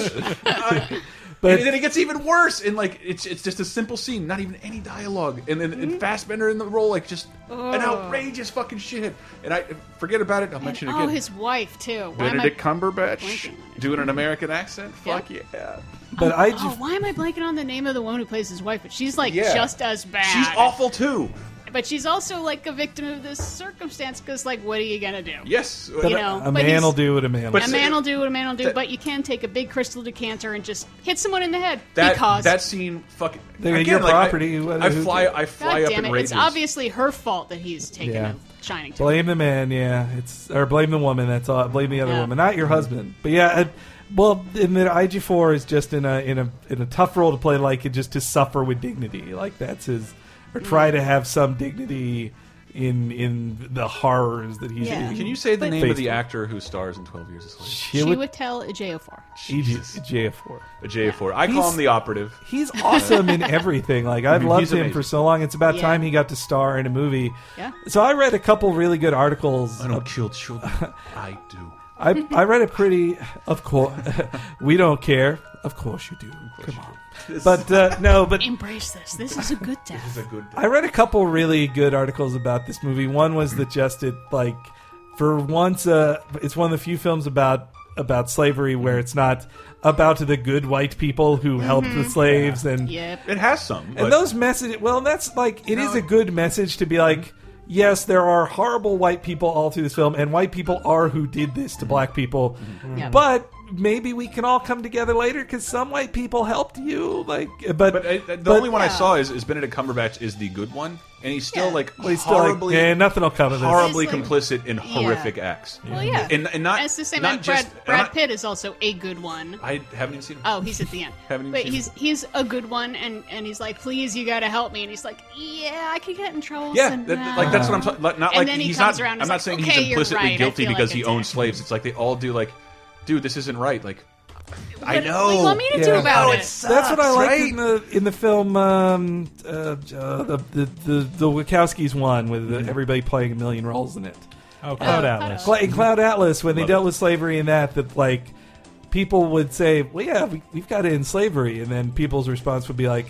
A: Uh,
B: But-
A: and then it gets even worse. And like it's it's just a simple scene, not even any dialogue. And then and Fassbender in the role, like just an outrageous fucking shithead. And I forget about it. I'll mention
D: And,
A: it
D: oh,
A: again.
D: his wife too. Why am I-
A: Benedict Cumberbatch
D: blanking on it?
A: doing an American accent. Fuck yeah.
B: But I
D: Oh,
B: just
D: why am I blanking on the name of the woman who plays his wife? But she's like
A: Yeah.
D: just as bad.
A: She's awful too.
D: But she's also like a victim of this circumstance because, like, what are you gonna do?
A: Yes.
D: You know,
B: a
D: Oh, but
B: man
D: he's-
B: will do what a man. will
A: But
D: A
B: do.
D: man will do what a man will do,
A: That-
D: but you can take a big crystal decanter and just hit someone in the head
A: that,
D: because
A: that scene fucking
B: They're
A: again,
B: your
A: like, I-
B: property, who-
A: I,
B: who
A: fly
B: cares?
A: I
D: God
A: fly up
D: damn
A: in
D: it,
A: rages.
D: it's obviously her fault that he's taken
B: Yeah.
D: a shining to.
B: Blame the man, yeah. It's or blame the woman. That's all. Blame the other
D: Yeah.
B: woman, not your husband. But yeah, I, well, and then IG four is just in a in a in a tough role to play, like just to suffer with dignity. Like that's his, or try to have some dignity in in the horrors that he's.
D: Yeah.
B: being-
A: Can you say the
D: But-
A: name of
B: Faithful.
A: the actor who stars in Twelve Years a Slave?
D: she
B: Hewitt-
D: would tell Ejiofor.
A: Jesus.
B: EJ four.
A: A J4. I
B: He's-
A: call him the operative.
B: He's awesome in everything. Like I've
A: Mhm.
B: loved
A: He's
B: him
A: amazing.
B: for so long. It's about
D: Yeah.
B: time he got to star in a movie.
D: Yeah.
B: So I read a couple really good articles
A: I don't kill children. I do.
B: I, I read a pretty, of course, we don't care. Of course you do. Come on. But uh, no, but
D: Embrace this. This is a good death.
A: It's a good.
B: I read a couple really good articles about this movie. One was that just it like for once, uh, it's one of the few films about about slavery where it's not about the good white people who helped the slaves and
D: yep.
A: It has some. But
B: and those messages, well, that's like, it is a good message to be like, yes, there are horrible white people all through this film, and white people are who did this to black people.
D: Yeah.
B: But maybe we can all come together later because some white people helped you. Like, but,
A: But I, the
B: but-
A: only one I
D: yeah.
A: saw is, is Benedict Cumberbatch is the good one, and he's still
D: Yeah.
A: like
B: Well, he's still like,
A: horribly,
B: "Eh, nothing will come of this.
A: horribly
D: It's like-
A: complicit in horrific acts.
D: Well, yeah.
A: and, and not
D: And it's the same.
A: Not
D: and Brad,
A: just, and
D: Brad
A: not-
D: Pitt is also a good one.
A: I haven't even seen. Him.
D: Oh, he's at the end.
A: Haven't even
D: but
A: seen
D: he's he's a good one, and and he's like, please, you got to help me, and he's like, yeah, I could get in trouble.
A: Yeah,
D: so
A: that-
D: no."
A: like that's what I'm talking. Not
D: And
A: like
D: then he
A: he's
D: comes
A: not.
D: around
A: I'm
D: and
A: not
D: is like,
A: saying
D: "Okay,
A: he's
D: you're
A: implicitly
D: right, I
A: guilty
D: feel like
A: because
D: a
A: he
D: dick."
A: owned slaves. It's like they all do. Like, dude, this isn't right. Like, I
D: What-
A: know. Oh,
D: What do you want me to
B: Uh, Yeah.
D: do about it?
B: That's what I like in the in the film um, uh, uh, the, the the the Wachowskis one with
A: Mm-hmm.
B: uh everybody playing a million roles in it.
C: Oh, Cloud
D: Oh,
C: Atlas.
B: Cla- in Cloud Atlas, when they
A: Love
B: dealt
A: it.
B: with slavery and that, that like people would say, "Well, yeah, we, we've got to end slavery," and then people's response would be like,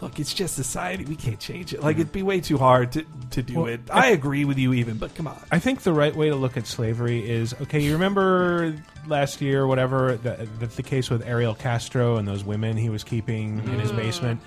B: "Look, it's just society; we can't change it.
A: Mm-hmm.
B: Like it'd be way too hard to to do
C: Well,
B: it." I agree with you, even, but come on.
C: I think the right way to look at slavery is okay. You remember last year, whatever the, the, the case with Ariel Castro and those women he was keeping in his basement.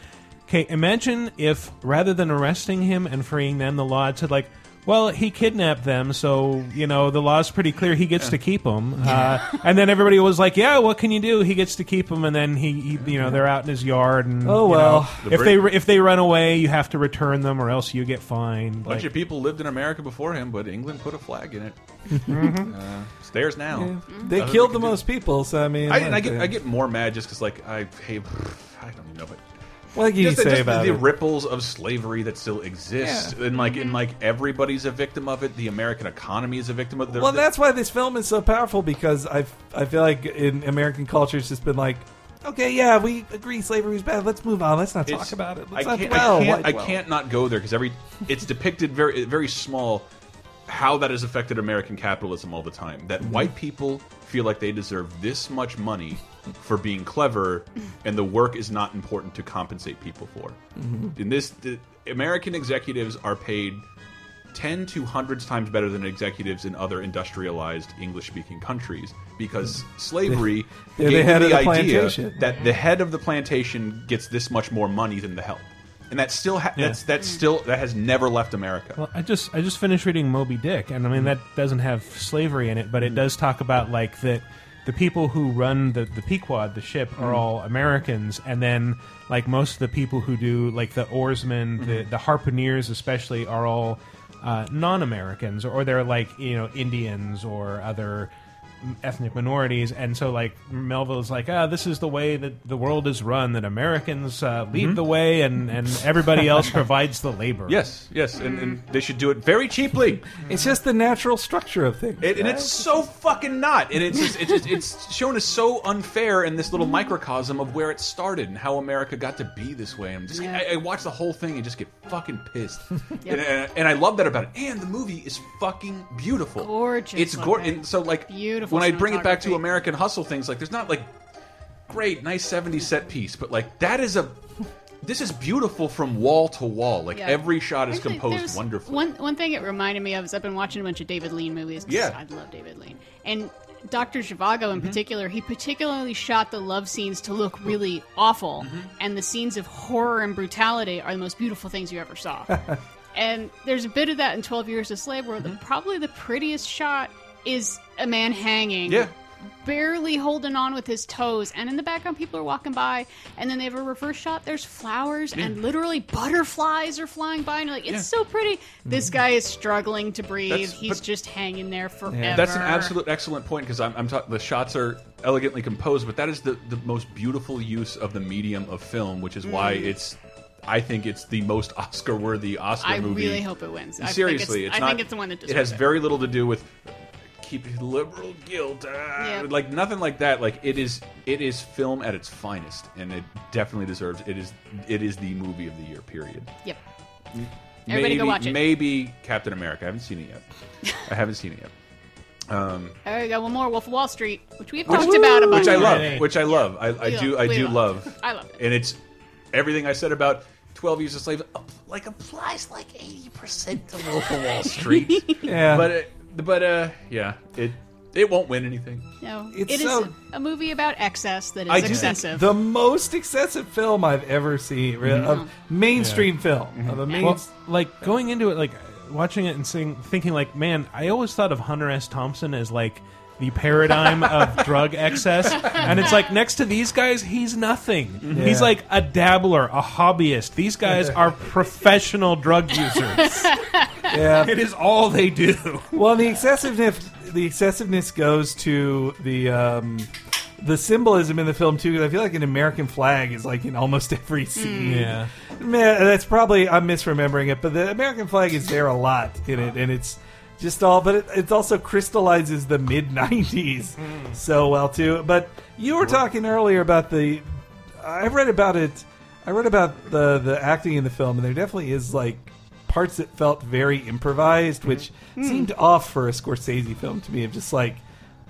C: Okay, imagine if rather than arresting him and freeing them, the law had said like, "Well, he kidnapped them, so you know the law's pretty clear. He gets to keep them." Uh, and then everybody was like, "Yeah, what can you do? He gets to keep them." And then he, he you know, they're out in his yard.
B: Oh,
C: And you know,
B: well.
A: The
C: if
A: Brit-
C: they if they run away, you have to return them, or else you get fined.
A: A bunch
C: Like-
A: of people lived in America before him, but England put a flag in it.
D: Mm-hmm.
A: uh, it's theirs now.
B: They
A: Nothing
B: killed
A: we can do.
B: the most people, so I mean,
A: I, and I
B: like,
A: get
B: uh,
A: I get more mad just because like I hate I don't even know but
B: what can you
A: just, the-
B: say
A: just
B: about
A: the
B: it?
A: ripples of slavery that still exist and like
D: Mm-hmm.
A: and like everybody's a victim of it the American economy is a victim of it
B: well, that's why this film is so powerful because I I feel like in American culture it's just been like. Okay, yeah, we agree slavery is bad. Let's move on. Let's not talk
A: it's-
B: about it.
A: I
B: Let's not
A: can't,
B: dwell.
A: I, can't,
B: Why
A: I
B: dwell?
A: can't not go there because every it's depicted very very small how that has affected American capitalism all the time.
B: Mm-hmm.
A: That white people feel like they deserve this much money for being clever, and the work is not important to compensate people for.
B: Mm-hmm.
A: In this, the American executives are paid. 10 to hundreds times better than executives in other industrialized English speaking countries because slavery
B: Mm. They're the
A: gave
B: head
A: them
B: of
A: the,
B: the
A: idea
B: plantation.
A: that the head of the plantation gets this much more money than the help. And that still ha that's that's still that has never left America.
C: Well, I just I just finished reading Moby Dick, and I mean that doesn't have slavery in it, but it does talk about like that the people who run the the Pequod, the ship, are all Americans, and then like most of the people who do like the oarsmen, the the harpooneers especially, are all uh, non-Americans, or they're like you know Indians or other ethnic minorities and so like melville's like ah this is the way that the world is run that americans uh, lead the way and and everybody else provides the labor
A: yes, yes, and, and they should do it very cheaply.
B: It's just the natural structure of things.
A: It, and it's so fucking not. And it's just, it's just, it's shown as so unfair in this little
D: Mm-hmm.
A: microcosm of where it started and how America got to be this way. I'm just
D: Yeah.
A: I, I watch the whole thing and just get fucking pissed. and, and, and I love that about it. And the movie is fucking beautiful,
D: Gorgeous
A: It's gorgeous.
D: looking.
A: And so like
D: Beautiful
A: when I bring it back to
D: cinematography.
A: American Hustle things, like there's not like great, nice 70s set piece, but like that is a this is beautiful from wall to wall. Like
D: Yeah.
A: every shot is
D: Actually,
A: composed
D: there's
A: wonderfully.
D: One one thing it reminded me of is I've been watching a bunch of David Lean movies. 'cause
A: Yeah. Mm-hmm.
D: I love David Lean and. Dr. Zhivago, in particular, he particularly shot the love scenes to look really awful,
A: Mm-hmm.
D: and the scenes of horror and brutality are the most beautiful things you ever saw. and there's a bit of that in 12 Years a Slave, where the,
A: Mm-hmm.
D: probably the prettiest shot is a man hanging
A: Yeah.
D: barely holding on with his toes and in the background people are walking by and then they have a reverse shot there's flowers and literally butterflies are flying by and you're like it's
A: Yeah. Mm-hmm.
D: so pretty this guy is struggling to breathe
A: That's-
D: he's
A: but-
D: just hanging there forever
A: That's an absolute excellent point because I'm, I'm ta- the shots are elegantly composed, but that is the, the most beautiful use of the medium of film, which is why
D: Mm.
A: it's I think it's the most Oscar worthy Oscar
D: I
A: movie.
D: really hope it wins. I think
A: Seriously,
D: it's-
A: it's
D: I
A: not,
D: think it's the one that
A: it has
D: deserves it.
A: very little to do with keep liberal guilt, ah,
D: Yep.
A: like nothing like that. Like it is it is film at its finest, and it definitely deserves it is it is the movie of the year. Period.
D: yep Everybody
A: maybe,
D: go watch it.
A: Maybe Captain America. I haven't seen it yet. I haven't seen it yet.
D: All right, we got one more Wolf of Wall Street, which we've talked about a bunch.
A: which I love,
C: Right.
A: which I love. I, I
D: We
A: do,
D: love-
A: I
D: we
A: do
D: love.
A: love.
D: I love it.
A: and it's everything I said about Twelve Years a Slave. ap- Like applies like eighty percent to Wolf of Wall Street,
B: Yeah,
A: but it, but uh, yeah, it it won't win anything.
D: No,
B: It's
D: it is
B: so-
D: a movie about excess that is
A: I do think
D: excessive.
B: the most excessive film I've ever seen re- of mainstream film of a main.
C: Well, like going into it, like watching it and seeing, thinking, like, man, I always thought of Hunter S. Thompson as like the paradigm of drug excess, and it's like next to these guys, he's nothing. He's
B: Yeah.
C: like a dabbler, a hobbyist. These guys are professional drug users.
B: yeah.
C: it is all they do.
B: Well, the excessiveness the excessiveness goes to the um, the symbolism in the film too. Because I feel like an American flag is like in almost every scene.
C: Yeah.
B: Man, that's probably I'm misremembering it, but the American flag is there a lot in it, and it's just all. But it, it also crystallizes the mid '90s so well too. But you were talking earlier about the. I read about it. I read about the the acting in the film, and there definitely is like parts that felt very improvised, which seemed off for a Scorsese film to me. Of just like.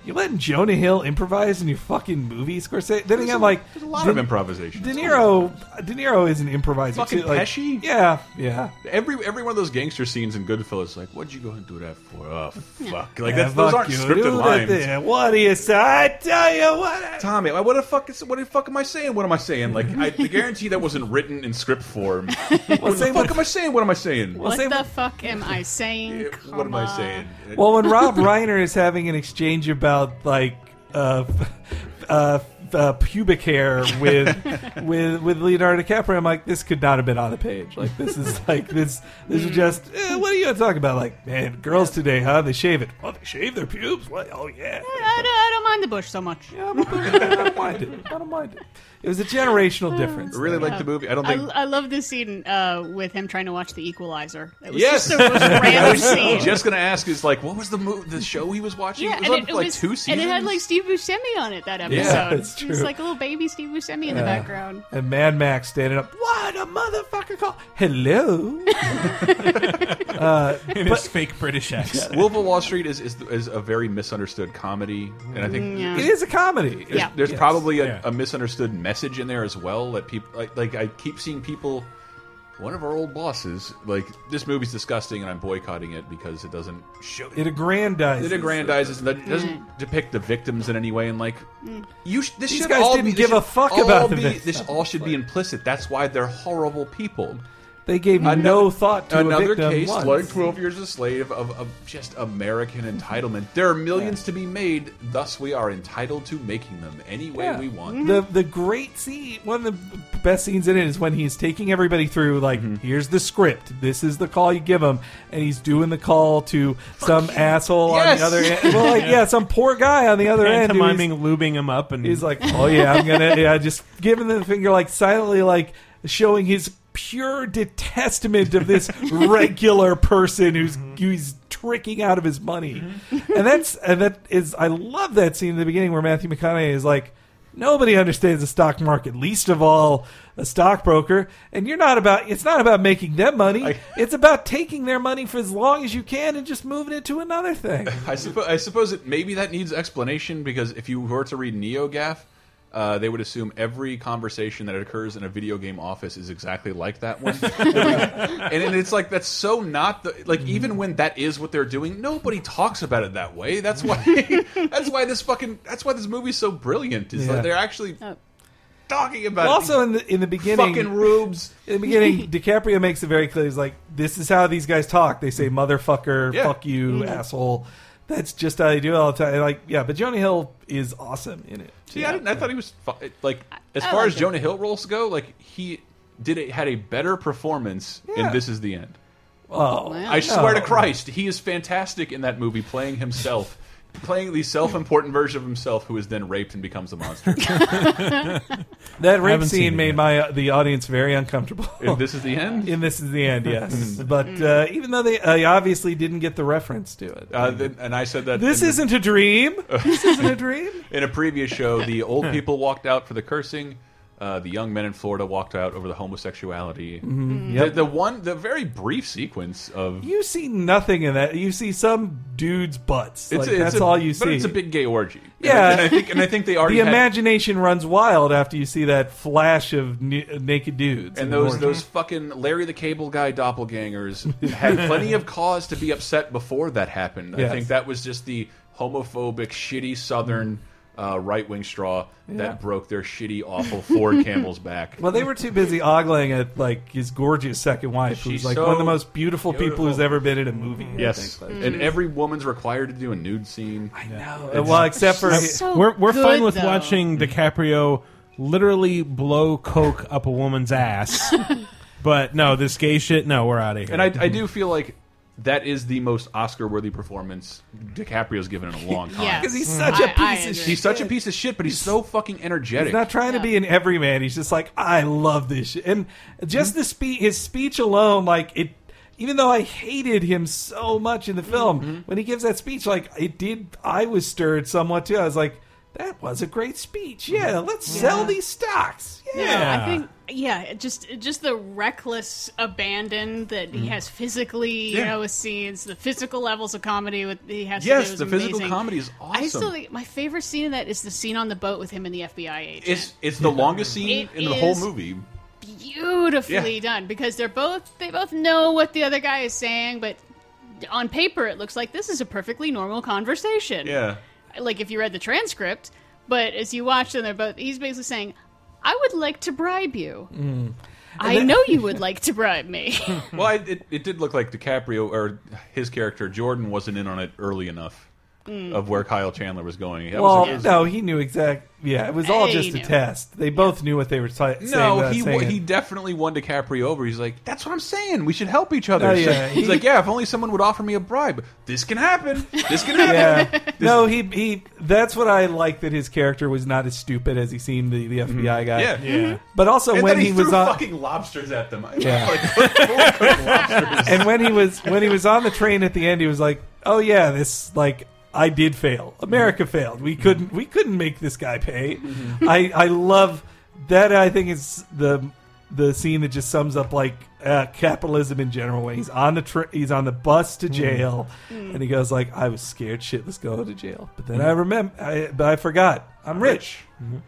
B: You letting Jonah Hill improvise in your fucking movie, Scorsese? Then again, like
A: There's a lot of
B: did-
A: improvisation.
B: De Niro, De Niro is an improviser
A: Fucking
B: too. Like,
A: Pesci?
B: Yeah, yeah.
A: Every every one of those gangster scenes in Goodfellas, is like, what'd you go and do that for? Oh fuck! Like
B: yeah
A: that's, those
B: fuck
A: aren't
B: you. Do
A: scripted
B: the
A: lines.
B: thing. What do you say? I tell you what. I-
A: Tommy, like, what the fuck is what the fuck am I saying? What am I saying? Like, I guarantee that wasn't written in script form. what the
B: same
A: fuck
B: with-
A: am I saying? What am I saying?
D: what
B: same
D: the
B: with-
D: fuck am I saying?
A: Yeah, what am I
D: Comma.
A: saying?
B: Well, when Rob Reiner is having an exchange about like uh, uh, uh, pubic hair with with with Leonardo DiCaprio, I'm like, this could not have been on the page. Like, this is like this this is just eh, what are you talking about? Like, man, girls today, huh? They shave it. Oh, they shave their pubes. What? Oh yeah.
D: I don't, I don't mind the bush so much.
B: Yeah, I'm a pubic hair. I don't mind it. I don't mind it. It was a generational difference.
A: I really like the movie. I don't
D: I,
A: think
D: I love this scene uh, with him trying to watch The Equalizer. It was
A: Yes.
D: just the most random scene.
A: just gonna ask is like, what was the mo- the show he was watching? it was on for like two
D: and
A: seasons.
D: it had like Steve Buscemi on it that episode.
B: it's
D: It was
B: true.
D: like a little baby Steve Buscemi in the background.
B: And Mad Max standing up. What a motherfucker call! Hello.
C: In his fake British accent.
A: Wolf of Wall Street is, is is a very misunderstood comedy, and I think
D: Mm, Yeah.
B: it is a comedy.
A: there's,
D: Yeah.
A: there's probably a,
C: Yeah.
A: a misunderstood message in there as well that people like, like I keep seeing people. One of our old bosses, like this movie's disgusting, and I'm boycotting it because it doesn't show
B: It aggrandizes.
A: It aggrandizes and that doesn't depict the victims in any way. And like, you sh- this
B: These
A: should
B: guys
A: all
B: didn't
A: be, this
B: give
A: should
B: a fuck
A: all
B: about the
A: be,
B: victims.
A: This all should be implicit. That's why they're horrible people.
B: They gave no thought to a
A: Another
B: victim
A: case
B: once.
A: like Twelve Years a Slave of, of just American entitlement. There are millions to be made, thus we are entitled to making them any way
B: Yeah.
A: we want.
B: The the great scene, one of the best scenes in it is when he's taking everybody through. Like,
A: Mm-hmm.
B: here's the script. This is the call you give him, and he's doing the call to some asshole on
A: Yes.
B: the other end. Well, like, yeah, some poor guy on the other end. who he's-
C: Pantomiming, lubing him up, and
B: He's like, oh yeah, I'm gonna, yeah, just giving the finger, like silently, like showing his pure detestment of this regular person who's who's tricking out of his money, and that's and that is, I love that scene in the beginning where Matthew McConaughey is like. Nobody understands the stock market, least of all a stockbroker. And you're not about it's not about making them money. it's about taking their money for as long as you can and just moving it to another thing.
A: I, suppo- I suppose it maybe that needs explanation because if you were to read NeoGAF, uh, they would assume every conversation that occurs in a video game office is exactly like that one. and, and it's like, that's so not the, like, even when that is what they're doing, nobody talks about it that way. That's why, that's why this fucking, that's why this movie's so brilliant. Is
B: Yeah.
A: that they're actually
D: Oh,
A: talking about
B: Well,
A: it.
B: also in the in the beginning,
A: fucking rubes.
B: in the beginning, DiCaprio makes it very clear. He's like, "This is how these guys talk. They say motherfucker,
A: Yeah.
B: fuck you,
C: Mm-hmm.
B: asshole." That's just how they do it all the time. And like, yeah, but Johnny Hill is awesome in it.
A: See, I didn't. I thought he was fu- like, as
D: I
A: far
D: like
A: as
D: him.
A: Jonah Hill roles go, like he did it had a better performance
B: Yeah.
A: in This Is the End.
B: Oh,
D: Wow.
A: I swear to Christ, he is fantastic in that movie, playing himself, playing the self-important version of himself who is then raped and becomes a monster.
B: that rape
C: haven't seen
B: scene
C: it
B: made
C: yet.
B: my uh, the audience very uncomfortable.
A: If this Mm-hmm. is the end.
B: in this is the end, yes. but uh,
C: Mm-hmm.
B: even though they I obviously didn't get the reference to it,
A: Uh, then, and Uh. I said that
B: this
A: in,
B: isn't a dream. this isn't a dream.
A: in a previous show. The old people walked out for the cursing. Uh, the young men in Florida walked out over the homosexuality.
B: Mm-hmm.
A: the, the one, the very brief sequence of
B: You see nothing in that. You see some dude's butts.
A: It's
B: like,
A: a- it's
B: that's
A: a-
B: all you see.
A: But it's a big gay orgy. And-
B: Yeah.
A: and I think and I think they already
B: the
A: had-
B: imagination runs wild after you see that flash of nu- naked dudes. in
A: and
B: the
A: those
B: morning.
A: those fucking Larry the Cable Guy doppelgangers had plenty of cause to be upset before that happened.
B: Yes.
A: I think that was just the homophobic, shitty Southern
B: Mm.
A: uh, right wing straw that broke their shitty, awful Ford Camel's back.
B: Well, they were too busy ogling at like his gorgeous second wife, who's
A: She's
B: like
A: so
B: one of the most beautiful, people
A: beautiful.
B: who's ever been in a movie. I
A: yes,
B: think.
A: and every woman's required to do a nude scene.
B: Mm-hmm. I know. Uh, well, except for
D: She's so
C: we're we're
D: good,
C: fine with
D: though.
C: watching DiCaprio literally blow coke up a woman's ass. but no, this gay shit. No, we're out of here.
A: And I, I do feel like that is the most Oscar-worthy performance DiCaprio's given in a long time.
D: Yeah.
B: because he's such a
D: I- I
B: piece of
D: agree.
B: shit.
A: He's such a piece of shit, but he's so fucking energetic.
B: He's not trying to be an everyman. He's just like, I love this shit. And just
A: Hmm?
B: the speech, his speech alone, like it. Even though I hated him so much in the film,
A: Hmm?
B: when he gives that speech, like it did, I was stirred somewhat too. I was like, that was a great speech.
A: Hmm?
B: Yeah, let's sell these stocks. Yeah.
D: I think yeah, it just it just the reckless abandon that he has physically, you
A: Mm. Yeah.
D: know, with scenes, the physical levels of comedy with he has. to
A: Yes,
D: do is
A: the physical
D: amazing.
A: comedy is
D: I still
A: awesome.
D: think my favorite scene of that is the scene on the boat with him and the FBI agent.
A: It's it's the longest scene
D: It
A: in the whole
D: is-
A: movie.
D: beautifully
A: Yeah.
D: done because they're both they both know what the other guy is saying, but on paper it looks like this is a perfectly normal conversation.
A: Yeah.
D: Like if you read the transcript, but as you watch them, they're both he's basically saying, "I would like to bribe you."
B: Mm.
D: I know you would like to bribe me.
A: Well, I, it it did look like DiCaprio or his character Jordan wasn't in on it early enough
D: Hmm.
A: of where Kyle Chandler was going. That
B: Well,
A: was, it was-
B: no, he knew exact. Yeah, it was all
D: Hey,
B: just
D: he
B: a
D: knew.
B: test. They both knew what they were si- saying.
A: no,
B: without
A: he
B: saying
A: wa-
B: it.
A: he definitely won DiCaprio over. He's like, that's what I'm saying. We should help each other.
B: Oh,
A: He's
B: yeah.
A: like- He's like, yeah, if only someone would offer me a bribe. This can happen. This can happen.
B: yeah. No, he he. That's what I like that his character was not as stupid as he seemed the, the FBI guy.
A: Mm-hmm. Yeah.
C: yeah.
B: But also
A: And
B: when
A: then he,
B: he, was
A: threw
B: on
A: fucking lobsters at them.
B: Yeah.
A: Like, fully cooked lobsters.
B: and when he was when he was on the train at the end, he was like, "Oh yeah, this like I did fail. America
A: Mm-hmm.
B: failed. We couldn't we couldn't make this guy pay." I I love that. I think is the the scene that just sums up like uh, capitalism in general. When he's on the tra- he's on the bus
A: Mm-hmm.
B: to jail, and he goes like, "I was scared shitless going to jail, but then I
A: Mm-hmm.
B: remember, I, but I forgot. I'm rich.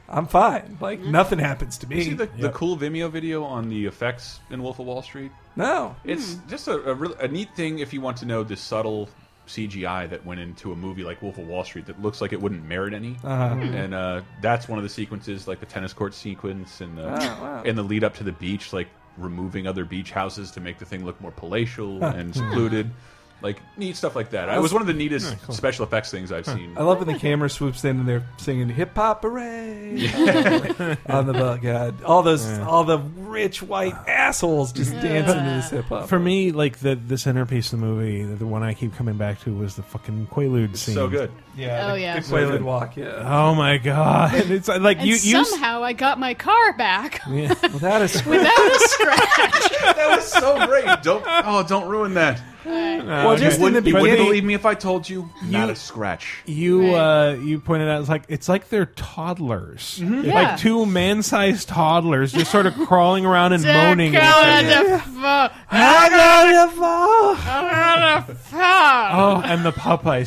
B: I'm fine. Like nothing happens to
A: Mm-hmm. You see
B: me.
A: the, the cool Vimeo video on the effects in Wolf of Wall Street?
B: no."
A: It's just a, a, real, a neat thing if you want to know the subtle CGI that went into a movie like Wolf of Wall Street that looks like it wouldn't merit any. And uh, that's one of the sequences, like the tennis court sequence and the, and the lead up to the beach, like removing other beach houses to make the thing look more palatial and secluded. Like neat stuff like Hmm. that. I was one of the neatest special effects things I've seen.
B: I love when the camera swoops in and they're singing "Hip Hop Hooray" on the boat. God, all those, all the rich white assholes just dancing to this hip hop.
C: For me, like the the centerpiece of the movie, the, the one I keep coming back to was the fucking Quaalude scene.
A: so good.
B: yeah,
D: Oh, yeah.
B: the Quaalude walk. Yeah,
C: Oh my god! It's like
D: and
C: you you.
D: somehow I got my car back
B: without a script.
D: without a scratch.
A: that was so great. Don't oh, don't ruin that.
B: well, just in the
A: You
B: beginning,
A: wouldn't believe me if I told you? Not a scratch.
C: You
D: Right. Mm-hmm.
C: uh, you pointed out it's like it's like they're toddlers,
D: Yeah.
C: like two man-sized toddlers just sort of crawling around and moaning. at each other.
D: Dakota Defoe. Dakota Defoe.
C: Oh, and the Popeye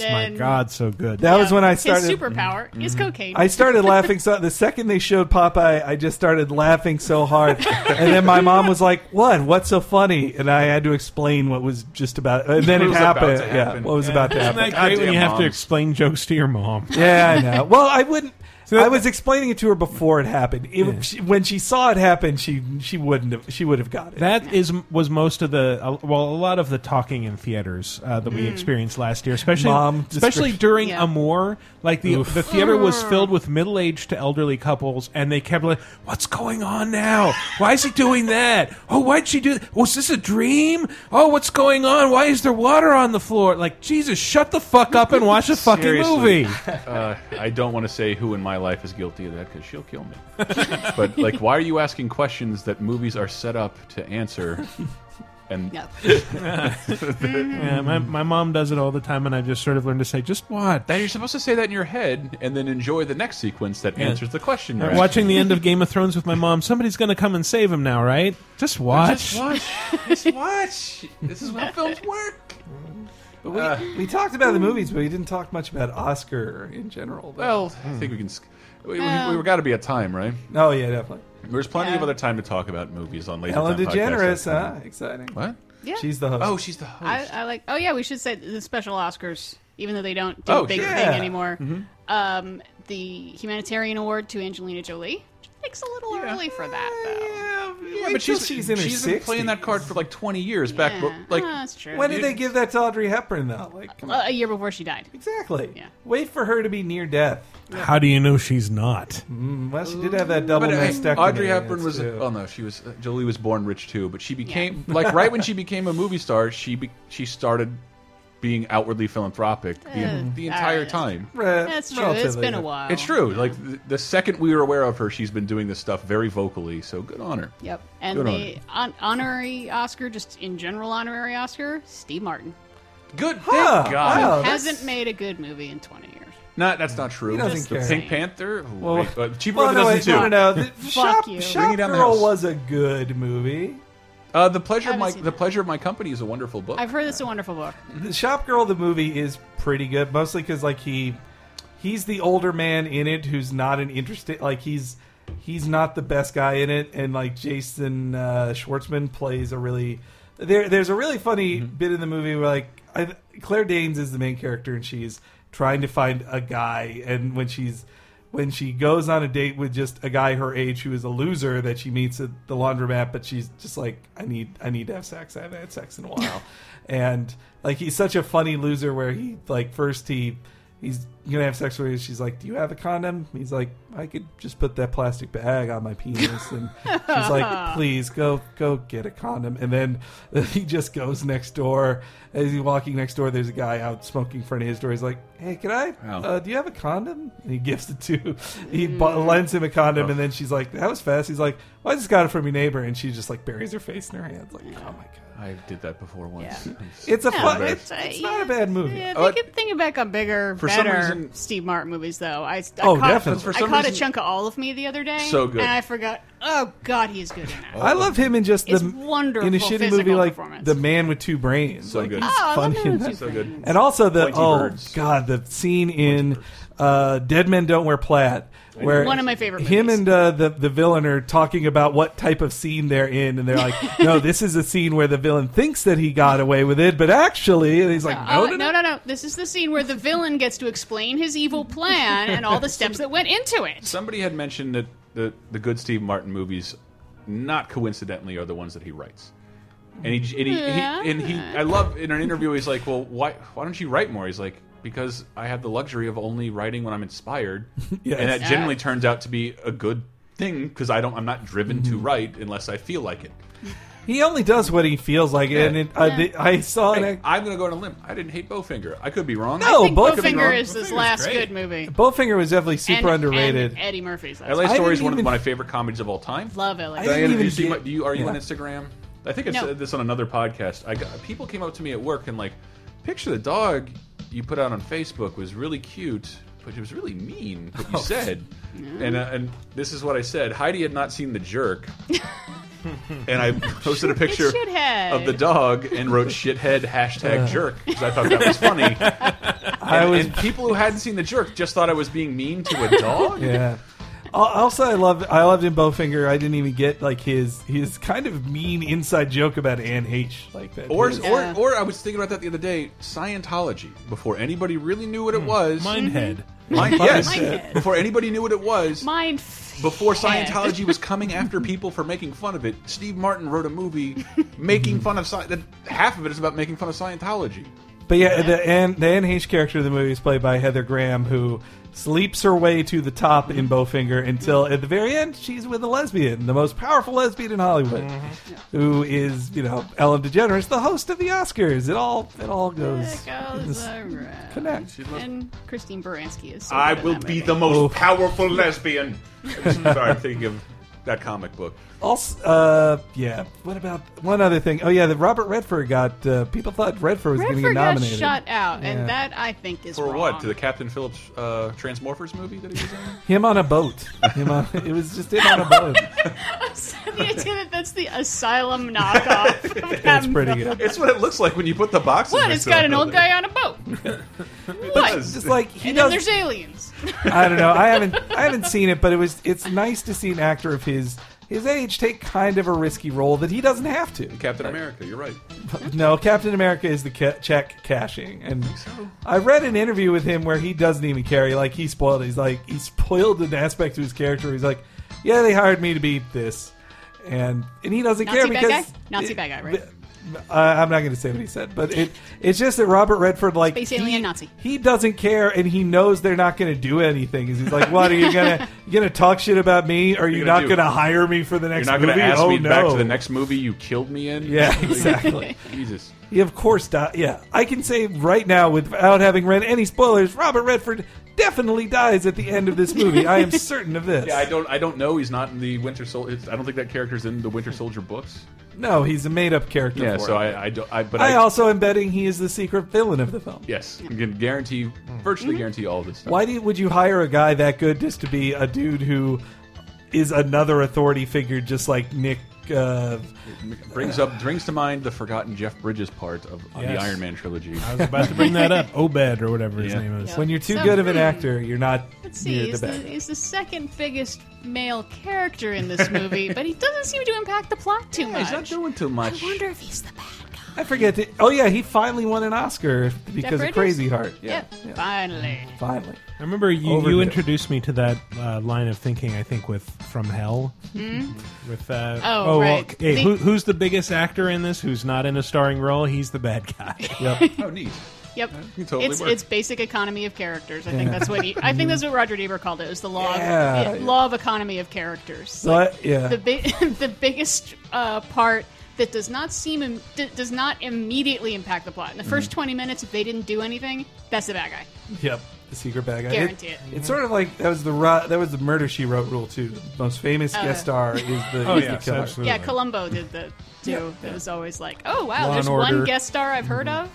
D: And then-
C: My God, so good.
B: that was when I started. Mm-hmm.
D: His superpower is cocaine.
B: I started laughing so the second they showed Popeye, I just started laughing so hard, and then my mom was like, "What? What's so funny?" And I had to explain what was just about. And then
A: What
B: it
A: was about
B: happened.
A: to
B: Yeah,
A: happen.
B: what was about to
C: Isn't
B: happen?
C: that great when
A: Goddamn
C: you have to
A: moms.
C: explain jokes to your mom?
B: Yeah, I know. Well, I wouldn't.
C: that-
B: I was explaining it to her before it happened. If she, when she saw it happen, she she wouldn't have. She would have got it.
C: That is was most of the uh, well, a lot of the talking in theaters uh, that we experienced last year, especially
B: Mom
C: especially
B: description.
C: during
D: Yeah.
C: Amour. Like the the theater was filled with middle aged to elderly couples, and they kept like, "What's going on now? Why is he doing that? Oh, why'd she do? Was this a dream? Oh, what's going on? Why is there water on the floor? Like Jesus, shut the fuck up and watch a fucking
A: Seriously.
C: movie."
A: Uh, I don't want to say who in my life is guilty of that because she'll kill me. but like, why are you asking questions that movies are set up to answer? And
D: No.
C: Yeah, my, my mom does it all the time, and I've just sort of learned to say, "Just watch."
A: then you're supposed to say that in your head and then enjoy the next sequence that answers the question.
C: Uh,
A: You're
C: Watching the end of Game of Thrones with my mom, somebody's going to come and save him now, right? Just watch.
A: asking. Just watch. Just watch. This is how films work. But we,
B: we talked about the movies, but we didn't talk much about Oscar in general. though.
A: well, I think we can. sk- We, we, we got to be at time, right?
B: oh yeah, definitely.
A: There's plenty of
D: Yeah.
A: other time to talk about movies on later.
B: Ellen
A: Time podcast.
B: DeGeneres, huh? Exciting.
A: What?
D: Yeah.
B: She's the host.
A: Oh, she's the host.
D: I, I like. Oh yeah, we should say the special Oscars, even though they don't do
A: Oh,
D: a big
A: sure. Mm-hmm.
D: thing
B: Yeah.
D: anymore. Um, the humanitarian award to Angelina Jolie takes a little early for that though.
A: Yeah,
B: Wait
A: but
B: till
A: she's
B: she's in her
A: she's been playing that card for like 20 years back, but
D: Yeah.
A: like
D: Ah, that's true.
B: When did they give that to Audrey Hepburn though? Like, come on.
D: Uh, a year before she died.
B: exactly.
D: Yeah.
B: Wait for her to be near death.
C: How do you know she's not?
B: Well, she did have that double
A: but, hey,
B: mastectomy.
A: Audrey Hepburn was
B: That's true.
A: oh no, she was uh, Jolie was born rich too, but she became like right when she became a movie star, she be, she started being outwardly philanthropic the, the entire
D: alright, that's
A: time.
B: Re-
D: That's true. It's
B: relatively
D: been a
B: good.
D: while.
A: Uh, It's true. Like the, the second we were aware of her, she's been doing this stuff very vocally. So good on her.
D: Yep. And
A: Good on
D: the on honorary Oscar, just in general honorary Oscar, Steve Martin
A: Good.
B: Huh,
A: Thank God.
B: wow. that's-
D: hasn't made a good movie in twenty years.
A: Not that's not true.
B: doesn't
A: It's the
B: care.
A: Pink Panther. Ooh,
B: Well-
A: wait, uh, Chief
B: Well,
A: Brother
B: no, wait,
A: doesn't
B: no,
A: too.
B: no, no. The Shop,
D: you.
B: Shop
A: Bring it down the
B: Girl
A: house.
B: was a good movie.
A: Uh, the pleasure of
D: Haven't
A: my
D: seen
A: the
D: it.
A: pleasure of my company is a wonderful book.
D: I've heard it's a wonderful book.
B: The Shop Girl, the movie, is pretty good, mostly because like he, he's the older man in it who's not an interesting like he's he's not the best guy in it, and like Jason uh, Schwartzman plays a really there. There's a really funny
A: Mm-hmm.
B: bit in the movie where like I, Claire Danes is the main character and she's trying to find a guy, and when she's when she goes on a date with just a guy her age who is a loser that she meets at the laundromat, but she's just like, I need, I need to have sex. I haven't had sex in a while, and like he's such a funny loser where he like first he he's gonna have sex with her. She's like, Do you have a condom? He's like, I could just put that plastic bag on my penis, and she's like, Please go, go get a condom. And then he just goes next door. As he's walking next door, there's a guy out smoking in front of his door. He's like, Hey, can I?
A: Wow.
B: Uh, do you have a condom? And he gives it to, he
D: Mm.
B: bu- lends him a
A: Oh.
B: condom, and then she's like, that was fast. He's like, well, I just got it from your neighbor, and she just like buries her face in her hands, like, oh my god,
A: I did that before once.
D: Yeah.
B: it's a
D: Yeah,
B: fun,
A: but
B: it's,
D: it's, uh,
B: it's not a bad movie.
D: Yeah,
A: Uh,
D: they could think back on bigger,
A: for some
D: better
A: reason-
D: Steve Martin movies, though. I, I
B: Oh,
D: caught,
B: definitely. For
D: I
A: some
D: caught a
A: reason-
D: chunk of all of me the other day.
A: So good.
D: And I forgot. Oh God, he's good in
A: Oh.
D: that.
B: I love him in just
D: It's
B: the
D: wonderful
B: in a shitty
D: physical
B: movie like
D: performance.
B: the Man with Two Brains,
A: So
B: like
A: good.
B: he's
D: Oh, I love
B: funny
D: Man
B: in
D: with
B: that.
D: Two
A: So good.
B: And also the
A: Pointy
B: oh
A: birds.
B: god, the scene in uh, Dead Men Don't Wear Plaid, where
D: One of my favorite
B: him
D: movies.
B: and uh, the the villain are talking about what type of scene they're in, and they're like, no, this is a scene where the villain thinks that he got away with it, but actually, and he's like,
D: Oh,
B: no, no,
D: no, no, no. This is the scene where the villain gets to explain his evil plan and all the steps that went into it.
A: Somebody had mentioned that the the good Steve Martin movies, not coincidentally, are the ones that he writes. And he and he,
D: Yeah.
A: he and he I love in an interview he's like, well, why why don't you write more? He's like, because I have the luxury of only writing when I'm inspired,
B: Yes.
A: and that
D: Yeah.
A: generally turns out to be a good thing because I don't I'm not driven to write unless I feel like it.
B: He only does what he feels like, and it, I, the, I saw an.
A: Hey, I'm gonna go on a limb. I didn't hate Bowfinger. I could be wrong.
B: No,
D: I think
B: Oh, both of them
D: Bowfinger
B: are-
D: is his
A: Bowfinger's
D: last
A: great.
D: good movie.
B: Bowfinger was definitely super
D: And-
B: underrated.
D: and Eddie Murphy's. Last
A: LA
B: I
A: Story is
B: didn't
A: one of
B: even-
A: my favorite comedies of all time.
D: Love LA.
B: I didn't
A: Diana, do
B: even
A: you see
B: get-
A: my, do you are you
B: Yeah.
A: on Instagram? I think I
D: No.
A: said this on another podcast. I got, people came up to me at work and like, picture the dog you put out on Facebook was really cute, but it was really mean. What
B: Oh.
A: you said, and uh, and this is what I said. Heidi had not seen the jerk. And I posted a picture
D: shithead.
A: of the dog and wrote shithead hashtag jerk because I thought that was funny.
B: I was
A: And people who hadn't seen the jerk just thought I was being mean to a dog.
B: yeah. Al- Also, I love I loved him Bowfinger. I didn't even get like his his kind of mean inside joke about Anne H. Like that.
A: Or,
B: His-
D: Yeah.
A: or, or I was thinking about that the other day. Scientology before anybody really knew what it was.
C: Mindhead.
A: Hmm. Mind- yes,
D: Mindhead.
A: before anybody knew what it was.
D: Mind
A: before
D: fed.
A: Scientology was coming after people for making fun of it, Steve Martin wrote a movie making fun of Sci- that. Half of it is about making fun of Scientology.
B: but yeah, the Anne the Anne H. character of the movie is played by Heather Graham, who sleeps her way to the top in Bowfinger until at the very end she's with a lesbian, the most powerful lesbian in Hollywood, who is you know Ellen DeGeneres, the host of the Oscars. It all it all goes.
D: That goes around.
B: connect.
D: And Christine Baranski is. So
A: I
D: good in
A: will
D: that
A: be
D: movie.
A: the most
B: Oh.
A: powerful lesbian. Sorry, I'm thinking of that comic book.
B: Also, uh, yeah. What about one other thing? Oh yeah, the Robert Redford got. Uh, people thought Redford was going to get
D: Redford got
B: nominated.
D: shut out,
B: Yeah.
D: and that I think is
A: For
D: wrong.
A: what? To the Captain Phillips uh, Transmorphers movie that he was in?
B: Him on a boat. Him on, it was just him on a boat.
D: the idea that that's the asylum knockoff. of
B: That's
D: Captain
B: pretty
D: Phillips.
B: good.
A: It's what it looks like when you put the boxes.
D: What?
A: next
D: It's
A: to
D: got
A: the
D: an old
A: building.
D: guy on a boat. what?
B: Just like he
D: And then
B: does.
D: there's aliens.
B: I don't know. I haven't. I haven't seen it, but it was. It's nice to see an actor of his his age take kind of a risky role that he doesn't have to.
A: Captain America. You're right.
B: No, Captain America is the ca- check cashing, and I read an interview with him where he doesn't even care. He, like he spoiled. He's like he spoiled an aspect of his character. He's like, yeah, they hired me to be this, and and he doesn't
D: Nazi
B: care
D: bad
B: because
D: guy? Nazi bad guy, right?
B: I, I'm not going to say what he said, but it it's just that Robert Redford like
D: Space
B: he,
D: alien Nazi.
B: He doesn't care, and he knows they're not going to do anything. He's like, what are you gonna you gonna talk shit about me? Are you
A: gonna
B: not
A: do?
B: going to hire me for the next?
A: You're not
B: going
A: going to ask
B: oh,
A: me
B: no.
A: back to the next movie you killed me in.
B: Yeah, exactly.
A: Jesus.
B: He of course dies. Yeah, I can say right now without having read any spoilers, Robert Redford definitely dies at the end of this movie. I am certain of this.
A: Yeah, I don't. I don't know. He's not in the Winter Soldier. I don't think that character's in the Winter Soldier books.
B: No, he's a made-up character.
A: Yeah.
B: for
A: So
B: it.
A: I. I don't. I. But
B: I,
A: I.
B: also am betting he is the secret villain of the film.
A: yes. I can guarantee. Virtually guarantee all this stuff.
B: Why do you, would you hire a guy that good just to be a dude who is another authority figure, just like Nick? Uh,
A: Brings up. Brings to mind the forgotten Jeff Bridges part of on the
C: Yes.
A: Iron Man trilogy.
C: I was about to bring that up. Obed or whatever his
A: Yeah.
C: name is.
D: Yeah.
B: when you're too
D: So-
B: good of an
D: hmm.
B: actor, you're not
D: Let's
B: near
D: see, he's
B: the
D: the,
B: best.
D: he's the second biggest male character in this movie, but he doesn't seem to impact the plot too
A: Yeah,
D: much.
A: he's not doing too much.
D: I wonder if he's the bad guy.
B: I forget. To, oh yeah, he finally won an Oscar because of
D: Bridges?
B: Crazy Heart.
D: Yeah, finally.
B: Finally.
C: I remember you,
B: Overdue.
C: you introduced me to that uh, line of thinking. I think with From Hell. With uh,
D: Hmm? Oh,
C: well,
D: right.
C: hey,
D: The-
C: who, who's the biggest actor in this? Who's not in a starring role? He's the bad guy.
A: Oh, neat.
D: Yep,
A: can totally
D: it's
A: work.
D: it's basic economy of characters. I think that's what he, I think that's what Roger Ebert called it. It was the law,
B: Mm-hmm. Yeah.
D: of, yeah, law of economy of characters.
B: So I- yeah.
D: the big the biggest uh, part that does not seem im- d- does not immediately impact the plot
C: Mm-hmm.
D: in the first 20 minutes if they didn't do anything that's the bad guy
B: Yep, the secret bad guy.
D: Guarantee it.
B: It's sort of like that was the ro- that was the murder she wrote rule too. The most
D: Oh,
B: famous guest star is the,
C: Oh
B: is
C: yes,
B: the killer.
C: absolutely.
D: yeah columbo did the too
B: Yeah,
D: it was always like oh wow
C: Law
D: there's
C: and Order. Mm-hmm.
D: one guest star i've heard of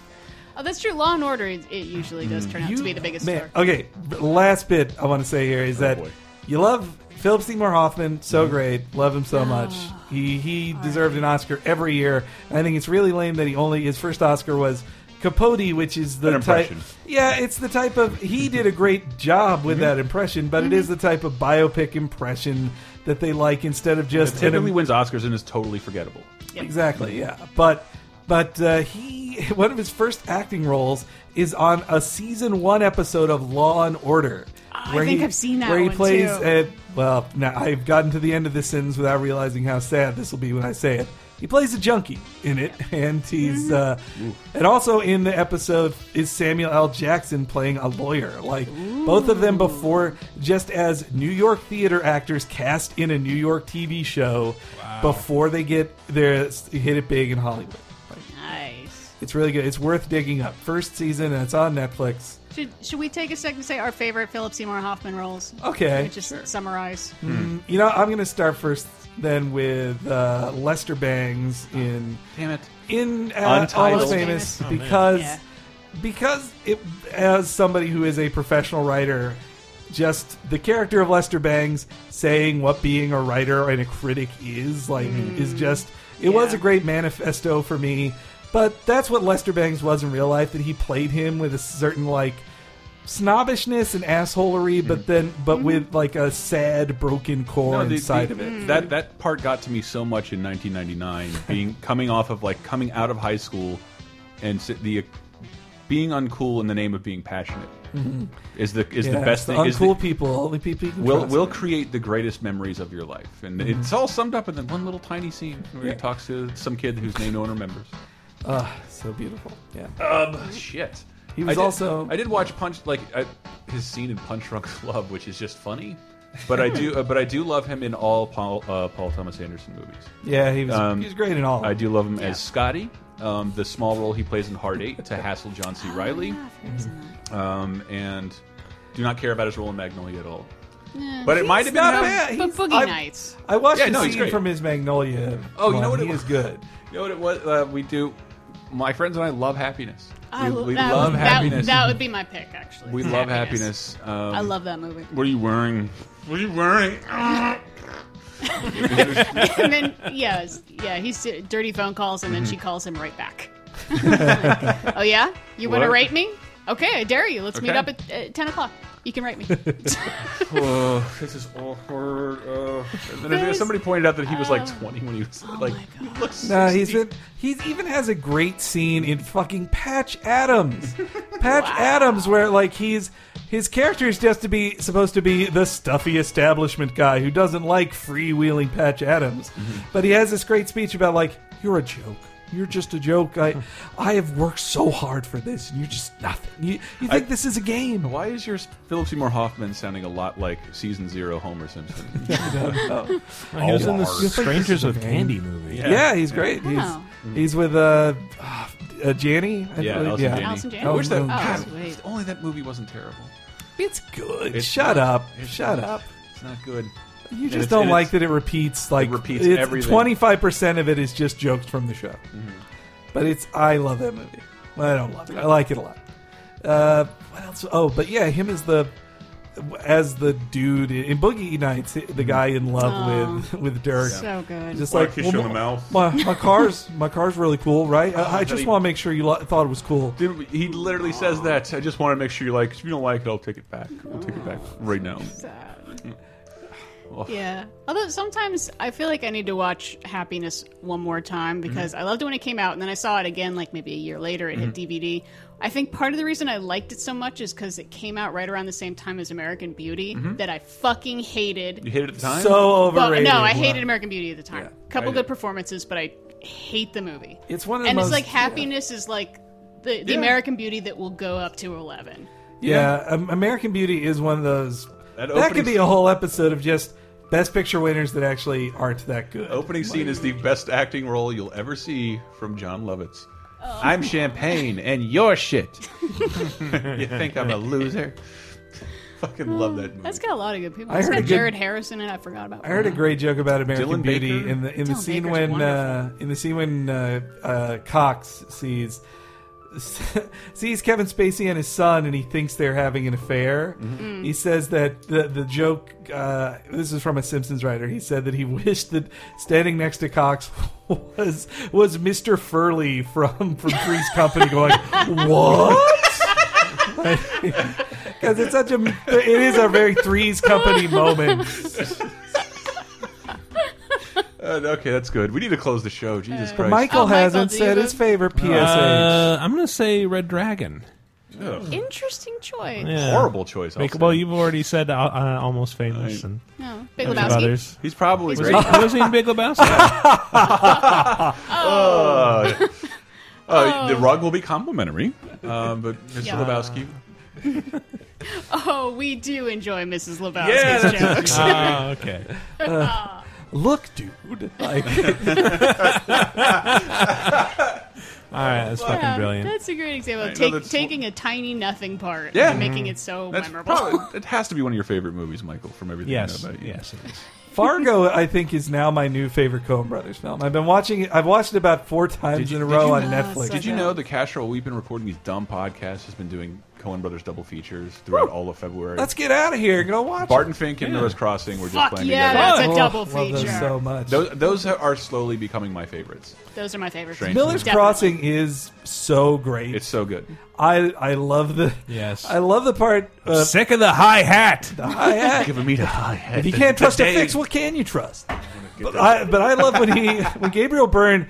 D: oh that's true law and order it, it usually does turn out to be the biggest
B: man,
D: star
B: okay, b- last bit I want to say here is that
A: Oh, boy. Mm-hmm.
B: you love Philip Seymour Hoffman so great, love him so much. He he deserved an Oscar every year. And I think it's really lame that he only his first Oscar was. Capote, which is the
A: An
B: type,
A: impression.
B: yeah, it's the type of he did a great job
A: Mm-hmm.
B: with that impression, but it is
D: Mm-hmm.
B: the type of biopic impression that they like instead of just an,
A: Typically wins Oscars and is totally forgettable.
B: Exactly. Yeah. But but uh, he one of his first acting roles is on a season one episode of Law and Order.
D: I think I've seen that
B: Where he
D: one,
B: plays
D: too.
B: a- well, now I've gotten to the end of the sentence without realizing how sad this will be when I say it. He plays a junkie in it, and he's uh, and also in the episode is Samuel L. Jackson playing a lawyer. Like both of them before, just as New York theater actors cast in a New York TV show before they get their hit it big in Hollywood. Like,
D: nice
B: it's really good. It's worth digging up. First season, and it's on Netflix.
D: should, should we take a second to say our favorite philip seymour hoffman roles
B: Okay,
C: Mm-hmm.
D: Or just summarize
B: You know, I'm going to start first. than with uh, Lester Bangs in
A: Damn it.
B: in uh,
A: Untitled.
B: Almost Famous
D: Oh,
C: man.
B: because
D: Yeah.
B: because it as somebody who is a professional writer, just the character of Lester Bangs saying what being a writer and a critic is like is just it was
D: Yeah.
B: a great manifesto for me. But that's what Lester Bangs was in real life. That he played him with a certain like snobbishness and assholery, but then but with like a sad, broken core
A: Mm-hmm. No, the-
B: inside
A: the-
B: of it.
A: That that part got to me so much in 1999, being coming off of like coming out of high school, and si- the being uncool in the name of being passionate is the is the
B: Mm-hmm. Yeah,
A: best
B: it's the
A: thing. is the-
B: Uncool people, only people you can
A: will
B: trust.
A: will create the greatest memories of your life, and
B: Mm-hmm.
A: it's all summed up in that one little tiny scene where he talks to some kid whose name no one remembers.
B: Ah, so beautiful. Yeah.
A: Shit.
B: He was
A: I did,
B: also-
A: I did watch Punch like I, his scene in Punch Drunk Love, which is just funny. But I do, uh, but I do love him in all Paul, uh, Paul Thomas Anderson movies.
B: Yeah, he was
A: Um,
B: he was great in all.
A: I do love him as Scotty, um, the small role he plays in Hard Eight to hassle John C. Riley,
D: Ah.
C: Mm-hmm.
A: um, and do not care about his role in Magnolia at all. But it might have been
B: Not
A: him.
B: bad.
D: But
B: He's-
D: Boogie
B: I-
D: Nights.
B: I watched
A: Yeah,
B: a
A: no, he's
B: scene
A: great.
B: from his Magnolia.
A: Oh, you know what?
B: one. He
A: it was
B: is good.
A: You know what it was? Uh, we do. My friends and I love happiness.
D: I
A: we
D: lo-
A: we
D: that-
A: love
D: that,
A: happiness.
D: That would be my pick, actually.
A: we love happiness. Um,
D: I love that movie.
A: What are you wearing? What are you wearing?
D: and then yeah, it's- yeah, he's dirty phone calls, and then
A: Mm-hmm.
D: she calls him right back. oh yeah, you want to
A: What?
D: rate me? Okay, I dare you. Let's meet
A: Okay.
D: up at uh, ten o'clock. You can rate me.
A: oh, this is awkward. Oh. And then
D: There's- Oh.
A: somebody pointed out that he was like 20 when he was like.
D: my God.
A: He looks
B: No, he's
A: 60.
B: been. Uh, He's even has a great scene in fucking Patch Adams. Patch Adams, where like he's his character is just to be supposed to be the stuffy establishment guy who doesn't like freewheeling Patch Adams,
A: Mm-hmm.
B: but he has this great speech about like you're a joke. You're just a joke. I,
A: Mm-hmm.
B: I have worked so hard for this, and you're just nothing. You, you think this is a game?
A: Why is your Philip Seymour Hoffman sounding a lot like season zero Homer Simpson?
C: he was in the
A: Lord.
C: Strangers with Candy movie. Uh,
B: Yeah, he's great.
D: Wow.
B: He's he's with uh, uh, uh Janie. I
A: yeah,
B: believe.
A: Allison Janney.
D: Allison Janney.
A: I wish that.
B: Oh,
A: God,
D: sweet.
A: if only that movie wasn't terrible.
B: It's good.
A: It's
B: Shut
A: not.
B: up.
A: It's
B: Shut
A: not.
B: up.
A: It's not good.
B: You
A: it's-
B: just don't
A: and
B: like
A: it's-
B: that it repeats. Like
A: repeats everything. Mm-hmm.
B: Twenty five percent of it is just jokes from the show. But it's I love that movie. Well, I don't love it. I like it a lot. Uh, what else? Oh, but yeah, him as the as the dude in Boogie Nights, the guy in love with with Dirk.
D: so good.
B: Just
A: Mm-hmm. Why
B: like
A: kiss you in the mouth?
B: My, my car's my car's really cool, right? I, I
A: that
B: just
A: he-
B: want to make sure you lo- thought it was cool.
A: Dude, he literally says that. I just want to make sure you like. 'cause If you don't like it, I'll take it back. I'll take it back right now.
D: Sad. Yeah. Although sometimes I feel like I need to watch Happiness one more time because
B: Mm-hmm.
D: I loved it when it came out, and then I saw it again like maybe a year later. It hit DVD. I think part of the reason I liked it so much is because it came out right around the same time as American Beauty that I fucking hated.
A: You hit it at the time.
B: So
D: Well,
B: Mm-hmm. overrated.
D: no, I
B: Wow.
D: hated American Beauty at the time. Couple
A: I
D: good
A: did.
D: performances, but I hate the movie.
B: It's one of the
D: and
B: most-
D: it's like
B: yeah.
D: Happiness is like the, the
B: Yeah.
D: American Beauty that will go up to eleven.
B: Yeah, um, American Beauty is one of those.
A: That
B: That,
A: opening
B: could be
A: scene-
B: a whole episode of just best picture winners that actually aren't that good.
A: Opening scene is the best acting role you'll ever see from John Lovitz.
D: Oh.
A: I'm champagne and you're shit. you think I'm a loser? Fucking love that movie.
D: That's got a lot of good people.
B: I
D: It's
B: heard a
D: got
B: good-
D: Jared Harrison, and I forgot about.
B: I heard a great joke about American
A: Dylan
B: Beauty
A: Baker?
B: in the in the
D: Dylan
B: scene
D: Baker's
B: when uh, in the scene when uh, uh, Cox sees sees Kevin Spacey and his son, and he thinks they're having an affair.
A: Mm-hmm.
B: He says that the the joke. Uh, this is from a Simpsons writer. He said that he wished that standing next to Cox was was Mr. Furley from from Three's Company, going what? Because it's such a, it is a very Three's Company moment.
A: Uh, okay, that's good. We need to close the show. Jesus Christ.
B: Michael
D: Oh, Michael,
B: hasn't
D: do you
B: said
D: have-
B: his favorite PSA.
C: Uh, I'm gonna say Red Dragon.
A: Ugh.
D: Interesting choice.
C: Yeah.
A: horrible choice. I'll
C: Make-
A: say.
C: well, you've already said uh, uh, almost famous
A: I-
C: and
D: No, Big
C: bunch of
D: Lebowski.
C: others.
A: He's probably
D: He's
A: great.
D: right.
C: Was he in Big Lebowski?
A: Uh, uh, the rug will be complimentary, um, but Mr.
D: Oh. Yeah.
A: Lebowski.
D: Oh, we do enjoy Mrs.
A: Yeah,
D: Lebowski's
A: that's-
D: jokes.
C: Ah, okay.
B: Look, dude. Like,
C: All right, that's fucking
D: Yeah,
C: brilliant.
D: That's a great example. of
A: I know
D: take,
A: that's-
D: taking a tiny nothing part
A: Yeah.
D: and making it so
A: That's
D: memorable.
A: probably it has to be one of your favorite movies, Michael, from everything
C: Yes,
A: I know about you.
C: yes, it is.
B: Fargo, I think, is now my new favorite Coen Brothers film. I've been watching it. I've watched it about four times
A: you-
B: in a
A: did
B: row
A: you-
B: on
D: Oh,
B: Netflix.
D: so
A: Did you
D: Yeah.
A: know the cash roll we've been recording these dumb podcasts has been doing Cohen Brothers double features throughout all of February?
B: Let's get out of here and go watch
A: Barton Fink and Noah's Crossing were just
D: Fuck
A: playing
D: yeah,
A: together.
B: it.
D: that's a
B: Oh,
D: double
B: love those
D: feature.
B: so much.
A: Those, those are slowly becoming my favorites.
D: Those are my favorites.
A: Strange.
B: Miller's
D: Definitely.
B: Crossing is so great.
A: It's so good.
B: I I love the
C: Yes.
B: I love the part. Uh,
C: Sick of the high hat.
B: I had-
A: Giving me the high head.
B: If you can't trust a fix, what can you trust? But I, but I love when he when Gabriel Byrne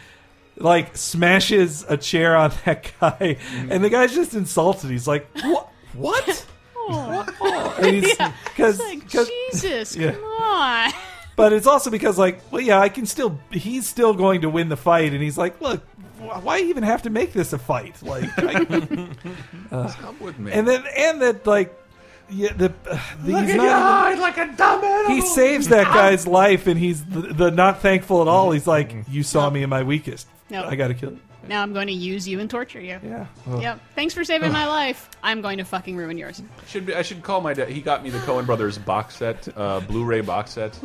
B: like smashes a chair on that guy, and the guy's just insulted. He's like, "What? What?"
D: Oh,
B: Because
D: like, Jesus,
B: Yeah.
D: come on.
B: but it's also because like, well, yeah, I can still. He's still going to win the fight, and he's like, "Look, wh- why even have to make this a fight?" Like, I,
A: Come with me.
B: and then and that like, yeah, the, uh, the he's not even-
A: like a dumb animal.
B: he saves that guy's life, and he's the, the not thankful at all. He's like, "You saw me in my weakest.
D: No.
B: I got to kill you."
D: Now I'm going to use you and torture you.
B: Yeah. Ugh.
D: Yep. Thanks for saving my life. I'm going to fucking ruin yours.
A: Should be, I should call my dad. He got me the Cohen Brothers box set, uh, Blu-ray box set,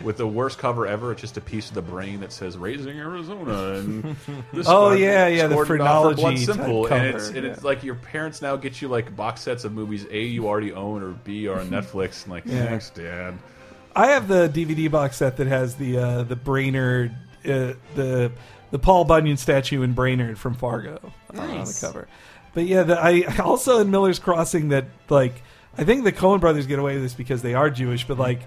A: with the worst cover ever. It's just a piece of the brain that says "Raising Arizona." And this
B: Oh,
A: one
B: yeah, yeah, the
A: scored it off for Blood
B: phrenology type
A: Simple,
B: cover,
A: and it's and it's
B: yeah.
A: like your parents now get you like box sets of movies a you already own or b are on Netflix, and like
B: Yeah.
A: thanks, Dad.
B: I have the DVD box set that has the uh, the Brainerd uh, the the Paul Bunyan statue in Brainerd from Fargo uh, on the
D: Nice.
B: cover. But yeah, the, I also in Miller's Crossing that like I think the Coen brothers get away with this because they are Jewish, but like.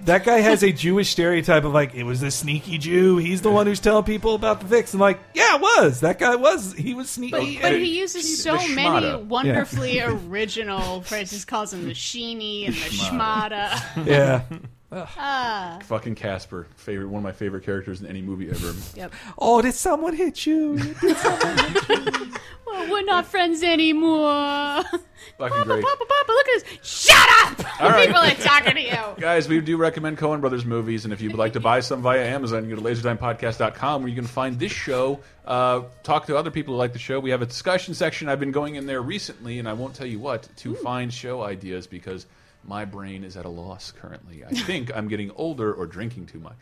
B: That guy has a Jewish stereotype of like it was the sneaky Jew. He's the one who's telling people about the fix. And like, yeah, it was. That guy was. He was
D: But,
B: sneaky.
D: but
A: uh,
D: he uses so
A: the
D: many
A: schmada.
D: wonderfully original phrases. Calls him the sheeny and the schmada.
B: yeah.
D: Ah,
A: Fucking Casper, favorite one of my favorite characters in any movie ever.
D: yep.
B: Oh, did someone hit you?
D: Well, we're not friends anymore.
A: Fucking
D: Papa,
A: great.
D: Papa, Papa, look at this. Shut up!
A: All right.
D: People are talking to you.
A: Guys, we do recommend Cohen Brothers movies, and if you'd like to buy some via Amazon, you go to lasertimepodcast.com where you can find this show. Uh, talk to other people who like the show. We have a discussion section. I've been going in there recently, and I won't tell you what, to find show ideas because my brain is at a loss currently. I think I'm getting older or drinking too much.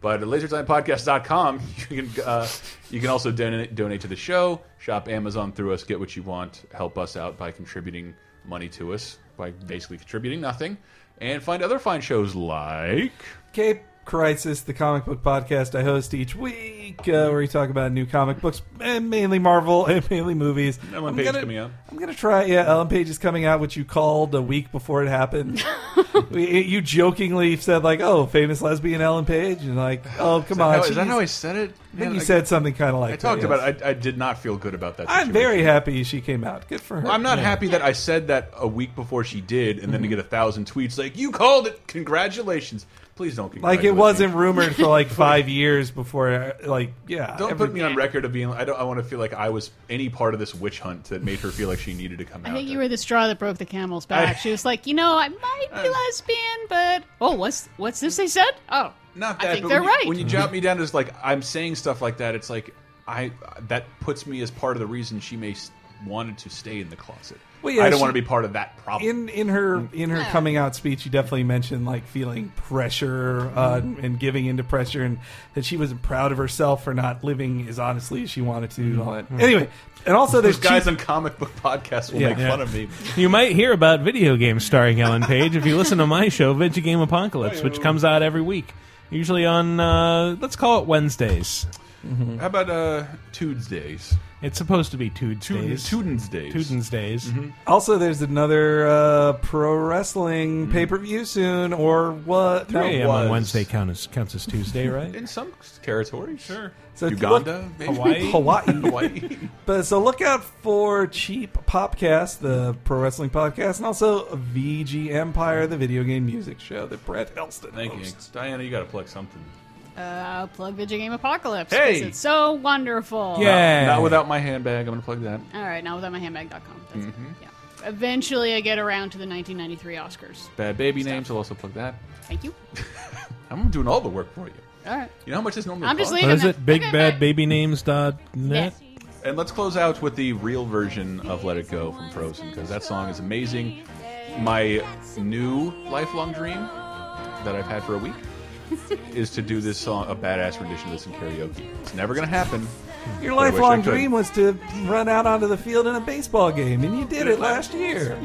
A: But at lasertimepodcast.com, you can uh, you can also donate donate to the show, shop Amazon through us, get what you want, help us out by contributing money to us by basically contributing nothing, and find other fine shows like
B: Cape Crisis, the comic book podcast I host each week, uh, where we talk about new comic books, and mainly Marvel and mainly movies.
A: Ellen
B: I'm
A: Page
B: gonna-
A: coming out.
B: I'm gonna try. Yeah, Ellen Page is coming out, which you called a week before it happened. We- you jokingly said like, "Oh, famous lesbian Ellen Page," and like, "Oh, come on."
A: How- is that
B: she's-
A: how I said it?
B: I think you said something kind of like
A: I talked
B: that,
A: about. It. I, I did not feel good about that.
B: I'm
A: situation.
B: very happy she came out. Good for her.
A: I'm not happy that I said that a week before she did, and then
B: Mm-hmm.
A: to get a thousand tweets like "You called it, congratulations." Please don't
B: like
A: congratulate
B: it wasn't
A: Me.
B: rumored for like five years before. Like, yeah,
A: Don't
B: every-
A: put me on record of being. I don't. I want to feel like I was any part of this witch hunt that made her feel like she needed to come out.
D: I think you
A: to-
D: were the straw that broke the camel's back.
A: I- Uh.
D: she was like, you know, I might be lesbian, but oh, what's what's this they said? Oh,
A: Not that,
D: I think
A: but
D: they're
A: when you,
D: right.
A: When you jot me down as like I'm saying stuff like that, it's like I that puts me as part of the reason she may s- wanted to stay in the closet.
B: Well, yeah,
A: I don't
B: she-
A: want to be part of that problem.
B: in in her in her coming out speech, you definitely mentioned like feeling pressure uh, and giving into pressure, and that she wasn't proud of herself for not living as honestly as she wanted to. And all that. Anyway, and also there's
A: Those guys
B: cheap-
A: on comic book podcasts will
B: Yeah.
A: make
B: Yeah. Mm-hmm.
A: fun of me.
C: You might hear about video games starring Ellen Page if you listen to my show, Video Game Apocalypse, which comes out every week, usually on uh, let's call it Wednesdays.
A: How about uh, Tuesdays?
C: It's supposed to be Tuesdays.
A: Tuesdays.
C: Tuesdays.
B: also there's another uh, pro wrestling pay per view soon, or what?
A: Mm-hmm. Three
C: Hey,
A: a.m.
B: No.
C: I'm
A: was.
C: on Wednesday counts as, counts as Tuesday, right?
A: In some territories, sure.
B: So
A: Uganda, maybe?
C: Hawaii.
B: Hawaii.
A: Hawaii.
B: But so look out for Cheap Popcast, the pro wrestling podcast, and also VG Empire, the video game music show that Brett Elston
A: Thank you,
B: hosts.
A: Diana. You got to plug something.
D: uh, plug Video Game Apocalypse.
A: Hey!
D: 'cause it's so wonderful.
C: Yeah.
A: Not without my handbag. I'm gonna plug that.
D: All right, now without my handbag.com. That's
A: Mm-hmm.
D: it. Yeah. Eventually, I get around to the 1993 Oscars.
A: Bad baby names. I'll also plug that.
D: Thank you.
A: I'm doing all the work for you.
D: All right.
A: You know how much this normally
D: I'm just
A: costs?
D: leaving.
C: What is
D: that.
C: it? Bigbadbabynames.net?
D: Yeah.
A: And let's close out with the real version of Let It Go from Frozen because that song is amazing. My new lifelong dream that I've had for a week is to do this song, a badass rendition of this in karaoke. It's never going to happen.
B: Your
A: But I wish I
B: lifelong
A: could.
B: dream was to run out onto the field in a baseball game, and you did it last year.